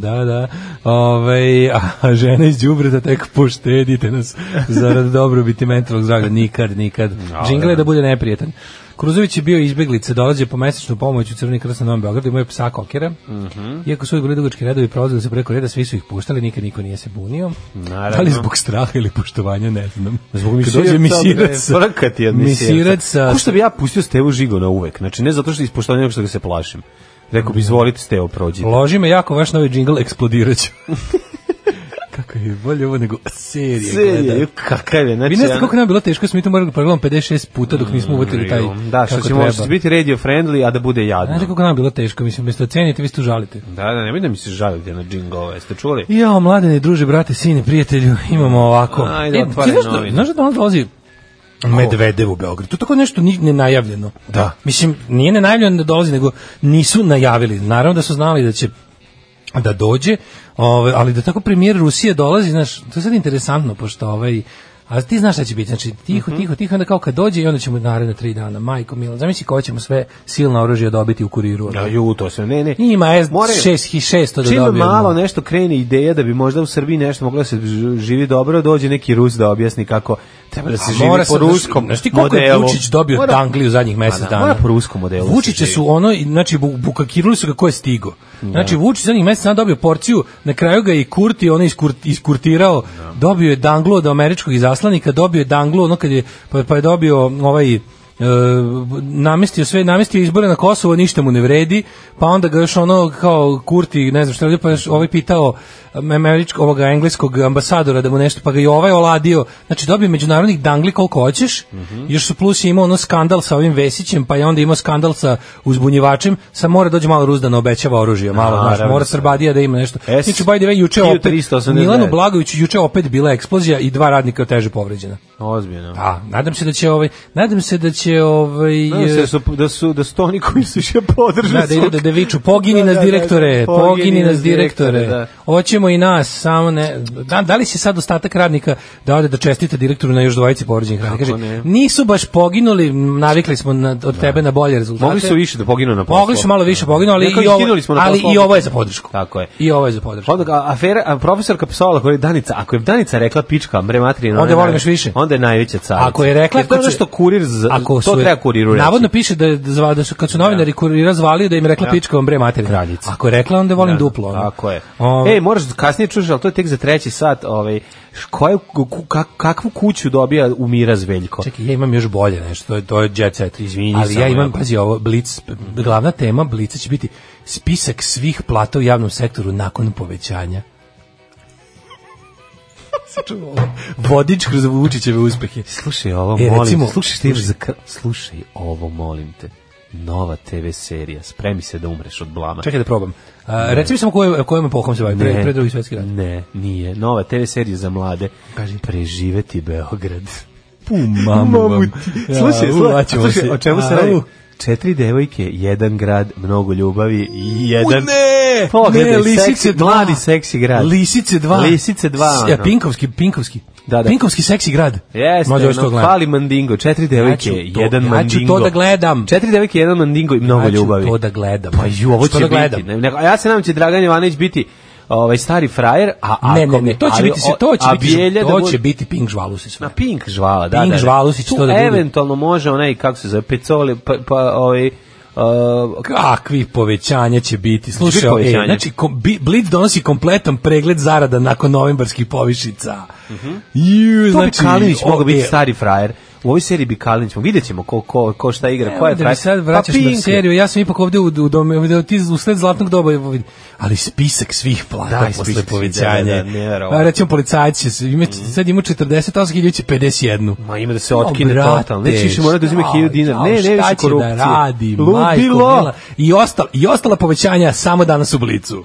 F: Da, da. Ovaj, a žena iz Đubreta tek poštedite nas zarad dobrobiti mentalnog zdravlja. Nikad, nikad. Džingle je da bude neprijatan. Kruzović je bio izbeglice, dolazi po mesečnu pomoć u Crveni krst na Novom Beogradu, imao je psa kokera.
E: Mhm.
F: Iako su uvijek bili dugački redovi, prolazili su preko reda, svi su ih puštali, nikad niko nije se bunio.
E: Naravno.
F: Da li zbog straha ili poštovanja, ne znam. Zbog
E: Kad dođe misirac sa- Frkat je pa od misiraca.
F: misirac sa
E: Ko što bi ja pustio Stevu Žigona uvek, znači ne zato što je ispoštovanje, nego što ga se plašim. Rekao bi, izvolite Stevo, prođite.
F: Loži me jako, vaš novi džingl eksplodiraću. [LAUGHS] Kako je bolje ovo nego serije.
E: Serija, ju,
F: gledam.
E: kakav je. Znači,
F: Vi ne znate
E: ono-
F: koliko nam je bilo teško, smo mi to morali da pregledamo 56 puta dok nismo uvatili taj
E: Mm, Da, što
F: kako
E: će
F: treba.
E: možda biti radio friendly, a da bude jadno.
F: Znate koliko nam je bilo teško, mislim, umjesto da cenite, vi ste užalite.
E: Da, da, nemoj da mi se žalite na džingove, jeste čuli?
F: Jao, mladene, druže, brate, sine, prijatelju, [LAUGHS] imamo ovako.
E: Ajde,
F: ti
E: otvaraj
F: znaš da-
E: novine.
F: Znaš da danas dolazi Medvedev u Beograd. To je tako nešto ni- nenajavljeno.
E: Da.
F: Mislim, nije nenajavljeno da dolazi, nego nisu najavili. Naravno da su znali da će da dođe, ovaj, ali da tako premijer Rusije dolazi, znaš, to je sad interesantno, pošto ovaj, a ti znaš šta će biti, znači tiho,
E: Mhm.
F: tiho, tiho, onda kao kad dođe i onda ćemo naredne tri dana, majko milo, zamisli koja ćemo sve silna oružja dobiti u kuriru. ono.
E: Ja, ju, to se, ne, ne.
F: Ima
E: Moraju.
F: S600 da
E: Čim
F: dobijemo.
E: malo nešto krene ideja da bi možda u Srbiji nešto moglo da se ž- živi dobro, dođe neki Rus da objasni kako treba da se
F: A
E: živi
F: Pa mora
E: po
F: sad da-
E: ruskom
F: znaš ti koliko je
E: modelu.
F: Vučić dobio
E: Mora-
F: dangli u zadnjih mjesec
E: Pa da,
F: dana?
E: mora po ruskom modelu da se
F: Vučića
E: živi.
F: su ono, i- znači, bu- bukakirali su ga ko je stigo. Znači, Vučić zadnjih mjesec dana dobio porciju, na kraju ga je i Kurti, ono iskur- iskurtirao, dobio je danglu od američkog izaslanika, dobio je danglu, ono kad je, pa, pa je dobio ovaj... e, namestio sve, namestio izbore na Kosovo, ništa mu ne vredi, pa onda ga još ono kao Kurti, ne znam šta je radio, pa još ovaj pitao američkog, ovoga engleskog ambasadora da mu nešto, pa ga i ovaj oladio. Znači dobio je međunarodnih dangli koliko hoćeš, još su plus je imao ono skandal sa ovim Vesićem, pa je onda imao skandal sa uzbunjivačem, sad mora dođe malo Rus da ne obećava oružje, malo, znaš,
E: Naravno.
F: mora Srbadija da ima nešto.
E: S-
F: Niću, by the way, juče opet,
E: 389.
F: Milanu Blagoviću juče opet bila eksplozija i dva radnika teže povređena.
E: Ozbiljno.
F: Da, nadam se da će ovaj, nadam se da će ovaj
E: Nadam se da su, da su, da su to oni koji su še podržali.
F: da, da idu da, da viču, pogini
E: Da,
F: nas
E: da, da,
F: direktore,
E: pogini
F: pogini
E: nas
F: nas direktore,
E: direktore, da.
F: hoćemo i nas, samo ne, da, da li će sad ostatak radnika da ode da čestite direktoru na još dvojici povređenih radnika,
E: Kako
F: kaže,
E: ne?
F: nisu baš poginuli, navikli smo na, od tebe na bolje rezultate.
E: Mogli su više da poginu na poslu.
F: Mogli su malo više poginu, ali,
E: Nekako
F: i
E: ih
F: ovo,
E: skinuli smo na
F: ali
E: poslu.
F: i ovo je za podršku.
E: Tako je.
F: I ovo je za podršku.
E: Pa Onda ga afera, a profesorka psovala koja je Danica, ako je Danica rekla pička, bre materina,
F: Onda
E: ona je
F: volim
E: naj-
F: još više.
E: Onda je najveća carica.
F: Ako je rekla
E: Jer to je
F: kako
E: ono
F: će-
E: što kurir, z, to
F: su je-
E: treba kuriru reći.
F: Navodno piše da je zva- da su kad su novinari kurira zvali da im je rekla pička vam bre materina.
E: Kraljica.
F: Ako je rekla onda volim
E: Da,
F: duplo. ono.
E: Tako je.
F: Ovo-
E: Ej, moraš kasnije čuš, ali to je tek za treći sat, ovaj š- koju ku- kak- kakvu kuću dobija u Miraz Veljko?
F: Čekaj, ja imam još bolje nešto, to je, to je jet set.
E: Izvini,
F: Ali ja
E: samo
F: imam,
E: jako.
F: pazi ovo, Blitz, glavna tema Blica će biti spisak svih plata u javnom sektoru nakon povećanja. Sačuvam ovo. [LAUGHS] Vodič kroz Vučićeve uspehe.
E: Slušaj ovo,
F: E,
E: molim.
F: recimo-
E: te. slušaj, šta imaš
F: slušaj.
E: za kr- slušaj ovo, molim te. Nova TV serija, spremi se da umreš od blama.
F: Čekaj da probam. A, reci mi samo kojom, kojom epohom se bavi, pre,
E: Ne.
F: pre drugi svetski rat.
E: Ne, nije. Nova TV serija za mlade. Kaži. Preživeti Beograd.
F: Pu, mamu vam.
E: Mamu ti.
F: Ja,
E: Slušaj,
F: u,
E: slušaj,
F: vaćemo se.
E: slušaj, o čemu se
F: A,
E: radi?
F: u.
E: Četiri devojke, jedan grad, mnogo ljubavi i jedan...
F: ne!
E: Pogledaj,
F: Ne, Lisice
E: seksi,
F: dva.
E: mladi seksi grad.
F: Lisice 2.
E: Lisice dva,
F: Ja,
E: ono.
F: Pinkovski, Pinkovski.
E: Da, da.
F: Pinkovski seksi grad.
E: Jeste,
F: Mlađe, hoću to
E: no,
F: gledam.
E: fali mandingo, četiri devojke,
F: Ja ću to-
E: jedan
F: ja ću
E: mandingo.
F: to da gledam.
E: Četiri devojke, jedan mandingo i mnogo
F: Ja ću
E: ljubavi.
F: to da gledam.
E: Pa ju, ovo
F: Hoću to
E: će
F: da gledam.
E: biti. Ne, ne, a ja se nadam će Dragan Jovanović biti ovaj stari frajer, a ako
F: Ne, ne, ne, to će
E: ali
F: biti se
E: o-
F: to će
E: a
F: biti
E: Bijelja da
F: to
E: bude-
F: će biti Pink Žvalus i sve.
E: Na Pink žvala, da.
F: Pink
E: da, da.
F: Žvalusić,
E: Tu
F: to da bude.
E: eventualno može onaj, kako se zove, pecoli, pa, pa ovaj... Uh,
F: Kakvi povećanja će biti?
E: biti
F: Slušaj, okay,
E: povećanja.
F: znači kom, bi, Blitz donosi kompletan pregled zarada nakon novembarskih povišica. Ju,
E: Mhm.
F: znači,
E: to bi Kalinić
F: o,
E: mogao biti
F: e,
E: stari frajer. U ovoj seriji bi Kalinić, mogao- vidjet ćemo ko, ko, ko šta igra, ko je
F: Evo da mi
E: frajer. Pa
F: sad vraćaš na
E: Pink.
F: seriju, ja sam ipak ovdje u, u dome, ovdje ti usled zlatnog doba, evo vidi. ali spisak svih plata
E: Da,
F: posle
E: spisak svih,
F: povećanja.
E: da, da, da, nevjerovatno.
F: A, recimo policajci, će se- ima, sad ima 48 ili će 51.
E: Ma ima da se otkine totalno. Neće više morati da uzima
F: šta,
E: 1000 dinara. Ne, ne,
F: šta
E: više
F: će
E: korupcije.
F: Da radi,
E: Ludilo.
F: majko mila. I, ostala, I ostala povećanja samo danas u Blicu.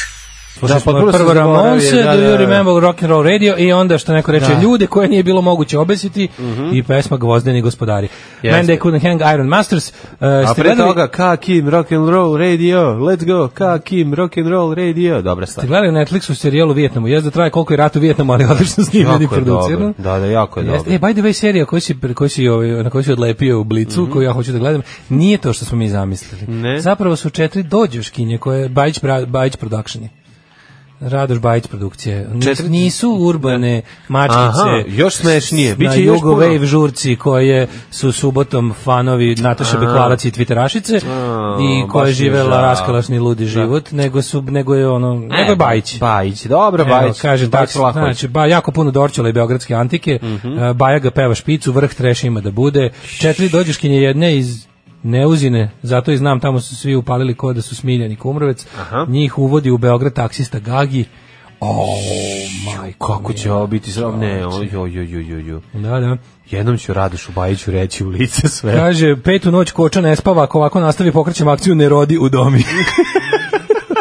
E: Da,
F: Slušali smo
E: potpuno sam
F: prvo
E: zaboravio,
F: Ramonse,
E: da,
F: Do
E: da,
F: You
E: da.
F: Remember Rock and Roll Radio i onda što neko reče
E: Da. Mhm.
F: ljude koje nije bilo moguće obesiti i pesma Gvozdeni gospodari.
E: Jeste.
F: Man They Couldn't Hang Iron Masters. Uh,
E: A
F: ste
E: pre
F: gledali,
E: toga, ka Kim rock and roll radio, let's go, ka Kim rock and roll radio. Dobra stvar.
F: Ste gledali Netflixu serijal u Vijetnamu. Jezda traje koliko je rat u Vijetnamu, ali odlično snimljen i
E: Jako je
F: producirano.
E: dobro. Da, da, jako je
F: Jeste,
E: dobro.
F: e, by the way, serija koju si, koju si, ovaj, na koju si odlepio u Blicu, koju ja hoću da gledam, nije to što smo mi zamislili.
E: Mhm. Ne.
F: Zapravo su četiri dođoškinje koje Bajić, pra- Bajić Production je. Radoš Bajić produkcije. Nis-
E: Četiri-
F: Nisu urbane mačkice.
E: Aha, još smešnije.
F: Na
E: Biće još
F: Jugo
E: puno.
F: Wave žurci koje su subotom fanovi Nataše
E: A.
F: Bekvalac i Twitterašice
E: A,
F: i
E: baš mi
F: koje
E: je
F: žive
E: žao. E,
F: raskalašni ludi život, nego su nego je ono, nego je Bajić.
E: Bajić, dobro,
F: Evo,
E: Bajić.
F: kaže
E: Bajić
F: tak,
E: Vlahović. Mhm.
F: znači ba, jako puno dorčula i beogradske antike. e, Baja ga peva špicu, vrh treš ima da bude. Četiri dođuškinje jedne iz Neuzine, zato i znam tamo su svi upalili ko da su Smiljan i Kumrovec.
E: Aha.
F: Njih uvodi u Beograd taksista Gagi. O, majko.
E: Kako će
F: mila.
E: ovo biti sram? Ne,
F: Znači.
E: oj, oj, oj, oj, oj, oj.
F: Da, da.
E: Jednom ću Radošu Bajiću reći u lice sve.
F: Kaže, petu noć koča ne spava, ako ovako nastavi pokrećem akciju ne rodi u
E: [LAUGHS]
F: domi.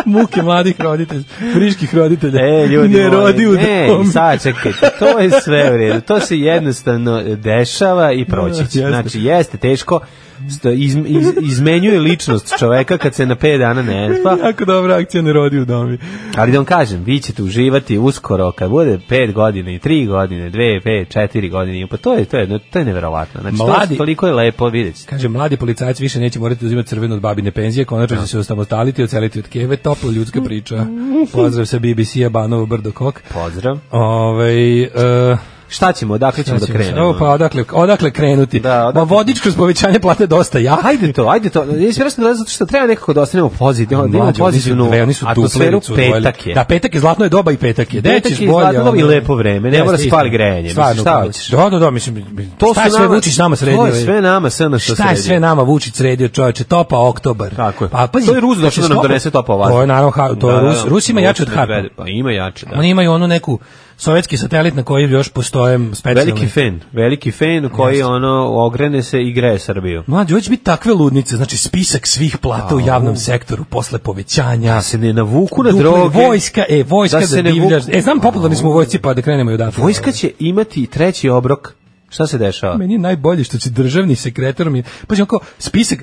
F: Muke mladih roditelja, friških roditelja.
E: E, ljudi
F: ne
E: moji,
F: rodi u
E: ne,
F: domi.
E: sad čekajte, to je sve u redu. To se jednostavno dešava i proći će.
F: [LAUGHS] Jeste.
E: Znači, jeste teško, sto- iz, iz- izmenjuje ličnost čoveka kad se na 5 dana
F: [LAUGHS]
E: ne spa,
F: Jako dobra akcija ne rodi u domi.
E: ali da vam kažem, vi ćete uživati uskoro kad bude 5 godine, 3 godine, 2, 5, 4 godine, pa to je, to je, to je neverovatno. Znači, to,
F: Mladi-
E: toliko je lepo, vidjet ćete.
F: Kaže, mladi policajac više neće morati uzimati crveno od babine penzije, konačno će se osamostaliti i oceliti od keve, topla ljudska
E: [LAUGHS]
F: priča. Pozdrav sa BBC-a, Banovo, Brdo Kok.
E: Pozdrav.
F: Ovaj e,
E: Šta ćemo, odakle ćemo da
F: ćemo se-
E: krenemo?
F: O, pa odakle, odakle krenuti?
E: Da, odakle-
F: Ma vodič kroz povećanje plate dosta ja.
E: Pa, Ajde to, ajde to. Ja se da zato što treba nekako da ostanemo pozitivno, da imamo
F: Mlađe, oni su
E: pozitivnu
F: dve, oni su
E: atmosferu
F: duplericu odvojili.
E: petak je.
F: Da, petak je, zlatno je doba i petak je.
E: Petak
F: Dećeš
E: je
F: bolje.
E: zlatno doba i
F: ono.
E: lepo vreme, ne
F: Jeste,
E: mora se
F: istina.
E: pali grejanje, mislim,
F: Stvarno,
E: šta
F: upravo.
E: hoćeš?
F: Da, da, da, mislim, šta je sve
E: nama-
F: Vučić nama sredio?
E: To je
F: ej?
E: sve nama SNS
F: Šta je
E: sredio.
F: sve nama Vučić sredio, čovječe, topa oktobar.
E: Tako je.
F: Pa, pazi,
E: to je Rus došao da nam
F: znači,
E: donese topa vas.
F: To je naravno, ha- to je Rus, Rus ima jače od Harpa.
E: Pa ima jače, da.
F: Oni imaju onu neku sovjetski satelit na koji još postoje specijalni.
E: Veliki fen, veliki fen koji ono ogrene se i greje Srbiju.
F: Mlađe, ovo će biti takve ludnice, znači spisak svih plata u javnom sektoru posle povećanja.
E: Da se ne navuku na
F: Duple-
E: droge.
F: Vojska, e, vojska
E: Da
F: da,
E: se ne
F: divljaš.
E: vuku-
F: E, znam, popularni smo u vojsci, pa da krenemo i odatle.
E: Vojska će imati i treći obrok. Šta se dešava?
F: Meni je najbolje što će državni sekretar mi... Pazi, on kao, spisak...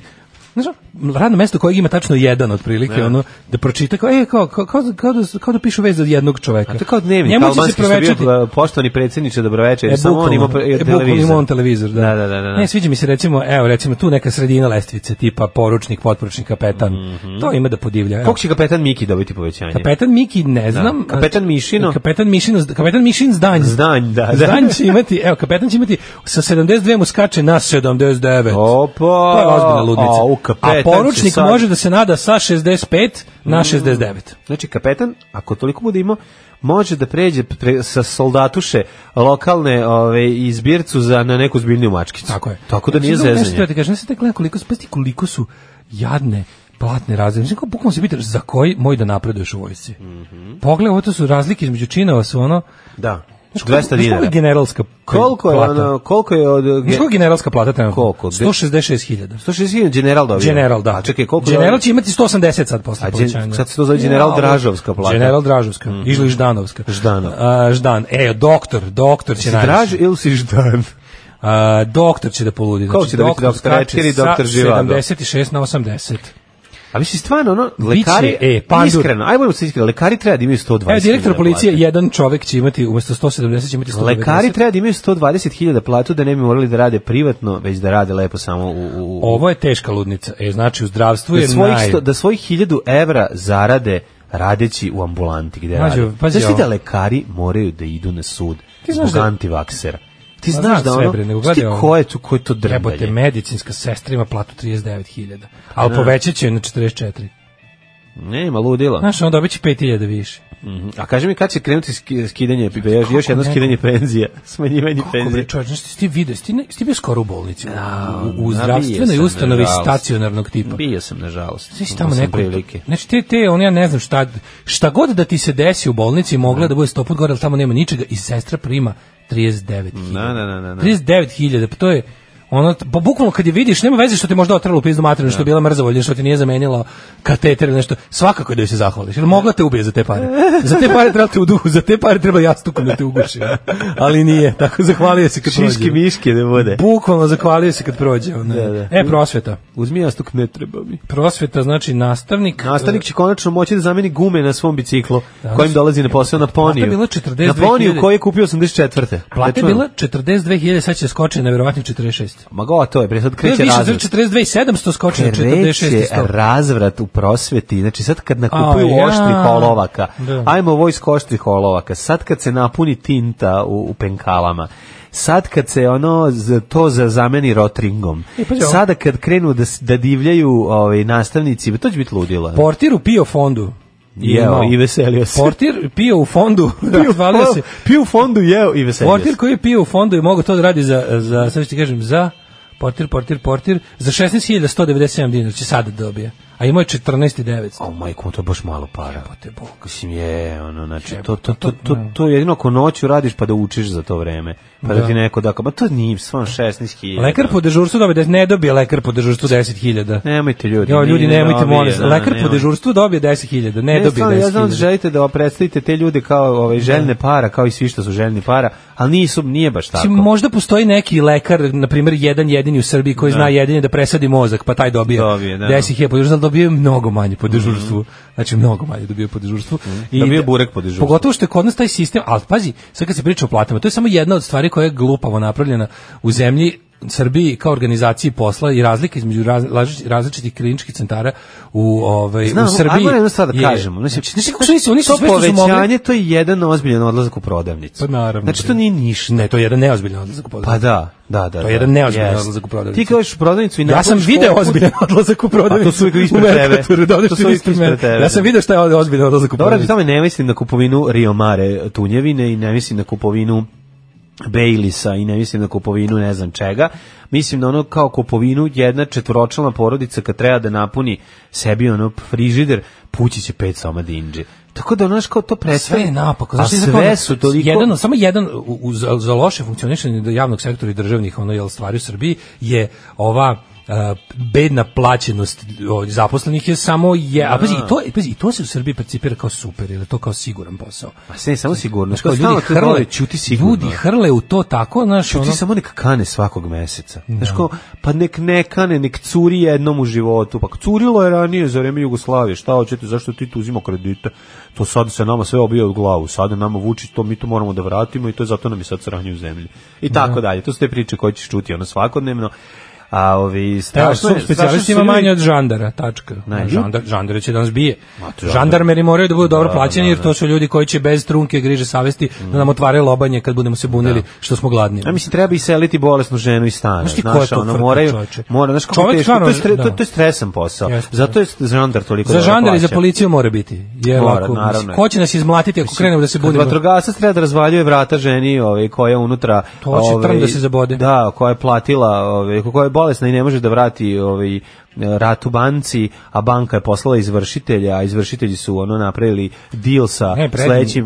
F: Znaš, ono, radno mesto kojeg ima tačno jedan otprilike, ono, da pročita kao, e, kao, kao, kao, da- kao da, kao da pišu vez od jednog čoveka.
E: A to je kao dnevnik
F: Njemu će se
E: albanski što je
F: provečati-
E: bio, poštovani predsjedniče, dobroveče, jer
F: E,
E: samo on ima pre-
F: e, bukvalno
E: televizor.
F: ima on televizor, da.
E: Da, da, da, da.
F: Ne, sviđa mi se recimo, evo, recimo tu neka sredina lestvice, tipa poručnik, potporučnik, kapetan.
E: Mhm.
F: To ima da podivlja. evo.
E: Koliko će kapetan Miki dobiti povećanje?
F: Kapetan Miki, ne znam.
E: Da. Kapetan Mišino.
F: Kapetan Mišino, kapetan Mišin zdanj.
E: Zdanj, da, da.
F: Zdanj će imati, evo, kapetan će imati sa 72 mu skače na 79.
E: Opa!
F: To je ozbiljna
E: A, u
F: ludnica.
E: kapetan
F: A, poručnik
E: će sad- Mm.
F: može da se nada sa 65 na 69.
E: Znači, kapetan, ako toliko bude imao, može da pređe pre- sa soldatuše lokalne ove, izbircu za, na neku zbiljniju mačkicu.
F: Tako je.
E: Tako da nije
F: Znači, Nešto treba
E: zezanje.
F: ti kažem, ne se tek gledam koliko, pa ti koliko su jadne platne razlike. Znači, kao bukvalno se pitaš za koji moj da napreduješ u vojsci.
E: Mhm.
F: Pogledaj, ovo to su razlike između činova su ono...
E: Da.
F: Znaš, koliko-
E: 200
F: znaš koliko je
E: dinara.
F: generalska
E: Koliko je,
F: plata?
E: ono, koliko je od...
F: Znaš koliko je generalska plata trenutno?
E: Koliko?
F: 166.000.
E: 160 general dobio.
F: General, da.
E: A čekaj, koliko
F: General
E: dobio?
F: će imati 180 sad posle
E: A gen-
F: povećanja.
E: sad se to zove General Dražovska plata. Mm.
F: General Dražovska, ili Ždanovska.
E: Ždanov.
F: A, Ždan. E, doktor, doktor će
E: Si
F: najviše.
E: draž ili si ždan?
F: A, doktor će da poludi. Znači,
E: Ko će da biti doktor
F: skače
E: Rečker i
F: sa
E: doktor Živado?
F: 76 na 80.
E: A mislim, stvarno, ono, lekari,
F: e, pandur.
E: iskreno, ajmo budemo se iskreno, lekari treba da imaju 120
F: Evo, direktor
E: hiljada
F: policije,
E: plate.
F: jedan čovek će imati, umesto 170 će imati 190.
E: Lekari treba da imaju 120.000 platu da ne bi morali da rade privatno, već da rade lepo samo u... u, u
F: Ovo je teška ludnica. E, znači, u zdravstvu
E: da,
F: je
E: svojih,
F: naj...
E: sto- da svojih 1000 evra zarade radeći u ambulanti gde
F: Mađo,
E: rade.
F: pazi
E: Znaš ti
F: ovo.
E: da lekari moraju da idu na sud
F: Ti znaš
E: zbog
F: da-
E: antivaksera?
F: Ma,
E: Ti znaš
F: znam
E: da
F: sve,
E: ono,
F: bre, nego
E: znaš ti
F: gledaj ovo.
E: ko je to, ko je to
F: Jebote,
E: drndalje?
F: medicinska sestra ima platu 39.000, ali povećat će je na 44.
E: Nema ludila.
F: Znaš, on dobit će 5.000 više.
E: Mhm. A kaži mi kad će krenuti ski- skidanje, još, još
F: kako
E: jedno
F: ne?
E: skidanje penzija, [LAUGHS] smanjivanje
F: Kako
E: penzija.
F: bre čovječ, znaš, ti vidio, ti, ne- ti bio skoro u bolnici, u, u, u
E: nabio
F: zdravstvenoj
E: sam,
F: ustanovi
E: nažalost.
F: stacionarnog tipa.
E: Bio sam, nažalost.
F: Znaš, tamo
E: Imao sam
F: neko,
E: prilike.
F: znači te, te, on ja ne znam šta, šta god da ti se desi u bolnici, mogla je da bude stoput gore, ali tamo nema ničega i sestra prima 39.000.
E: Da, da, da, da, da.
F: 39.000, pa to je, ono, pa bukvalno kad je vidiš, nema veze što ti je možda otrlo u pizdu materinu, što je bila mrzavolja, što ti nije zamenila kateter ili nešto, svakako je da joj se zahvališ, jer mogla te ubije za te pare. Za te pare treba te u duhu, za te pare treba jastukom da te uguši. Ali nije, tako zahvalio se kad prođe.
E: Šiške miške da bude.
F: Bukvalno zahvalio se kad prođe. ono.
E: Da, da.
F: E, prosveta.
E: Uzmi jastuk, ne treba mi.
F: Prosveta znači nastavnik.
E: Nastavnik će konačno moći da zameni gume na svom biciklu
F: Danas-
E: kojim dolazi na posao na poniju.
F: Plata je bila 42.000.
E: Na poniju koji je kupio 84.
F: Plata je
E: Računam.
F: bila 42.000, sad će skočiti na verovatno 46.
E: Ma go, to je, pre sad
F: Kreće
E: kreće
F: više,
E: razvrat.
F: 42.700 skoči na 46.
E: Kreće
F: 100.
E: razvrat u prosveti. Znači sad kad nakupuju
F: A, ja.
E: oštrih olovaka,
F: Da.
E: ajmo vojsko oštrih olovaka, sad kad se napuni tinta u, u penkalama, sad kad se ono z- to za zameni rotringom,
F: E, pazi ovo.
E: sada kad krenu da, s- da divljaju ovaj, nastavnici, to će biti ludilo.
F: Portir u PIO fondu. je
E: Jeo
F: imao.
E: i veselio se.
F: Portir pio u
E: [LAUGHS]
F: fondu, [LAUGHS] razvalio se.
E: Pio u fondu, jeo i veselio se.
F: Portir koji je pio u fondu je mogao to da radi za, za sad ću ti kažem, za portir, portir, portir, za 16.197 dinara će sada dobije. A imao je 14.900.
E: O majko, to je baš malo para.
F: Jebote Bog.
E: Mislim je, ono, znači, to, to, to, to, to jedino ako noću radiš pa da učiš za to vreme. Pa da, ti neko da, ba to nije, stvarno 16 hiljada.
F: Lekar po dežurstvu dobije, des- ne dobije lekar po dežurstvu 10.000.
E: Nemojte ljudi.
F: Jo,
E: nije
F: ljudi,
E: da
F: nemojte,
E: dobije,
F: molim vas.
E: da,
F: Lekar po
E: nemoj.
F: dežurstvu dobije 10.000, ne,
E: Ne,
F: dobije
E: stvarno,
F: 10.000.
E: ja znam da želite da predstavite te ljude kao ovaj, željne para, kao i svi što su željni para, ali nisu, nije baš tako.
F: Mislim, Znači, možda postoji neki lekar, na primjer jedan jedini u Srbiji koji zna jedini da presadi mozak, pa taj dobije,
E: Dobije, da.
F: 10.000 po dežurstvu, ali dobio je mnogo manje po dežurstvu. Znači, mnogo manje dobio po dežurstvu. I
E: Dobio je
F: da-
E: Mhm. burek po dežurstvu.
F: Pogotovo što je kod nas taj sistem, ali pazi, sad kad se priča o platama, to je samo jedna od stvari koja je glupavo napravljena u zemlji Srbiji kao organizaciji posla i razlike između raz- različ- različitih kliničkih centara u ovaj
E: Znam,
F: u Srbiji.
E: ajmo jednu stvar da
F: je-
E: kažemo. Mislim,
F: znači, znači, kako su oni su- oni su
E: to
F: sve što su mogli-
E: povećanje, to je jedan ozbiljan odlazak u prodavnicu.
F: Pa naravno,
E: Znači, to
F: bre.
E: nije ništa.
F: Ne, to je jedan neozbiljan odlazak u
E: Pa
F: prodavnicu.
E: da, da, da.
F: To je
E: da.
F: jedan neozbiljan
E: Jest.
F: odlazak u prodavnicu.
E: Ti kao ideš u prodavnicu i
F: Ja sam
E: nabaviš
F: video
E: poput-
F: [LAUGHS] ozbiljan odlazak u
E: A
F: prodavnicu.
E: to su uvijek
F: u
E: ispred
F: Mercatoru,
E: tebe.
F: da odeš
E: To su
F: ti
E: uvijek
F: ispred
E: ispred
F: mene.
E: tebe.
F: Ja sam video šta je ozbiljan odlazak u
E: Dobro, pri
F: prodavnicu.
E: tome ne mislim na kupovinu Rio Mare tunjevine i ne mislim na kupovinu Bailisa i ne mislim na kupovinu ne znam čega. Mislim na ono kao kupovinu jedna četvoročlana porodica kad treba da napuni sebi ono frižider, pući će pet soma dinđe. Tako da ono znaš, kao to
F: Sve
E: predstavlja.
F: je napako.
E: A
F: Znaš, ti sad kao da
E: sve su toliko...
F: Jedan, samo jedan u, u- za, za loše funkcionisanje javnog sektora i državnih ono, jel, stvari u Srbiji je ova e, bedna plaćenost o, zaposlenih je samo je a pazi i to i pazi i to se u Srbiji percipira kao super ili to kao siguran posao
E: Ma sve, samo sigurno.
F: Kao,
E: ljudi hrle, čuti sigurno.
F: ljudi hrle u to tako znaš
E: Čuti
F: ono
E: Znači, samo nek kane svakog meseca. Znaš kao, pa nek ne kane, nek curi jednom u životu. Pa curilo je ranije za vreme Jugoslavije. Šta hoćete, zašto ti tu uzimo kredite? To sad se nama sve obija od glavu. Sada nama vuči to, mi to moramo da vratimo i to je zato nam je sad sranje u zemlji. I tako dalje. To su te priče koje ćeš čuti ono svakodnevno. A ovi
F: Evo,
E: strašno je- strašno
F: subspecijalist
E: su
F: ima
E: ljudi-
F: manje od žandara, tačka.
E: Ne,
F: Žandar, žandare će da nas bije.
E: Ma, to je žandar.
F: Žandarmeri moraju da budu dobro
E: Da,
F: plaćeni,
E: da, znači.
F: jer
E: da.
F: to su ljudi koji će bez trunke griže savesti da nam otvaraju lobanje kad budemo se bunili što smo gladni.
E: Ja mislim treba iseliti bolesnu ženu iz stana.
F: Znaš ti ko
E: Znaš,
F: je to
E: ono,
F: frka,
E: moraju,
F: čoveče?
E: mora, znaš kako
F: Čovek
E: je teško,
F: stvarno-
E: to je, stre,
F: da.
E: to, to je stresan posao.
F: Jeste.
E: Zato je žandar toliko
F: Za
E: dobro
F: žandar i za
E: plaćen.
F: policiju mora biti. Jer
E: Mora,
F: ako,
E: naravno.
F: mislim, ko će nas izmlatiti ako krenemo da se
E: Kad
F: bunimo?
E: vatrogasac treba da razvaljuje vrata ženi ovaj, koja je unutra...
F: To će
E: ovaj,
F: trn da se zabode.
E: Da, koja je platila, ovaj, koja je bolesna i ne može da vrati ovaj, rat u banci, a banka je poslala izvršitelja, a izvršitelji su ono napravili deal sa
F: Ne,
E: sledećim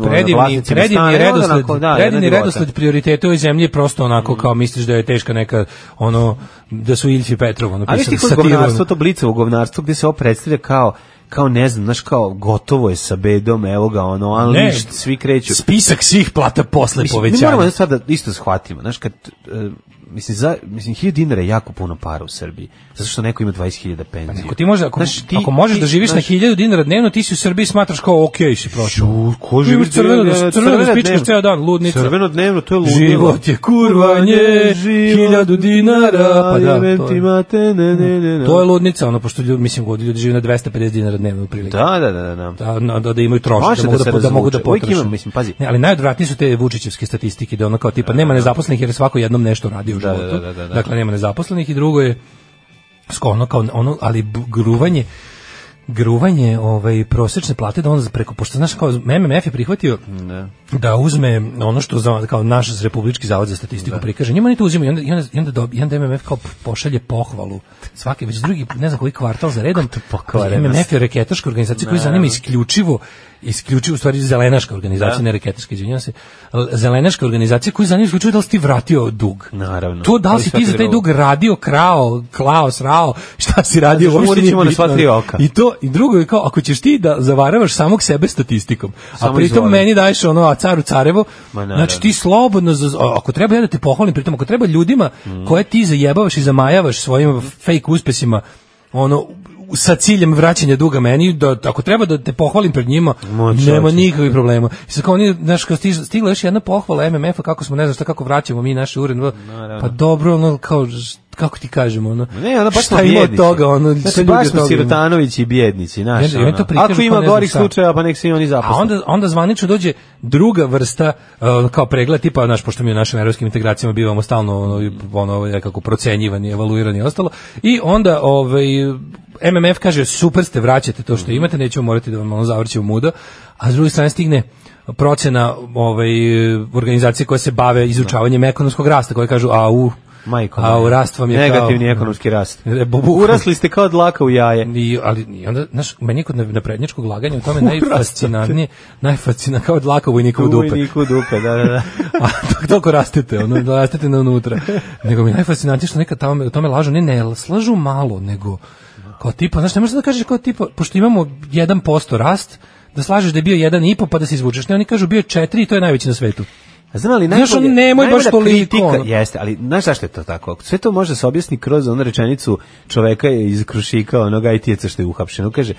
F: predivni,
E: ono,
F: predivni,
E: vlasnicima stana.
F: predivni
E: I onda
F: redosled,
E: onako, da, Mm. jedna
F: predivni
E: divota.
F: redosled prioriteta u ovoj zemlji je prosto onako kao misliš da je teška neka, ono, da su Iljfi Petrov, ono,
E: A viš ti
F: pisali
E: kod
F: satiru,
E: govnarstvo,
F: ono.
E: to blicovo govnarstvo, gde se ovo predstavlja kao kao ne znam, znaš kao gotovo je sa bedom, evo ga ono, unleashed, svi kreću.
F: Spisak svih plata posle
E: Mislim, Mi
F: povećanja.
E: moramo jednu stvar da isto shvatimo, znaš, kad, e, mislim, za, mislim, 1000 dinara je jako puno para u Srbiji, zato što neko ima 20.000 penzije.
F: Ako Pa ti možeš, ako, ako možeš da živiš na 1000 dinara dneevno, ti si u Srbiji smatraš kao okej si prošao.
E: Ču, ko
F: Imaš
E: živi
F: crveno,
E: dnevno-
F: crveno da
E: crveno
F: spičkaš
E: dnevno.
F: ceo dan, ludnica.
E: Crveno dnevno, to je ludilo.
F: Život je kurvanje,
E: Život-
F: hiljadu dinara, pa da,
E: Jebem
F: to
E: ti
F: je.
E: mate, ne, ne, ne, ne.
F: To je ludnica, ono, pošto ljudi, mislim, god ljudi žive na 250 dinara dnevno u priliku.
E: Da, da, da, da.
F: Da, na- da, da imaju trošak,
E: Može
F: da, mogu
E: da se
F: da, da mogu da
E: razvuče. Uvijek
F: potroše.
E: ima, mislim, pazi.
F: Ne, ali najodvratniji su te Vučićevske statistike, da ono kao tipa nema nezaposlenih jer je svako jednom nešto radi u
E: Da, da,
F: životu.
E: da, da, da.
F: Dakle, nema nezaposlenih i drugo je skolno kao ono, ali bu- gruvanje gruvanje ovaj prosečne plate da on preko pošto znaš kao MMF je prihvatio da uzme ono što za kao naš republički zavod za statistiku prikaže njima oni to uzimaju i onda i onda i onda, dobi- i onda MMF kao pošalje pohvalu svaki već drugi ne znam koji kvartal za redom
E: pokvarenost.
F: MMF je reketaška organizacija koja zanima isključivo isključivo u stvari zelenaška organizacija ne reketaška izvinjavam se l- zelenaška organizacija koja zanima isključivo da li si ti vratio dug
E: Naravno.
F: to da li
E: Ali
F: si ti
E: svaki
F: za taj
E: drugo.
F: dug radio krao klao srao šta si radio
E: Zato što
F: uopšte nije
E: Murić ima na
F: bitno.
E: sva tri oka.
F: I to i drugo je kao ako ćeš ti da zavaravaš samog sebe statistikom, a
E: Samo
F: pritom
E: izvoli.
F: meni daješ ono a caru carevo,
E: Ma, naravno.
F: znači ti slobodno za- a- ako treba ja da te pohvalim pritom ako treba ljudima koje ti zajebavaš i zamajavaš svojim fake uspesima ono sa ciljem vraćanja duga meni da ako treba da te pohvalim pred njima
E: Moć,
F: nema
E: hoće.
F: nikakvih problema. I sad kao oni znaš kao stiž- stigla je još jedna pohvala MMF-a kako smo ne znam šta kako vraćamo mi naše uredno. Pa dobro ono kao ž- kako ti kažemo ono.
E: Ne, ono baš smo
F: šta ima od
E: bjednici.
F: toga ono šta
E: znači,
F: ljudi
E: baš
F: od
E: smo
F: toga imaju?
E: sirotanovići i bjednici,
F: Ne
E: znaš.
F: znam, i oni
E: ono.
F: to prikažu
E: Ako
F: kao
E: ima
F: ne znam
E: gorih
F: šta.
E: slučajeva, pa nek se i oni
F: A
E: zaposle.
F: onda, onda zvanično dođe druga vrsta uh, kao pregled, tipa, znaš, pošto mi u našim evropskim integracijama bivamo stalno ono, ono nekako procenjivani, evaluirani i ostalo, i onda ovaj, MMF kaže, super ste, vraćate to što
E: Mhm.
F: imate, nećemo morati da vam ono zavrće u muda, a s druge strane stigne procena ovaj, organizacije koje se bave izučavanjem ekonomskog rasta, koje kažu, a u,
E: Majko.
F: a u
E: moja.
F: rast vam je kao-
E: Negativni ekonomski rast.
F: E, bubu-
E: Urasli ste kao dlaka u jaje.
F: I, ali i onda, znaš, meni kod naprednjačkog laganja u tome
E: [LAUGHS]
F: najfascinantnije, najfascinantnije kao dlaka vojnika u dupe.
E: Vojniku u dupe, da, da, da.
F: A dok toliko rastete, ono, da rastete na unutra. Nego mi je najfascinantnije što nekad tamo, tome lažu, ne, ne, slažu malo, nego kao tipa, znaš, ne možeš da kažeš kao tipa, pošto imamo 1% rast, da slažeš da je bio 1,5 pa da se izvučeš. Ne, oni kažu bio je 4 i to je najveći na svetu.
E: [LAUGHS] A Znam ali
F: Znaš,
E: najbolje,
F: ono, nemoj baš
E: najbolja
F: toliko,
E: kritika-
F: ono.
E: Jeste, ali znaš zašto je to tako? Sve to može da se objasni kroz onu rečenicu čoveka iz Krušika, onog IT-eca što je uhapšen. On kaže,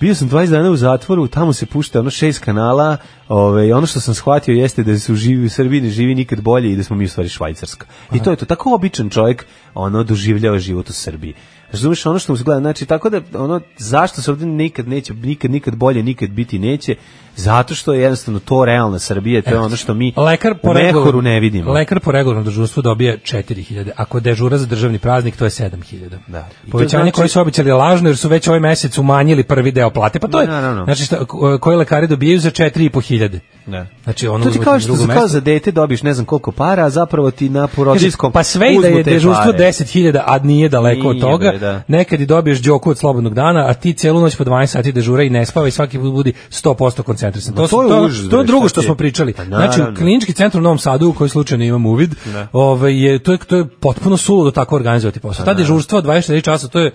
E: bio sam 20 dana u zatvoru, tamo se pušta ono šest kanala, ovaj, ono što sam shvatio jeste da se u živi u Srbiji ne živi nikad bolje i da smo mi u stvari Švajcarska. I to je to, tako običan čovjek ono doživljava život u Srbiji. Razumeš ono što mu se gleda, znači tako da ono zašto se ovdje nikad neće nikad nikad bolje nikad biti neće zato što je jednostavno to realna Srbija, to je ono što mi
F: Lekar po
E: u mehoru
F: regularnom-
E: ne vidimo.
F: Lekar po regularnom dežurstvu dobije 4000. Ako dežura za državni praznik, to je 7000.
E: Da. I to
F: Povećanje
E: znači-
F: koje su obećali je lažno, jer su već ovaj mesec umanjili prvi deo plate. Pa to je,
E: Naravno.
F: znači, šta, ko- koji lekari dobijaju za 4500.
E: Da.
F: Znači, ono
E: to ti
F: uzmete
E: kao
F: na
E: što
F: drugo
E: za, kao
F: mesto.
E: za dete dobiješ ne znam koliko para, a zapravo ti na
F: Kaže,
E: porodinskom
F: pa sve i da je
E: uzmu te
F: dežurstvo
E: pare.
F: 10.000, a nije daleko od
E: Nije,
F: toga.
E: bre, da.
F: Nekad i dobiješ džoku od slobodnog dana, a ti celu noć po 12 sati dežura i ne spava i svaki put budi 100% koncentrisan.
E: Ma
F: To, su-
E: Pa to je
F: to,
E: užas,
F: to je
E: bre,
F: drugo
E: šta
F: što
E: ti je?
F: smo pričali.
E: Pa
F: Znači, u
E: naravno.
F: klinički centar u Novom Sadu, u koji slučajno imam uvid, ovaj, je, to, je, to je potpuno suludo tako organizovati posao.
E: Pa
F: Ta dežurstva od 24 časa, to je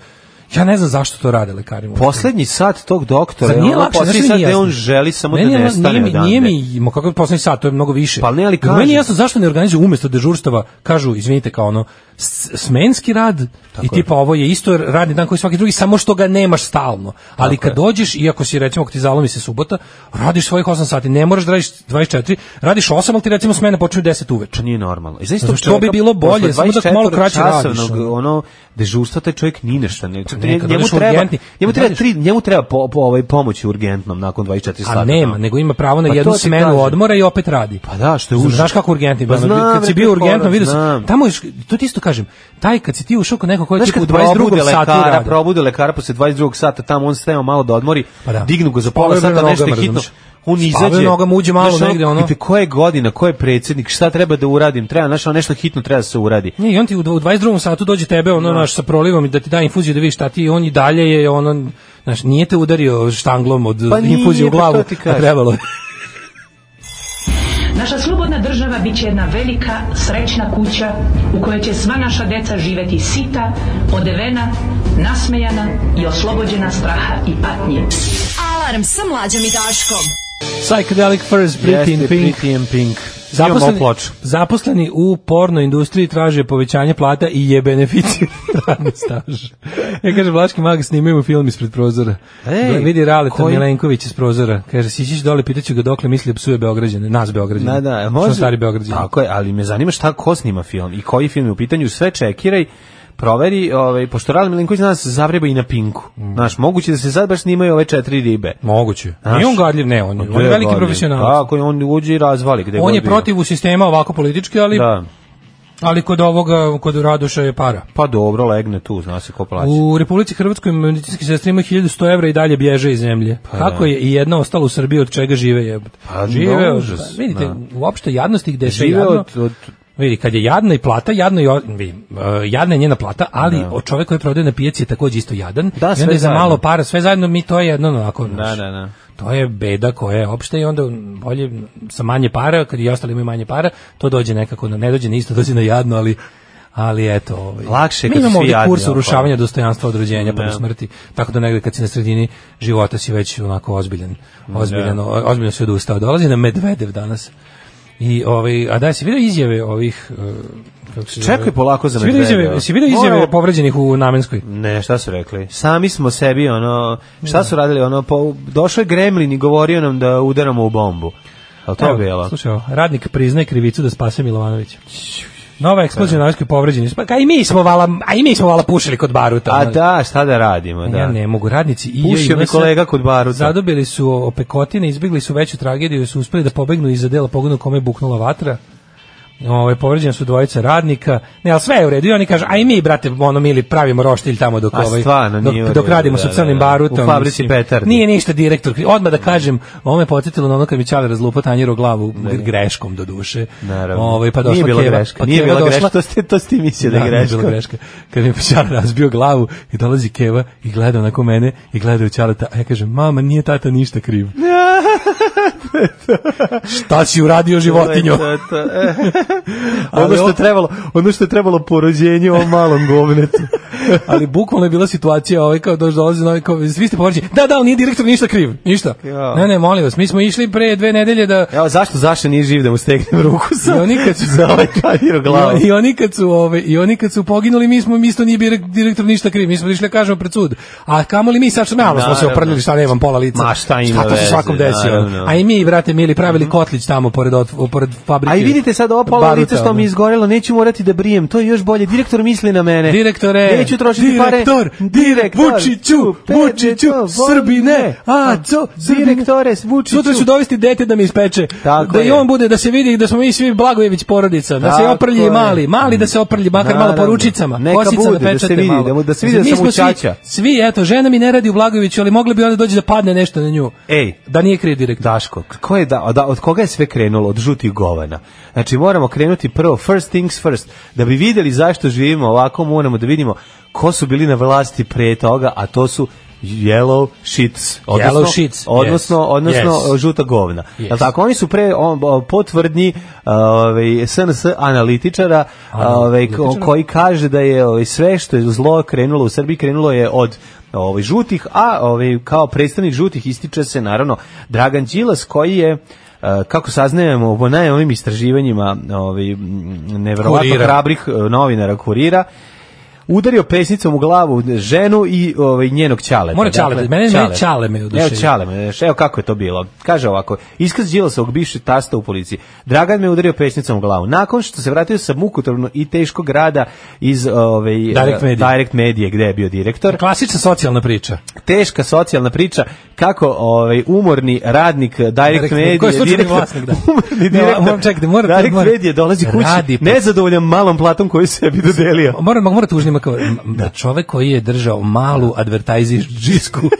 F: Ja ne znam zašto to rade lekari.
E: Poslednji sat tog doktora,
F: Zar
E: je
F: nije
E: ono
F: lakše, znaš
E: poslednji
F: što mi
E: sat
F: nije
E: gde on
F: jasno?
E: želi samo da
F: Meni je ono-
E: nestane
F: nije mi,
E: odande.
F: nije mi, ma kako je poslednji sat, to je mnogo više.
E: Pa ne, ali
F: Nego Meni
E: kažem.
F: je jasno zašto ne organizuju umesto dežurstava, kažu, izvinite, kao ono, s- smenski rad i tipa ovo je isto radni dan koji svaki drugi, samo što ga nemaš stalno. Ali kad dođeš, iako si recimo, ako ti zalomi se subota, radiš svojih 8 sati, ne moraš da radiš 24, radiš 8, ali ti recimo smene počinju 10 uveče.
E: To Znači, nije normalno. I zaista
F: Zato što bi bilo bolje, samo da malo kraće radiš, ono.
E: ono dežurstva taj čovjek ni ništa ne.
F: ne, kad
E: njemu
F: odeš u
E: treba,
F: urgentni,
E: njemu
F: kad
E: treba
F: odeš-
E: tri, njemu treba po, po ovaj pomoći urgentnom nakon 24 sata.
F: A nema,
E: Pa da.
F: nego ima pravo na
E: Pa
F: jednu
E: to ti
F: smenu
E: kažem.
F: odmora i opet radi.
E: Pa da, što je užas.
F: Znaš kako urgentni
E: Pa
F: pa
E: znam,
F: Kad si
E: bre,
F: bio
E: to je
F: urgentno,
E: horor,
F: vidio sam.
E: znam.
F: Tamo je, to ti isto kažem, taj kad si ti ušao kod nekog koji
E: Znaš
F: ti
E: kad
F: u
E: 22.
F: 22. satu
E: lekara,
F: radi.
E: probude lekara posle 22. sata, tamo on stajao malo da odmori,
F: Pa da.
E: dignu ga za
F: Spavaju
E: pola sata,
F: na
E: nešto je
F: nogama,
E: hitno.
F: razumeš?
E: On
F: Spavaju
E: izađe.
F: nogama, uđe malo
E: znaš,
F: negde, ono.
E: pita, ko je godina, ko je predsjednik, šta treba da uradim, treba, znaš, ono nešto hitno treba da se uradi.
F: Ne, i on ti u dv- u 22. satu dođe tebe, ono, naš, sa prolivom i da ti da infuziju da vidiš šta ti, on i dalje je, ono, znaš, nije te udario štanglom od
E: Pa nije,
F: infuzije u
E: pa
F: glavu,
E: to ti
F: a
E: kažem.
F: trebalo je. [LAUGHS]
K: Naša slobodna država bit će jedna velika, srećna kuća u kojoj će sva naša deca živeti sita, odevena, nasmejana i oslobođena straha i patnje.
D: Alarm sa mlađom i Daškom.
F: Psychedelic First, Pretty in
E: Jeste,
F: Pink.
E: Pretty in Pink. Imamo
F: Zaposleni,
E: ploču.
F: zaposleni u porno industriji traže povećanje plata i je beneficij [LAUGHS] radni staž. E, kaže, Vlaški mag, snimaju film ispred prozora.
E: Ej,
F: Ej, vidi Raleta
E: koji-
F: Milenković iz prozora. Kaže, sićić dole, pitaću ga dokle misli da psuje Beograđane, nas Beograđane.
E: Da, da,
F: Što
E: može.
F: smo stari Beograđani.
E: Tako je, ali me zanima šta ko snima film i koji film je u pitanju, sve čekiraj, proveri, ovaj, pošto Rale Milenković zna da se zavreba i na Pinku. Znaš, moguće da se sad baš snimaju ove četiri ribe.
F: Moguće.
E: Znaš? Pa
F: Nije on gadljiv, ne, on, je- on je veliki
E: Glavni.
F: profesionalac.
E: Tako je, on uđe i razvali. Gde
F: On
E: god
F: je
E: bio.
F: protiv u sistema ovako politički, ali,
E: Da.
F: ali kod ovoga, kod Radoša je para.
E: Pa dobro, legne tu, zna se ko plaća.
F: U Republici Hrvatskoj medicinski sestre imaju 1100 evra i dalje bježe iz zemlje. Kako je i jedna ostala u Srbiji od čega žive je?
E: Pa,
F: žive
E: da,
F: od-
E: užas,
F: pa, vidite,
E: da.
F: uopšte jadnosti gde se
E: Žive
F: jadno.
E: od, od
F: Vidi, kad je jadna i plata, jadno i o- vidi, uh, jadna je njena plata, ali o čovjek koji prodaje na pijaci je takođe isto jadan.
E: Da,
F: I
E: sve
F: onda je za
E: zajedno.
F: malo para, sve zajedno mi to je jedno onako.
E: Da,
F: znaš,
E: da, da.
F: To je beda koja je opšte i onda bolje sa manje para, kad i ostali imaju manje para, to dođe nekako, na, ne dođe na isto, [LAUGHS] dođe na jadno, ali ali eto, ovaj.
E: Lakše je
F: mi
E: kad su
F: imamo
E: svi
F: ovdje
E: jadni,
F: kurs
E: jel'
F: urušavanja
E: pa?
F: dostojanstva od rođenja pa do smrti, tako da negde kad si na sredini života si već onako ozbiljan, ozbiljan, o- ozbiljno si odustao. Dolazi na Medvedev danas. I ovaj, a da si vidio izjave ovih e,
E: Čekaj polako za
F: Si vidio
E: medveda.
F: izjave, si vidio izjave
E: Moramo-
F: povređenih u Namenskoj?
E: Ne, šta su rekli? Sami smo sebi, ono, šta su radili, ono, pa došao je Gremlin i govorio nam da udaramo u bombu. Al to je
F: Evo,
E: bilo.
F: Slušaj, ovo, radnik priznaje krivicu da spase Milovanovića. Nova eksplozija na Namenskoj povređeni. su. Pa, ka i mi smo vala, a i mi smo vala pušili kod baruta.
E: A
F: ono.
E: da, šta da radimo, da.
F: Ja ne mogu, radnici i
E: Pušio mi kolega kod baruta.
F: Zadobili su opekotine, izbjegli su veću tragediju, jer su uspeli da pobegnu iza dela pogonu kome je buknula vatra. Ovaj povređena su dvojica radnika. Ne, al sve je u redu. I oni kažu: "A i mi brate, ono mili pravimo roštilj tamo dok
E: A
F: ovaj
E: stvarno
F: dok,
E: nije u redu,
F: dok radimo
E: da,
F: sa crnim
E: da, da.
F: barutom."
E: U fabrici
F: mislim.
E: petardi.
F: Nije ništa direktor. Odmah da kažem, ovo me podsjetilo na ono kad mi Čale razlupa tanjiro glavu greškom do duše.
E: Naravno.
F: Ovaj pa došla
E: Nije bila
F: keva,
E: greška,
F: pa
E: nije
F: keva
E: bila
F: došla-
E: greška, to ste- to ste ti mislio da je
F: nije
E: greška.
F: bila greška. Kad mi je Ćale razbio glavu i dolazi Keva i gleda onako mene i gleda u Ćaleta, a ja kažem, mama, nije tata ništa
E: [LAUGHS]
F: kriv. Šta si uradio životinjo?
E: To je to.
F: Ali
E: ono što
F: ovo-
E: je trebalo, ono što je trebalo po rođenju ovom malom govnetu.
F: Ali bukvalno je bila situacija, ovaj kao dođe dolazi novi kao svi ste povrđeni. Da, da, on nije direktor ništa kriv, ništa.
E: Ja.
F: Ne, ne, molim vas, mi smo išli pre dve nedelje da
E: [LAUGHS] Evo zašto Zaša nije živ da mu stegnem ruku sa,
F: I oni kad su-
E: za ovaj tanjir glavu.
F: I, i oni kad su ove i oni kad su poginuli mi smo mi isto nije bio direktor ništa kriv, mi smo išli da kažemo pred sud. A kamoli mi sad što malo smo se
E: Naravno.
F: oprljili šta nemam pola lica.
E: Ma, šta ima
F: to se
E: veze,
F: svakom desilo.
E: naravno. Mhm.
F: A i mi brate mili pravili kotlić tamo pored otv- pored fabrike.
E: A i vidite sad ovo pola
F: Baruta,
E: lica što
F: ono.
E: mi je izgorelo, neću morati da brijem, to je još bolje. Direktor misli na mene.
F: Direktore,
E: Neću trošiti
F: direktor,
E: pare.
F: direktor, Vučiću,
E: Pedro,
F: Vučiću,
E: Vučiću,
F: Srbine, a co, Srbine.
E: Pa, Direktore, Vučiću.
F: Sutra ću dovesti dete da mi ispeče.
E: Tako
F: da i
E: je.
F: on bude, da se vidi da smo mi svi Blagojević porodica. Da se
E: Tako
F: oprlji i
E: je.
F: mali. Mali da se oprlji, makar malo po
E: Naravno.
F: ručicama.
E: Neka
F: kosicama
E: bude, da se
F: pečate
E: vidi,
F: malo.
E: da mu- da se vidi da
F: Mi
E: sam
F: smo
E: učača.
F: Svi, svi, eto, žena mi ne radi u Blagojeviću, ali mogli bi onda doći da padne nešto na nju.
E: Ej,
F: Da nije kriv direktor.
E: Daško, ko je da, da, od koga je sve krenulo? Od žutih govana. Znači moramo krenuti prvo, first things first. Da bi vidjeli zašto živimo ovako, moramo da vidimo ko su bili na vlasti pre toga, a to su yellow shits. Odnosno,
F: Yellow shits,
E: Odnosno,
F: yes,
E: odnosno
F: yes.
E: žuta govna.
F: Yes.
E: Jel tako? Oni su pre on, o, potvrdnji ovaj, SNS analitičara ovaj, ko-
F: Analitičara?
E: koji kaže da je ovaj, sve što je zlo krenulo u Srbiji krenulo je od ovaj, žutih, a ovaj, kao predstavnik žutih ističe se naravno Dragan Đilas koji je eh, kako saznajemo po najnovim istraživanjima ovaj, m, nevjerovatno
F: Kurira.
E: hrabrih eh, novinara kurira, udario pesnicom u glavu ženu i ovaj, njenog ćaleta.
F: Mora ćale, mene ne ćale me oduševio.
E: Evo ćale me, znaš, evo kako je to bilo. Kaže ovako, iskaz Đilasovog bivšeg tasta u policiji. Dragan me udario pesnicom u glavu. Nakon što se vratio sa mukotrvno i teškog rada iz ovaj,
F: Direct
E: eh,
F: Media.
E: Direct Media, gde je bio direktor,
F: Klasična socijalna priča.
E: teška socijalna priča kako ovaj umorni radnik Direct,
F: Direct Media,
E: Media
F: ko je slučajni
E: direktor-
F: vlasnik, da.
E: [LAUGHS] umorni
F: Ne,
E: direktor
F: moram čekati, moram-
E: Direct
F: moram-
E: Media dolazi kući
F: Radi pa- po-
E: nezadovoljan malom platom koju sebi
F: [LAUGHS]
E: dodelio
F: Pa Moram, moram tužnima kao da. čovek koji je držao malu advertajziždžisku [LAUGHS]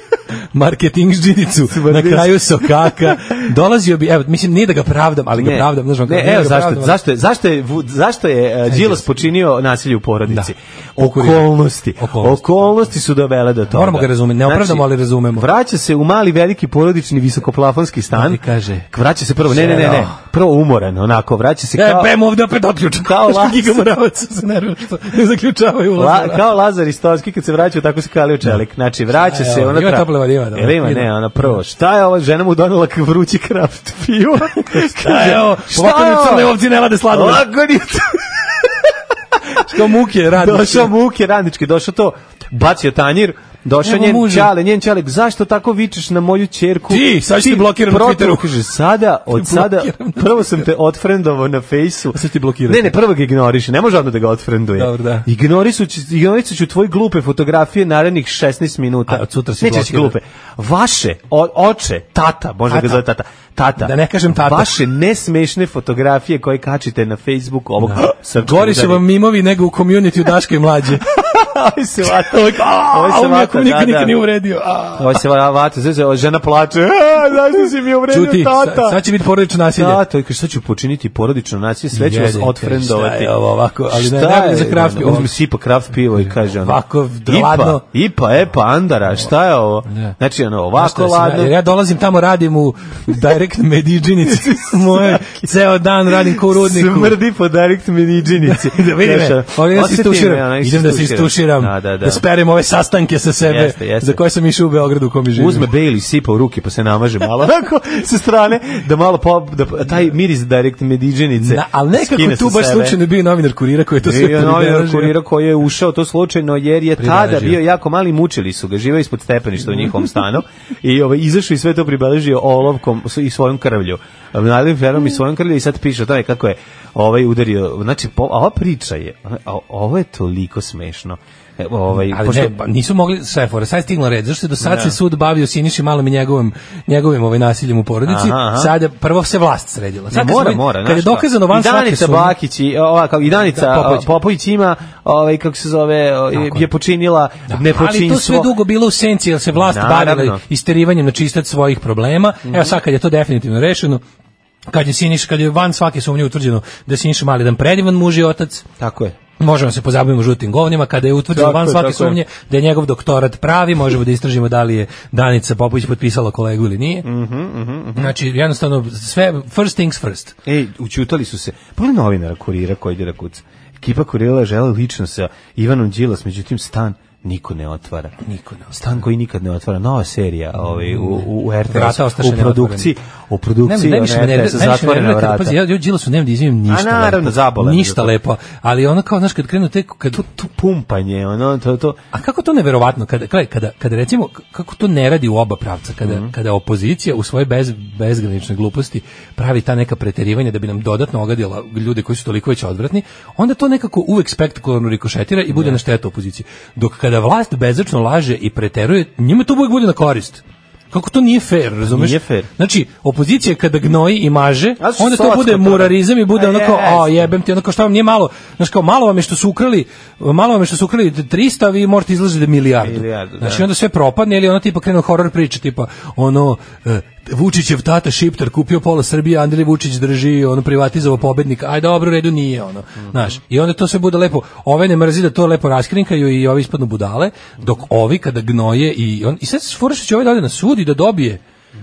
F: marketing ždinicu na kraju sokaka dolazio bi evo mislim nije da ga pravdam ali ga pravdam znaš on kao,
E: ne,
F: nije
E: evo
F: ga
E: zašto,
F: pravdam, ali-
E: zašto je, zašto je, Vu- zašto je uh, Đilas počinio nasilje u porodici.
F: Da. Okurira.
E: Okolnosti.
F: Okolnosti.
E: Okolnosti. su dovele do toga. Znači,
F: Moramo ga razumeti, ne opravdamo, ali razumemo.
E: Vraća se u mali veliki porodični visokoplafonski stan.
F: Ali kaže,
E: vraća se prvo, ne, ne, ne, ne, prvo umoran, onako, vraća se
F: E,
E: kao...
F: bem ovde opet otključan.
E: [LAUGHS]
F: [LAUGHS]
E: Kao Lazar.
F: Gigamoravac se nervira što ne zaključavaju ulaz.
E: La, kao Lazar Istovski kad se vraćao tako se kalio čelik. Znači vraća
F: Šta je
E: se
F: ovo?
E: ona
F: Ima topla vodiva, dobro.
E: Jel ima
F: Ima.
E: ne, ona prvo. Šta je ova žena mu donela k- vrući kraft pivo?
F: [LAUGHS] Šta je ovo? Pa Ovako ni crne ovci ne lade sladoled.
E: Lako ni
F: Što muke radi.
E: Došao muke radnički, došao to, bacio tanjir, došao
F: Evo
E: njen
F: muže.
E: čale, njen čale, zašto tako vičeš na moju čerku?
F: Ti, sad ću ti blokiram na
E: protiv-
F: Twitteru.
E: Kaže, sada, od sada,
F: blokiram na
E: prvo sam te otfrendovao na fejsu.
F: sad ću ti blokiram.
E: Ne, ne, prvo ga ignoriši, ne može odmah da ga otfrenduje.
F: Dobro, da.
E: Ignorisaću- ignorisaću tvoje glupe fotografije narednih 16 minuta.
F: A od sutra si
E: Neće reći
F: blokiran.
E: glupe. Vaše, o- oče, tata, možda
F: Tata.
E: ga zove tata, tata.
F: Da ne kažem tata.
E: Vaše nesmešne fotografije koje kačite na Facebook ovog [GASPS] srpskog
F: Gori su
E: udara.
F: vam mimovi nego u community u Daške
E: [LAUGHS]
F: mlađe.
E: Ovo se vata.
F: A,
E: Ovo
F: a
E: se
F: on
E: vata,
F: nikom
E: da,
F: nikad
E: da.
F: nikad nije uredio. A.
E: Ovo se va- vata, sve se, o, žena plače. [LAUGHS] "A, Zašto si mi uvredio
F: Čuti,
E: tata?
F: sa- sad će biti porodično nasilje.
E: Tata, i kaže, šta ću počiniti porodično nasilje, sve ću vas
F: Jedete,
E: otfrendovati.
F: šta je ovo ovako, ali ne,
E: Šta
F: najbolje
E: je,
F: za kraft
E: ono,
F: pivo.
E: Uzme sipa kraft pivo i kaže ono.
F: Ovako,
E: Ipa,
F: ladno.
E: ipa, epa, andara, šta je ovo? Znači, ono,
F: Znaš šta
E: ovako
F: sam ja-
E: ladno.
F: jer Ja dolazim tamo, radim u direct
E: [LAUGHS]
F: mediđinici. Moje, ceo dan radim ko u rudniku.
E: Smrdi po direct meniđinici.
F: [LAUGHS]
E: ono,
F: da vidim me. Ovdje da se istuširam. Idem da se istuširam.
E: Da, da, da.
F: sperem ove sastanke sa sebe
E: jeste, jeste.
F: za koje sam išao u Beogradu u kom živim.
E: Uzme Bailey, sipa u ruke, pa se namaže
F: [LAUGHS]
E: malo onako sa strane, da malo pop, da taj miris direct mediđenice
F: Na, ali nekako tu baš slučajno je bio novinar kurira koji je to sve
E: Bio je novinar
F: pridržio.
E: ono, kurira koji je ušao to slučajno jer je tada
F: Pribeležio.
E: bio jako mali mučili su ga, živeo ispod stepeništa u njihovom stanu i ovaj, izašao i sve to pribeležio olovkom s- i svojom krvlju. Mladim ferom i svojom krvlju i sad piše o tome kako je ovaj udario. Znači, po, a ova priča je, a, ovo je toliko smešno. E, Ovaj,
F: Ali
E: pošto-
F: ne, pa ba- nisu mogli sve fore. Sad je stigla red. Zašto se do sad
E: Da.
F: se sud bavio Siniši malom i njegovim njegovim ovaj nasiljem u porodici?
E: Aha, aha.
F: Sada prvo se vlast sredila. Sad
E: Ne,
F: kad
E: mora,
F: smo-
E: mora.
F: Kad
E: znaš
F: je
E: šta.
F: dokazano van
E: I
F: svake
E: Danica
F: sumnje.
E: Bakić i, ova, kao, i Danica
F: Da, Popović.
E: Popović. ima, ovaj, kako se zove, o, je, je počinila nepočinstvo.
F: Ali to sve dugo bilo u senci, jer se vlast
E: Naravno. Mhm.
F: bavila isterivanjem na čistac svojih problema. Evo sad kad je to definitivno rešeno, kad je Siniš, kad je van svake sumnje utvrđeno da je Siniša mali jedan predivan muž i otac,
E: Tako je.
F: Možemo se pozabavimo žutim govnima kada je utvrđeno
E: Tako
F: van
E: je,
F: svake
E: tako je.
F: sumnje da je njegov doktorat pravi, možemo da istražimo da li je Danica Popović potpisala kolegu ili nije.
E: Mhm,
F: Znači, jednostavno, sve first things first.
E: Ej, učutali su se. Pogledaj novinara kurira koji ide da kuca. Ekipa kurira žele lično sa Ivanom Đilas, međutim stan niko ne otvara.
F: Niko ne
E: Stan koji nikad ne otvara. Nova serija ovaj, u, u, u RTS,
F: Vrata ostaše
E: u produkciji, u
F: Ne,
E: produkciji
F: ne, više me
E: ne,
F: nervira,
E: sa
F: najviše me
E: zatvorena
F: nervira kad-
E: vrata.
F: Pazi, ja, ja Đilasu ne da izvijem ništa.
E: A, naravno,
F: lepo.
E: zabole me
F: Ništa
E: za to.
F: lepo, ali ono kao, znaš, kad krenu te... Kad,
E: Tu pumpanje, ono, to, to,
F: A kako to neverovatno kada gledaj, kada kada recimo k- kako to ne radi u oba pravca kada
E: Mhm.
F: kada opozicija u svojoj bez bezgraničnoj gluposti pravi ta neka preterivanja da bi nam dodatno ogadila ljude koji su toliko već odvratni, onda to nekako uvek spektakularno rikošetira i bude na štetu opoziciji. Dok kada vlast bezočno laže i preteruje, njima to uvek bude na korist. Kako to nije fair, razumeš?
E: Nije fair.
F: Znači, opozicija kada gnoji i maže,
E: A su
F: onda to
E: socko
F: bude
E: to.
F: murarizam i bude
E: A
F: onako, a
E: jeste.
F: jebem ti, onako šta vam nije malo, znaš kao malo vam je što su ukrali, malo vam je što su ukrali 300, a vi možete izlaziti da milijardu.
E: Milijardu, da.
F: Znači onda sve propadne ili ono tipa krenu horor priče, tipa ono e, Vučićev tata Šiptar kupio pola Srbije, Andrej Vučić drži, ono privatizovao pobednika, aj dobro, u redu nije ono, znaš. I onda to sve bude lepo, ove ne mrzi da to lepo raskrinkaju i ovi ispadnu budale, dok ovi kada gnoje i on, i sad se fora što će ovaj da ode na sud i da dobije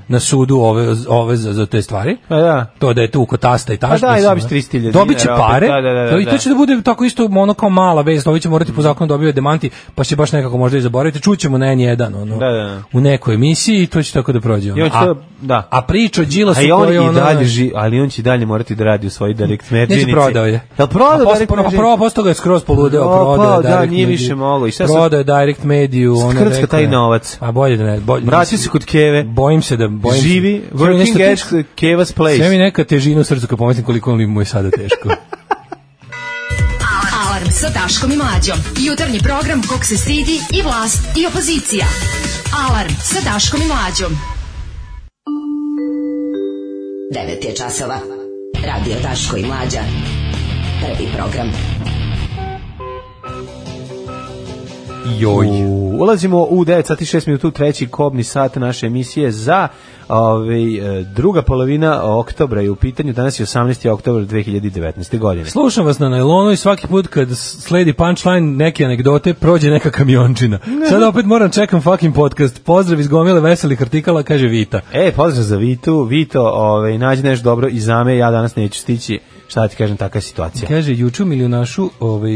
F: na sudu ove, ove za, za te stvari.
E: Pa da.
F: To da je tu kod tasta i ta
E: Pa da, i dobiš 300.000
F: Dobit će
E: dinara opet,
F: pare,
E: da, da, da,
F: to- i to
E: da. Mhm.
F: će da bude tako isto ono kao mala vez, dobit će morati po zakonu dobio demanti, pa će baš nekako možda i zaboraviti. Čućemo na N1 ono,
E: Da, da, da.
F: u nekoj emisiji i to će tako da prođe. ono.
E: I on će
F: a,
E: to- da.
F: a priča o Đilasu
E: A Pa i on
F: koji
E: i
F: ono,
E: dalje ži, ali on će i dalje morati da radi u svojoj direct
F: Neće
E: merđinici.
F: prodao je.
E: Jel
F: A
E: prodao
F: posle-
E: direct
F: pa
E: merđinici?
F: Prvo postao ga je skroz poludeo,
E: Propao,
F: prodao je
E: da,
F: direct
E: nije
F: mediju.
E: više moglo. I šta sad?
F: Prodao je direct mediju. ono,
E: Skrcka
F: rekao
E: taj
F: je,
E: novac.
F: A bolje da ne. bolje-
E: Vrati se kod Keve.
F: Bojim se da... Bojim se-
E: Živi,
F: Sve mi nešto
E: working at
F: teško-
E: Keva's place.
F: Sve mi neka težina u srcu kad pomislim koliko li mu je sada teško.
D: Alarm sa Daškom i Mlađom. Jutarnji program kog se stidi i vlast i opozicija. Alarm sa Daškom i Mlađom. 9 je časova. Radio Daško i Mlađa. Prvi program.
F: Joj.
E: U- Ulazimo u 9 sati 6 minuta, u treći kobni sat naše emisije za ovaj, e, druga polovina oktobra je u pitanju. Danas je 18. oktobar 2019. godine.
F: Slušam vas na najlonu i svaki put kad s- sledi punchline neke anegdote, prođe neka kamiončina. Sada opet moram čekam fucking podcast. Pozdrav iz gomile veselih artikala, kaže Vita.
E: E, pozdrav za Vitu. Vito, ovaj, nađi nešto dobro i za me, ja danas neću stići. Šta da ti kažem, takva je situacija.
F: Kaže, juču milionašu, ovaj,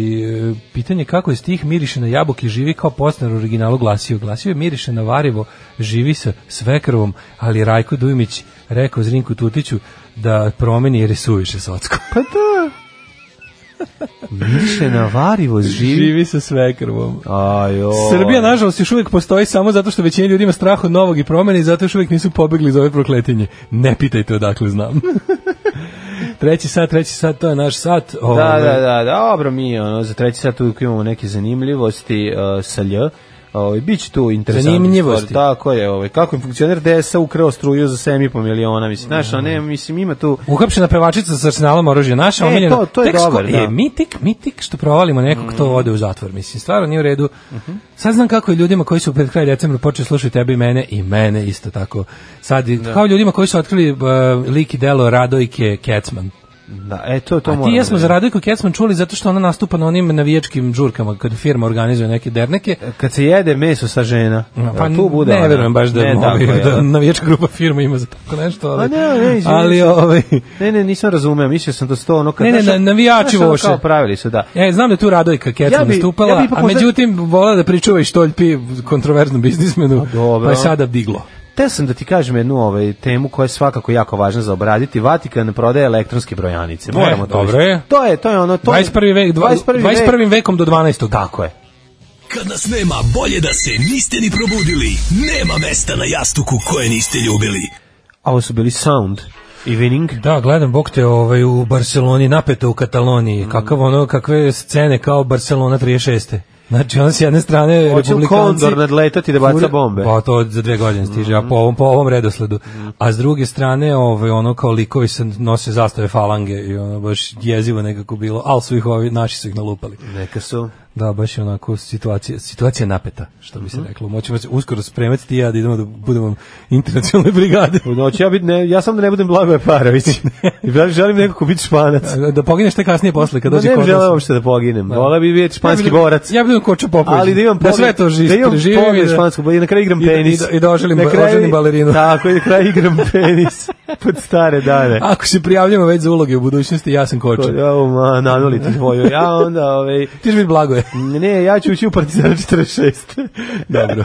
F: e, pitanje kako je stih miriše na jabuke živi kao postnar u originalu glasio. Glasio je miriše na varivo, živi sa svekrovom, ali Rajko Dujmić rekao Zrinku Tutiću da promeni jer je suviše socko.
E: Pa da. Miše na
F: [LAUGHS]
E: varivo živi.
F: sa svekrovom.
E: Ajo.
F: Srbija nažalost još uvijek postoji samo zato što većina ljudi ima strah od novog i promene i zato još uvijek nisu pobegli iz ove prokletinje. Ne pitajte odakle znam.
E: [LAUGHS]
F: treći sat, treći sat, to je naš sat.
E: Da,
F: Ovaj,
E: da, da, dobro, mi ono, za treći sat uvijek imamo neke zanimljivosti uh, sa Lj. Ovaj biće tu interesantno.
F: Zanimljivosti.
E: Tako je, ovaj kako im funkcioner DSA ukrao struju za 7,5 miliona, mislim. Znaš, a ne,
F: Mhm.
E: mislim ima tu
F: Uhapšena pevačica sa arsenalom oružja naša,
E: E,
F: omiljena.
E: to- to je
F: Tek sko-
E: dobar, da. Mm.
F: e, mi tek, mi tek što provalimo nekog, to ode u zatvor, mislim, stvarno nije u redu.
E: Mhm.
F: Sad znam kako je ljudima koji su pred kraj decembra počeli slušati tebe i mene, i mene eh, isto tako. Sad, je- kao ljudima koji su otkrili uh, lik i delo Radojke Kecman.
E: Da, e, to, to
F: A ti i ja smo za Radojku Kecman čuli zato što ona nastupa na onim navijačkim džurkama kad firma organizuje neke derneke.
E: Kad se jede meso sa žena,
F: Pa
E: E, tu bude...
F: ne
E: ona.
F: verujem baš da,
E: Ne,
F: ovaj,
E: tako je,
F: [LAUGHS] da
E: da.
F: navijačka grupa firma ima za tako nešto, ali,
E: A ne, ne, izvini
F: ali
E: se.
F: ovaj,
E: Ne, ne, nisam razumeo, mislio sam da sto ono kad...
F: Ne, ne,
E: znaš,
F: na- navijači
E: znaš ono
F: voše.
E: Kao pravili su, da.
F: Ja znam da je tu Radojka Kecman
E: Ja bi-
F: nastupala,
E: ja bi ipak
F: a
E: možda-
F: međutim vola da pričuva i štoljpi kontroverznom biznismenu,
E: dobro.
F: pa je sada diglo.
E: Te sam da ti kažem jednu ovaj, temu koja je svakako jako važna za obraditi. Vatikan prodaje elektronske brojanice. Moramo
F: E,
E: to
F: dobro
E: više.
F: je.
E: To je, to je ono... To je-
F: 21. vek,
E: 21. vek.
F: 21. vekom do 12.
E: Tako je.
L: Kad nas nema, bolje da se niste ni probudili. Nema mesta na jastuku koje niste ljubili.
E: A Ovo su bili Sound i Winning.
F: Da, gledam, bok te ovaj, u Barceloni, napeto u Kataloniji, kakav ono, kakve scene kao Barcelona 36. Znači, ono s jedne strane
E: Hoće li
F: republikanci...
E: Kondor nadletati da baca
F: Fure-
E: bombe?
F: Pa to za dve godine stiže, a po ovom, po ovom redosledu. A s druge strane, ovaj, ono kao likovi se nose zastave falange i ono baš jezivo nekako bilo, ali su ih ovi, naši su ih nalupali.
E: Neka su...
F: Da, baš je onako situacija, situacija napeta, što bi se reklo. Moćemo se uskoro spremati ti i ja da idemo da budemo [LAUGHS] internacionalne brigade.
E: U noći ja, bit ne, ja sam da ne budem Blagoje
F: [LAUGHS]
E: Parović. I ja želim nekako biti španac.
F: Da, da pogineš te kasnije posle, kad
E: Ma
F: dođe
E: ne bi
F: kod nas.
E: želeo uopšte da poginem. Vola bi biti španski
F: Ja bi-
E: borac.
F: Ja bih koča popović.
E: Ali da imam
F: da sve to živi,
E: da imam pogled španskog, i na kraju igram penis.
F: I, da, i da oželim,
E: Na kraju-
F: oželim balerinu.
E: [LAUGHS] Tako, i na kraju
F: [LAUGHS]
E: igram penis. Pod stare dane.
F: Ako se prijavljamo već za uloge u budućnosti, ja sam koča.
E: Ko- Ja, ma, nanuli ti tvoju. Ja onda, ovaj...
F: Ti ćeš biti blago
E: [LAUGHS]
F: je.
E: Ne, ja ću ući u Partizan 46.
F: [LAUGHS] Dobro.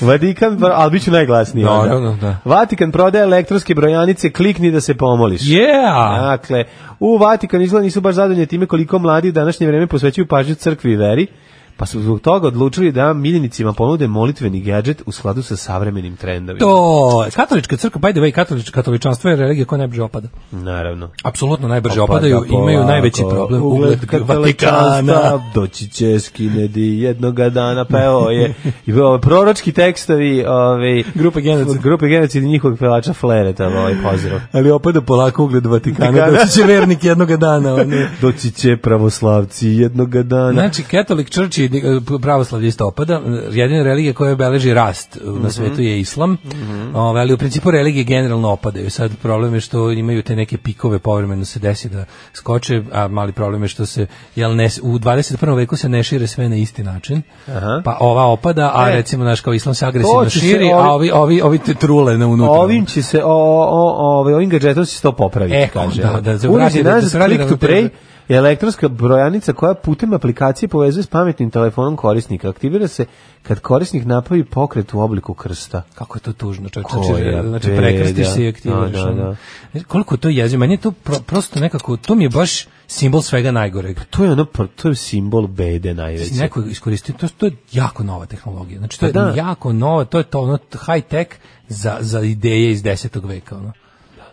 E: Vatikan, ali bit ću najglasniji. onda.
F: Naravno, da.
E: Vatikan prodaje elektronske brojanice, klikni da se pomoliš.
F: Yeah!
E: Dakle, u Vatikan izgleda nisu baš zadovoljni time koliko mladi u današnje vreme posvećuju pažnju crkvi i veri, pa su zbog toga odlučili da miljenicima ponude molitveni gadget u skladu sa savremenim trendovima.
F: To, katolička crkva, by the way, katolič, katoličanstvo je religija koja najbrže opada.
E: Naravno.
F: Apsolutno najbrže
E: Opada
F: opadaju, pa imaju
E: polako.
F: najveći problem. Ugled Vatikana.
E: katoličanstva, Doći će skinedi jednoga dana, pa evo je. I ovo, proročki tekstovi ove,
F: Grupe genocid.
E: grupe genocid i njihovog pevača Flereta, ovaj pozdrav.
F: Ali opada polako ugled Vatikana,
E: [LAUGHS] Vatikana.
F: da će vernik jednoga dana. Ono.
E: Doći će pravoslavci jednoga dana.
F: Znači, Catholic Church i eh, pravoslavlje isto opada. Jedina religija koja beleži rast eh,
E: Mhm.
F: na svetu je islam. Ove, ali u principu religije generalno opadaju. Sad problem je što imaju te neke pikove povremeno se desi da skoče, a mali problem je što se jel ne, u 21. veku se ne šire sve na isti način.
E: Aha.
F: Pa ova opada, a
E: E.
F: recimo naš kao islam se agresivno
E: To će se
F: širi, a
E: ovi-
F: ovi, ovi, ovi te trule na unutra.
E: Ovim će se o, o, o, ovim gadgetom će se to popraviti,
F: E,
E: kaže.
F: da, da, da,
E: Unosi
F: da, da,
E: nazad
F: da, da,
E: click
F: da, da, da,
E: to pray
F: da.
E: je elektronska brojanica koja putem aplikacije povezuje s pametnim telefonom korisnika. Aktivira se kad korisnik napravi pokret u obliku krsta.
F: Kako je to tužno, čovječe.
E: Koja
F: Znači, znači
E: beda.
F: prekrstiš se i aktiviraš.
E: Da, da, da.
F: ono. Znaš, Koliko je to jezio, meni je to pro- prosto nekako, to mi je baš simbol svega najgoreg.
E: To je ono, pr- to je simbol bede najveći.
F: Neko je iskoristio, to, to je jako nova tehnologija. Znači, to je
E: Pa da.
F: jako nova, to je to ono high tech za, za ideje iz 10. veka. Ono.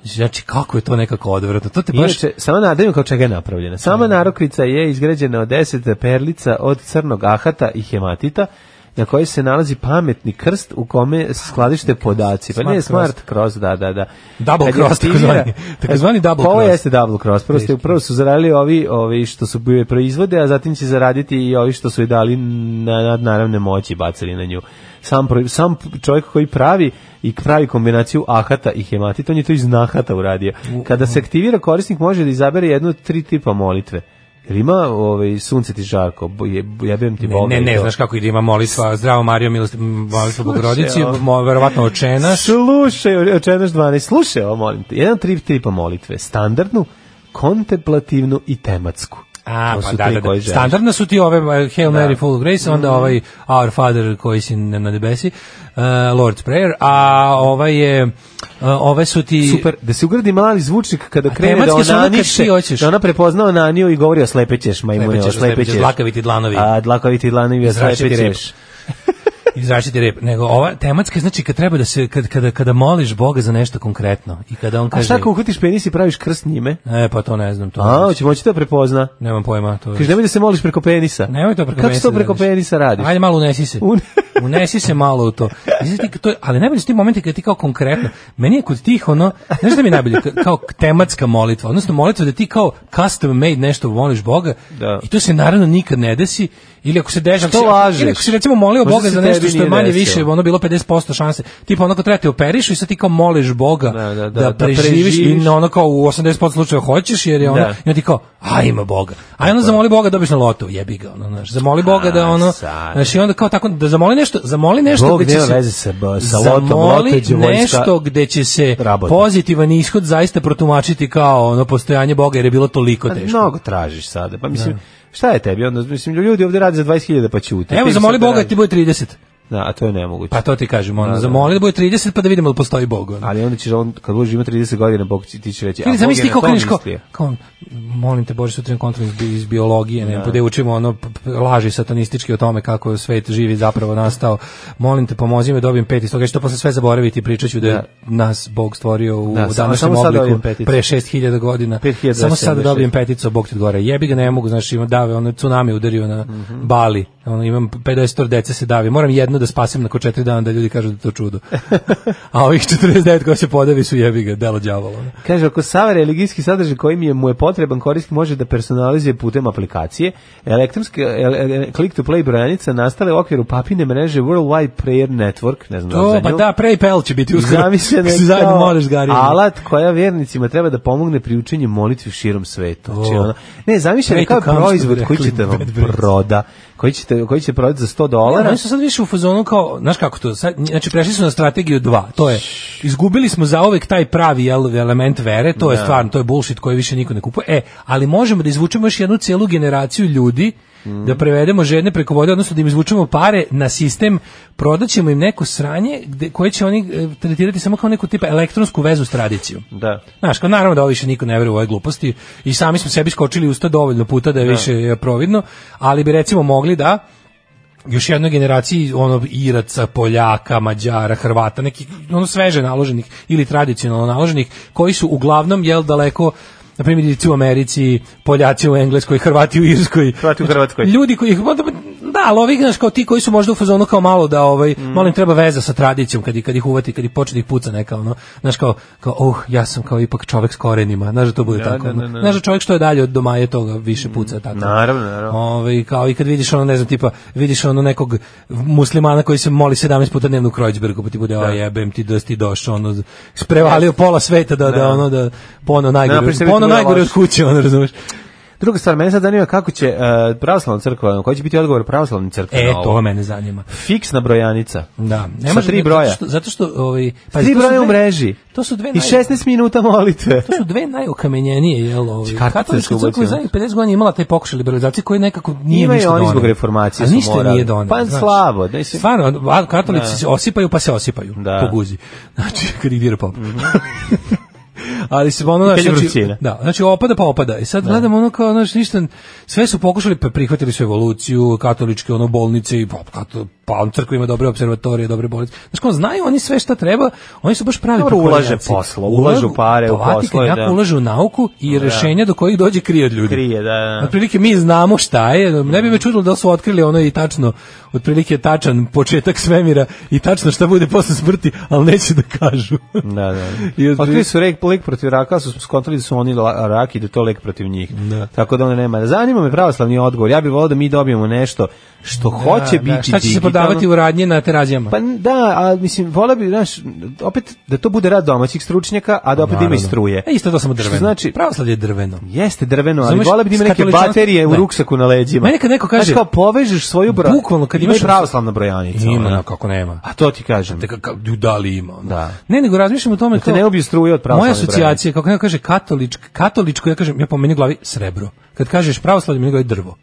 F: Znači, kako je to nekako odvratno. To te baš...
E: Inače, sama nadajmo kao čega je napravljena. Sama narukvica je izgrađena od 10 perlica od crnog ahata i hematita, na kojoj se nalazi pametni krst u kome skladište podaci. Pa
F: Smart
E: ne,
F: cross.
E: smart cross, da, da, da.
F: Double
E: Kad je
F: cross,
E: aktivira-
F: takozvani. Takozvani double
E: Pa Ovo
F: cross.
E: jeste double cross. Prvo, ste,
F: Teški.
E: prvo su zaradili ovi, ovi što su bile proizvode, a zatim će zaraditi i ovi što su i dali na, na naravne moći, bacili na nju. Sam, pro- sam čovjek koji pravi i pravi kombinaciju ahata i hematita, on je to iz nahata uradio. Kada se aktivira, korisnik može da izabere jednu od tri tipa molitve. Jer ima ovaj, sunce ti žarko, bo- je, jebem ti
F: Ne,
E: Boga.
F: ne,
E: i
F: ne,
E: to.
F: znaš kako ide, ima molitva, zdravo Mario, milosti, molitva Bogorodici,
E: ovo.
F: mo, verovatno očena,
E: Slušaj, očenaš 12, slušaj ovo, molim te. Jedan tri tipa molitve, standardnu, kontemplativnu i tematsku.
F: A,
E: To
F: pa
E: su
F: da,
E: tri
F: da, da.
E: koje želiš. Mhm.
F: Standardno su ti ove eh, Hail Mary Full of Grace, onda ovaj Our Father koji si na na nebesi, eh, Lord's Prayer, a ovaj je, eh, ove su ti...
E: Super, da se ugradi mali zvučnik kada krene da
F: tematske su ono kad
E: onaniše,
F: ti hoćeš.
E: da ona prepozna onaniju i govori oslepećeš, majmune,
F: Slepećeš, slepećeš,
E: oslepećeš.
F: dlakaviti dlanovi.
E: A, dlakoviti dlanovi
F: Izrašiti
E: oslepećeš.
F: Izrašiti rep. Nego ova tematska, znači kad treba da se, kad, kada, kada moliš Boga za nešto konkretno i kada on
E: A
F: kaže...
E: šta ako uhvatiš penis i praviš krst njime?
F: E, pa to ne znam, to
E: A,
F: ne znam.
E: hoće moći da prepozna.
F: Nemam pojma. To je-
E: Kaže, nemoj da se moliš preko penisa.
F: Nemoj to preko
E: Kako
F: penisa
E: to
F: da
E: preko
F: radiš.
E: penisa radiš?
F: Ajde malo unesi se.
E: Un-
F: [LAUGHS] Unesi se malo u to. I sad ti- to je- ali najbolji su ti momenti kad ti kao konkretno, meni je kod tih ono, znaš da mi je najbolje, Ka- kao tematska molitva, odnosno molitva da ti kao custom made nešto voliš Boga i to se naravno nikad ne desi, ili ako se deža,
E: Što lažeš?
F: ili ako si recimo molio
E: Možda
F: Boga
E: se
F: za nešto
E: tebi
F: što je
E: nije
F: manje
E: desilo.
F: više, ono bilo 50% šanse, tipa ono kad treba te operišu i sad ti kao moliš Boga da,
E: da, da
F: preživiš i
E: preživiš.
F: na ono kao u 80% slučajeva hoćeš jer je ono,
E: Da.
F: i onda ti kao, a ima Boga. A onda zamoli Boga dobiš na lotu, jebi ga, ono, znaš, zamoli Boga da ono,
E: sad.
F: znaš, i onda kao tako, da zamoli nešto, zamoli nešto
E: Bog
F: gde će
E: nema
F: se,
E: veze sa- sa lotom,
F: zamoli
E: loto je đevoljska
F: nešto gde će se pozitivan ishod zaista protumačiti kao ono postojanje Boga jer je bilo toliko
E: Pa,
F: teško.
E: Mnogo tražiš sada. Pa mislim, šta je tebi? Onda, mislim, ljudi ovdje rade za 20.000 pa ćute.
F: Evo,
E: Ti
F: zamoli
E: sad
F: Boga da
E: radi-
F: ti bude 30.
E: Da, a to je nemoguće.
F: Pa to ti kažem, ono,
E: Da, da.
F: zamoli da bude 30 pa da vidimo da postoji Bog. Ono.
E: Ali onda ćeš, on, kad budeš imati 30 godina, Bog će, ti će reći, a
F: Ili
E: Bog
F: zamisli
E: je
F: ti
E: na
F: kao
E: tom
F: kreneš kao,
E: mislio.
F: kao, molim te Bože, sutra imam kontrol iz, bi- iz biologije, ne,
E: Da.
F: pa da učimo ono p- p- laži satanistički o tome kako je svet živi zapravo nastao. Molim te, pomozi me, dobijem pet iz toga, ja ću to posle sve zaboraviti i pričat ću da je
E: Da.
F: nas Bog stvorio u
E: Da, samo-
F: današnjem
E: samo sad
F: obliku
E: dobijem peticu.
F: pre 6000 godina.
E: 5076.
F: Samo sad dobijem peticu, Bog ti odgovara. Jebi ga, ne mogu, znaš, imam dave, ono tsunami udario na
E: Mhm.
F: Bali. Ono, imam 50 dece se davi. Moram jedno da spasim nakon četiri dana da ljudi kažu da je to
E: [LAUGHS]
F: čudo. A ovih 49 koja se podavi su jebi ga, delo đavola. ono.
E: Kaže, ako sav religijski sadržaj koji mi je, mu je potreban korisnik može da personalizuje putem aplikacije, elektronska el- el- click-to-play brojanica nastale u okviru papine mreže Worldwide Prayer Network, ne znam da li za
F: To, pa
E: nju.
F: da, PayPal će biti uskoro.
E: Zamišljena
F: Kako se
E: je
F: zajedno
E: kao
F: moraš gariti.
E: alat koja vjernicima treba da pomogne pri učenju molitvi širom svetu. Znači,
F: O.
E: ono, ne, zamišljena je
F: Pray
E: kao
F: to come, što bi
E: proizvod
F: rekli,
E: koji ćete vam
F: bad breath.
E: proda, koji ćete, koji će prodati za 100 dolara.
F: Oni su sad više u fazonu kao, znaš kako to, sad, znači prešli su na strategiju 2, to je, izgubili smo zaovek taj pravi jel, element vere, to je
E: Da.
F: stvarno, to je bullshit koji više niko ne kupuje, e, ali možemo da izvučemo još jednu cijelu generaciju ljudi,
E: Mm.
F: da prevedemo žedne preko vode, odnosno da im izvučemo pare na sistem, prodat ćemo im neko sranje gde, koje će oni e, tretirati samo kao neku tipa elektronsku vezu s tradicijom.
E: Da.
F: Znaš, kao naravno da ovo više niko ne veruje u ove gluposti i sami smo sebi skočili u usta dovoljno puta da je
E: Da.
F: više e, providno, ali bi recimo mogli da još jednoj generaciji ono Iraca, Poljaka, Mađara, Hrvata, neki ono sveže naloženih ili tradicionalno naloženih koji su uglavnom jel daleko na primjer Irci u Americi, Poljaci u Engleskoj, Hrvati u Irskoj.
E: Hrvati u Hrvatskoj.
F: Ljudi koji da, ali ovi znaš kao ti koji su možda u fazonu kao malo da ovaj
E: Mm.
F: malo im treba veza sa tradicijom kad ih kad ih uvati, kad ih počne da ih puca neka ono. Znaš kao kao oh, ja sam kao ipak čovjek s korenima. Znaš da to bude
E: Da,
F: tako.
E: da,
F: ono.
E: da, da.
F: Znaš da čovjek što je dalje od domaje toga više puca tako.
E: Naravno, naravno.
F: Ovaj kao i kad vidiš ono ne znam tipa vidiš ono nekog muslimana koji se moli 17 puta dnevno u Kreuzbergu pa ti bude da. jebem ti da si ti došao ono sprevalio pola sveta da da
E: Da.
F: ono da pono najgore
E: Napravi sebi
F: pono
E: tu
F: najgore od
E: loš.
F: kuće ono razumeš
E: Druga stvar, mene sad zanima kako će uh, pravoslavna crkva, koji će biti odgovor pravoslavne crkve
F: e
E: na ovo?
F: to mene zanima
E: Fiksna brojanica.
F: da
E: Sa tri broja.
F: zato što, zato što ovaj
E: Pa
F: to
E: Tri
F: su
E: broja u
F: dve-
E: mreži.
F: to su dve
E: I
F: naj,
E: 16 minuta molitve.
F: to su dve najokamenjenije jel ovaj
E: Znači, Kartice su
F: katolička
E: ubačene.
F: crkva je zadnjih 50 godina imala taj pokušaj liberalizacije koji nekako nije
E: Imaju
F: ništa
E: oni
F: doneo.
E: zbog reformacije
F: A
E: su
F: ništa
E: morali.
F: nije doneo
E: Pa
F: znaš.
E: slabo, da se-
F: stvarno a katolici
E: Da.
F: se osipaju pa se osipaju
E: Da. Mhm.
F: po guzi [LAUGHS] znači karikira pop [LAUGHS] ali se ono
E: I kad je
F: znači,
E: vrućina.
F: da, znači opada pa opada i sad gledamo ono kao znači ništa sve su pokušali pa prihvatili su evoluciju katoličke ono bolnice i pa kato, pa on crkva ima dobre observatorije dobre bolnice znači kao znaju oni sve šta treba oni su baš pravi
E: Dobro, ulaže
F: pokvarnjaci.
E: posla, ulažu pare u
F: Vatikan
E: poslove,
F: jako
E: da.
F: ulaže u nauku i rješenja do kojih dođe [LAUGHS] krije od ljudi
E: Krije, da, da.
F: Otprilike mi znamo šta je, ne bi me čudilo da li su otkrili ono i tačno, otprilike tačan početak svemira i tačno šta bude posle smrti, ali neće da
E: [LAUGHS]
F: kažu.
E: Da, da.
F: I otprilike-
E: Otkrili su lek, lek protiv raka, ali su skontali da su oni la- rak i da je to lek protiv njih.
F: Da.
E: Tako da ono nema. Zanima me pravoslavni odgovor. Ja bih volao da mi dobijemo nešto što hoće
F: Da,
E: biti
F: da, Šta će se
E: digitalno.
F: prodavati u radnje na terazijama?
E: Pa da, a mislim, volao bih, znaš, opet da to bude rad domaćih stručnjaka, a da opet ima i
F: Naravno.
E: struje.
F: E, isto to samo
E: Što
F: drveno.
E: znači-
F: Pravoslavlje je drveno.
E: Jeste drveno, ali
F: Razumeš,
E: volao bih da ima neke
F: katoličanstvo-
E: baterije u
F: Ne.
E: ruksaku na leđima.
F: Meni kad neko kaže-
E: Znaš, kao povežeš svoju bra...
F: Bukvalno, kad
E: Ima i
F: imaš-
E: pravoslavna brojanica.
F: Ima,
E: ono.
F: no, kako nema.
E: A to ti kažem.
F: Te ka- ka- da li ima? ono?
E: Da.
F: Ne, nego razmišljam o tome
E: Da te ne ubiju struje od
F: Moja
E: pravoslavne
F: asocijacija, kako neko kaže katoličk, katoličko, ja kažem, ja po meni u glavi srebro. Kad kažeš pravoslavlje, meni u glavi drvo.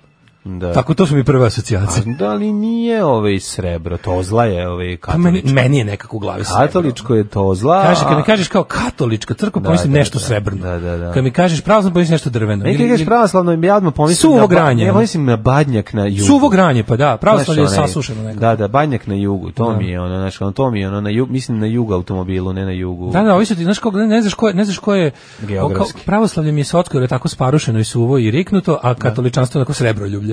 E: Da.
F: Tako to su mi prve
E: A
F: asocijacije.
E: da li nije ovaj srebro, tozla je ovaj
F: Pa meni,
E: katoličko.
F: meni je nekako u glavi srebro.
E: Katoličko je tozla.
F: Kaže, kad
E: a-
F: mi kažeš kao katolička crkva,
E: Da,
F: pomislim
E: da,
F: nešto
E: da.
F: srebrno.
E: Da, da, da.
F: Kad mi kažeš pravoslavno, pomislim nešto drveno.
E: Neki
F: Ili-
E: kažeš
F: ili-
E: pravoslavno, ja odmah pomislim
F: Suvo
E: na, ba...
F: granje,
E: ja
F: ono.
E: pomislim na badnjak na jugu.
F: Suvo granje, pa da, pravoslavlje je
E: Znaš, ono, onaj-
F: sasušeno nekako.
E: Da, da, badnjak na jugu, to mi je ono, znaš, ono, to mi je ono, na jug, mislim na jugu automobilu, ne na jugu.
F: Da, da, ovisi ti, znaš, ko, ne, ne znaš ko je, ne znaš ko je,
E: Geografski.
F: o, kao- pravoslavlje mi je sotsko, jer je tako sparušeno i suvo i riknuto, a katoličanstvo je onako srebroljublje. bolje.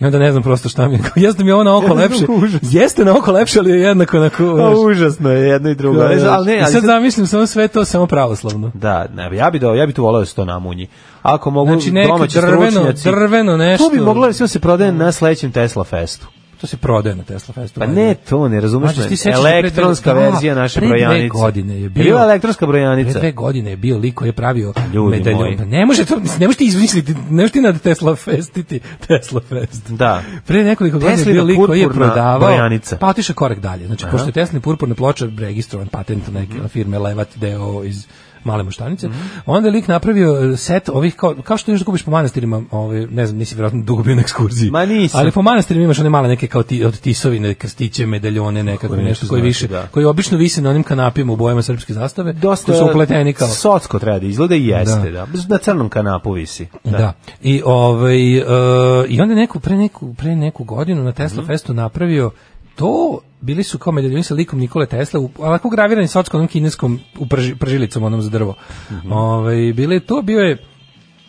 F: I onda ne znam prosto šta mi je. [LAUGHS] Jeste mi ovo
E: [LAUGHS]
F: na oko lepše. Jeste na oko lepše, ali je jednako onako...
E: Pa
F: znaš.
E: užasno je jedno i drugo.
F: Da,
E: Ali,
F: da.
E: ali ne,
F: I
E: ali
F: sad
E: sad-
F: zamislim samo sve to samo pravoslavno.
E: Da, ne, ja bi dao, ja bi tu voleo da se to namunji. Ako mogu
F: Znači, neko
E: domaći
F: drveno-
E: stručnjaci-
F: drveno nešto.
E: To bi moglo recimo se prodaje na sledećem Tesla Festu.
F: To se prodaje na Tesla Festu.
E: Pa ne, to ne razumeš.
F: Znači,
E: Znači,
F: ti sećaš da pre
E: elektronska
F: dve- da,
E: verzija naše
F: pre dve
E: brojanice.
F: godine je bio-
E: bila elektronska brojanica.
F: Pre dve godine je bio lik koji je pravio
E: Ljudi
F: medaljon.
E: moji.
F: Pa Ne može to, ne možeš ti izmisliti, ne možeš ti na Tesla festiti Tesla fest.
E: Da.
F: Pre nekoliko godina je
E: Teslina
F: bio lik koji je
E: purpurna
F: prodavao.
E: brojanica.
F: Pa otišao korak dalje. Znači,
E: Aha. Mhm.
F: pošto je Tesla purpurna ploča registrovan patent na neke firme Levat deo iz male moštanice. Onda je lik napravio eh, set ovih kao, kao što nešto kupiš po manastirima, ovaj ne znam, nisi vjerojatno dugo bio na ekskurziji.
E: Ma nisam.
F: Ali po manastirima imaš one male neke kao ti, od tisovine, krstiće, medaljone, nekako
E: Koje
F: nešto
E: nešto
F: koji
E: znači,
F: više,
E: da.
F: koji obično vise na onim kanapima u bojama srpske zastave,
E: Dosta
F: koji su upleteni kao.
E: Socko treba da izgleda i jeste,
F: Da.
E: da. Na crnom kanapu visi.
F: Da. I ovaj e, i onda je neku pre neku pre neku godinu na Tesla festu napravio to bili su kao medaljoni sa likom Nikole Tesla, u- onako gravirani sa onom kineskom u prži- pržilicom onom za drvo. Ovaj bili to bio je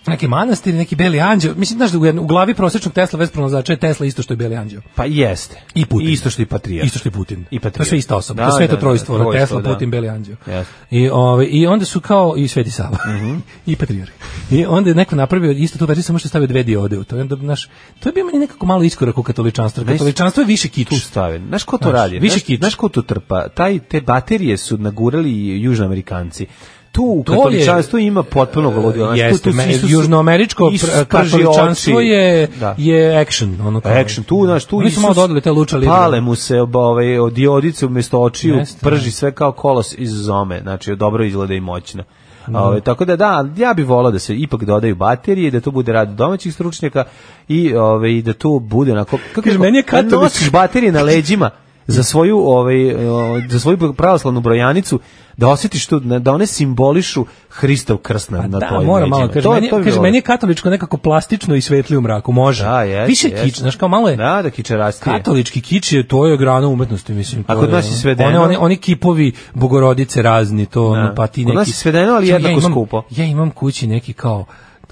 F: neki manastir, neki beli anđeo. Mislim, znaš, da u jedno- u glavi prosječnog Tesla vez pronalazača je Tesla isto što je beli anđeo.
E: Pa jeste.
F: I Putin.
E: Isto što i Patrijarh.
F: Isto što i Putin.
E: I Patrijarh.
F: To je sve ista osoba.
E: Da,
F: to je sve
E: da,
F: to
E: da,
F: trojstvo, ono,
E: trojstvo,
F: Tesla,
E: da.
F: Putin, Beli Anđeo.
E: Jeste. Mhm.
F: I, ovaj, I onda su kao i Sveti Sava. [LAUGHS] I Patrijarh. I onda je neko napravio isto tu verziju, samo što je stavio dve diode u to. I onda, znaš, to je bio meni nekako malo iskorak u katoličanstvu.
E: Znaš,
F: Katoličanstvo je više kič.
E: Tu stave. Znaš ko to
F: Znaš,
E: radi?
F: više
E: Znaš-
F: kič.
E: Znaš ko to trpa? Taj, te baterije su nagurali južnoamerikanci. Tu u
F: To je-
E: katoličanstvu ima potpuno golodilo. Znaš, tu-
F: Jeste,
E: tu
F: me-
E: svi su-
F: južnoameričko
E: Isus
F: pr-
E: prži
F: katoličanstvo
E: oči.
F: je,
E: Da.
F: je action. Ono kao,
E: Pa Action, tu, znaš, tu
F: Oni su malo dodali te luča libra.
E: Pale mu se ob, ovaj, od diodice umjesto očiju,
F: Jeste,
E: prži
F: da.
E: sve kao kolos iz zome, znači dobro izgleda i moćno. Ovaj, tako da da, ja bih volao da se ipak dodaju baterije, da to bude rad domaćih stručnjaka i ovaj, i da to bude onako... Kako
F: Kaže, meni je katolik-
E: nosiš baterije na leđima za svoju ovaj o, za svoju pravoslavnu brojanicu da osjetiš tu da one simbolišu Hristov krst na, na
F: Pa Da,
E: tvojim
F: mora malo.
E: leđima.
F: Kaže,
E: To-
F: meni,
E: to bi
F: kaže,
E: volao.
F: meni je katoličko nekako plastično i svetli u mraku. Može.
E: Da, jeste,
F: više
E: jeste.
F: kič, znaš, kao malo je...
E: Da, da kičerastije.
F: Katolički kič je to je grana umetnosti, mislim. to ono.
E: A kod nas je svedeno?
F: One, one, oni kipovi bogorodice razni, to ono, pa ti
E: Kod
F: neki...
E: nas je svedeno, ali
F: Čak,
E: jednako
F: imam-
E: skupo.
F: Ja imam kući neki kao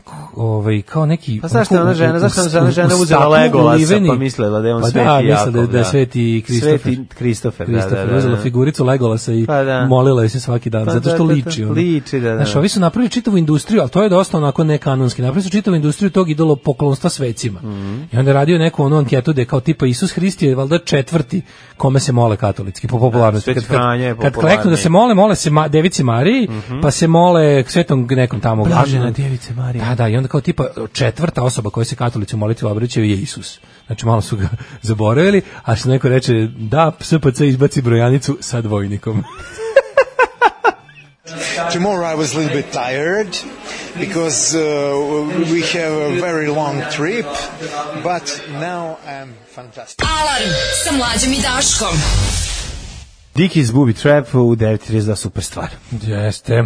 F: k- ovaj kao neki
E: Pa zašto
F: onako
E: je ona
F: u-
E: žena-
F: u-
E: zašto je ona
F: u-
E: žena-
F: u
E: žena uzela
F: staklu
E: Legolasa,
F: uliveni?
E: pa mislila da je on
F: Pa
E: Sveti
F: da, mislila da, je-
E: Jakov,
F: da je
E: da.
F: sveti Kristofer.
E: Sveti Kristofer, da, da,
F: Kristofer,
E: da, da.
F: uzela figuricu Legolasa i
E: Pa da.
F: molila je se svaki dan
E: Pa
F: zato
E: da,
F: što
E: da, da,
F: liči ono.
E: liči, da, da.
F: Znaš, ovi su napravili čitavu industriju, ali to je dosta onako nekanonski. Napravili su čitavu industriju tog idolo poklonstva svecima. I onda je radio neku onu anketu gde je kao tipa Isus Hrist je valjda četvrti kome se mole katolički po popularnosti.
E: Sveti
F: Kad, kad,
E: Franja je
F: kad kleknu da se
E: popularniji.
F: mole, mole se ma, Devici Mariji, pa se mole svetom nekom tamo.
E: Blažena
F: glavnom.
E: Djevice Marija.
F: Da, da, i onda kao tipa e, četvrta osoba koja se katolici u molitvi obraćaju je Isus. Znači malo su ga [LAUGHS] zaboravili, a što neko reče da, SPC izbaci brojanicu sa dvojnikom.
M: Tomorrow I was a little bit tired because uh, we have a very long trip, but now I'm fantastic.
D: Alarm sa mlađom i Daškom.
E: Dickies Booby Trap u 9.32 super stvar. [LAUGHS]
F: Jeste.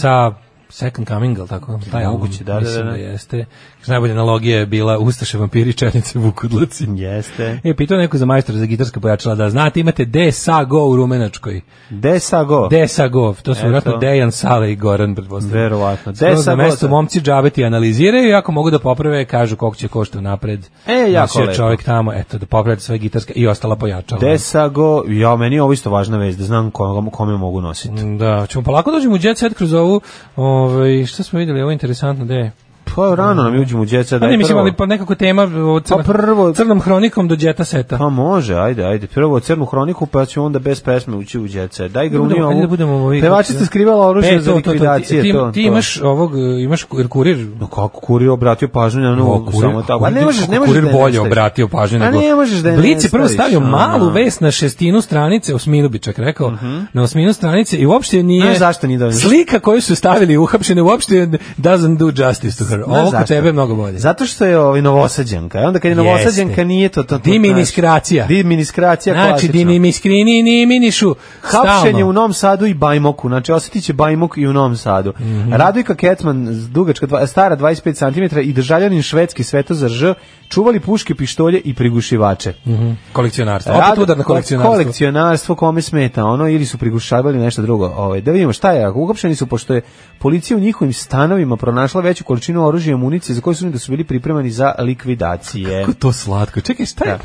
F: Sa Second Coming, ali tako? Taj album,
E: Mhm. Moguće, da, da,
F: mislim
E: da, da.
F: jeste. Kaže, najbolja analogija je bila Ustaše, vampiri, četnice, vukudlaci.
E: Jeste.
F: E, pitao je neko za majstora za gitarska pojačala da znate, imate Desago u Rumenačkoj.
E: Desago.
F: Desagov, to su
E: Eto.
F: vjerojatno Dejan, Sale i Goran, pretpostavljam.
E: Verovatno.
F: Skroz na
E: Desagov
F: mesto
E: sam.
F: momci džabeti analiziraju i ako mogu da poprave, kažu koliko će košta napred.
E: E, jako lepo.
F: čovjek tamo, eto, da poprave sve gitarske i ostala pojačala.
E: Desago, ja, meni je ovo isto važna vez, da znam kome, kome mogu nositi.
F: Da, ćemo polako dođemo u Jet Set kroz ovu, ovaj, šta smo vidjeli, ovo je interesantno, gde je?
E: Pa rano nam uđemo u djeca,
F: Pa
E: daj
F: ne, mislim,
E: prvo.
F: ali pa nekako tema o crna,
E: Pa prvo-
F: crnom hronikom do Jeta Seta.
E: Pa može, ajde, ajde. Prvo crnu hroniku, pa ćemo onda bez pesme ući u djeca. Daj gruni
F: Budemo- ajde da
E: ovu.
F: budemo ovi-
E: Pevačica skrivala oružje
F: E,
E: za
F: to, to, to, ti-
E: likvidacije.
F: Ti,
E: to,
F: ti
E: to.
F: imaš ovog, e, imaš ku- kurir
E: No kako kurir obratio pažnju na
F: O,
E: novu
F: kurir- pa
E: samo tako. A
F: kurir-
E: ne možeš, ne možeš
F: kurir
E: da je ne
F: bolje
E: staviš.
F: obratio pažnju
E: A
F: nego.
E: ne možeš da je ne
F: Blic je prvo
E: staviš,
F: stavio
E: ono.
F: malu vest na šestinu stranice, osminu bi čak rekao, na osminu stranice i uopšte nije
E: Mhm. Znaš zašto nije dovoljno?
F: Slika koju su stavili uhapšene uopšte doesn't do justice to her.
E: Znaš
F: Ovo kod
E: zašto?
F: tebe je mnogo bolje.
E: Zato što je ovaj novosađenka. I onda kad je
F: Jeste.
E: novosađenka nije to to. to
F: Diminikracija.
E: Diminikracija
F: Znači, di ni mi skrini, ni mi nišu.
E: Hapšenje
F: Stalno.
E: u Novom Sadu i Bajmoku, znači osjetit će Bajmok i u Novom Sadu.
F: Mhm.
E: Radojka Kecman, dugačka, dva- stara 25 cm i državljanin švedski Svetozar Ž, čuvali puške, pištolje i prigušivače.
F: Mhm. Kolekcionarstvo. Opet
E: Rado-
F: udar na kolekcionarstvo.
E: Kolekcionarstvo kome smeta ono ili su prigušavali nešto drugo. Ovaj da vidimo šta je. Uhapšeni su pošto je policija u njihovim stanovima pronašla veću količinu imala oružje i municije za koje su oni da su bili pripremani za likvidacije. Kako
F: to slatko. Čekaj, šta je?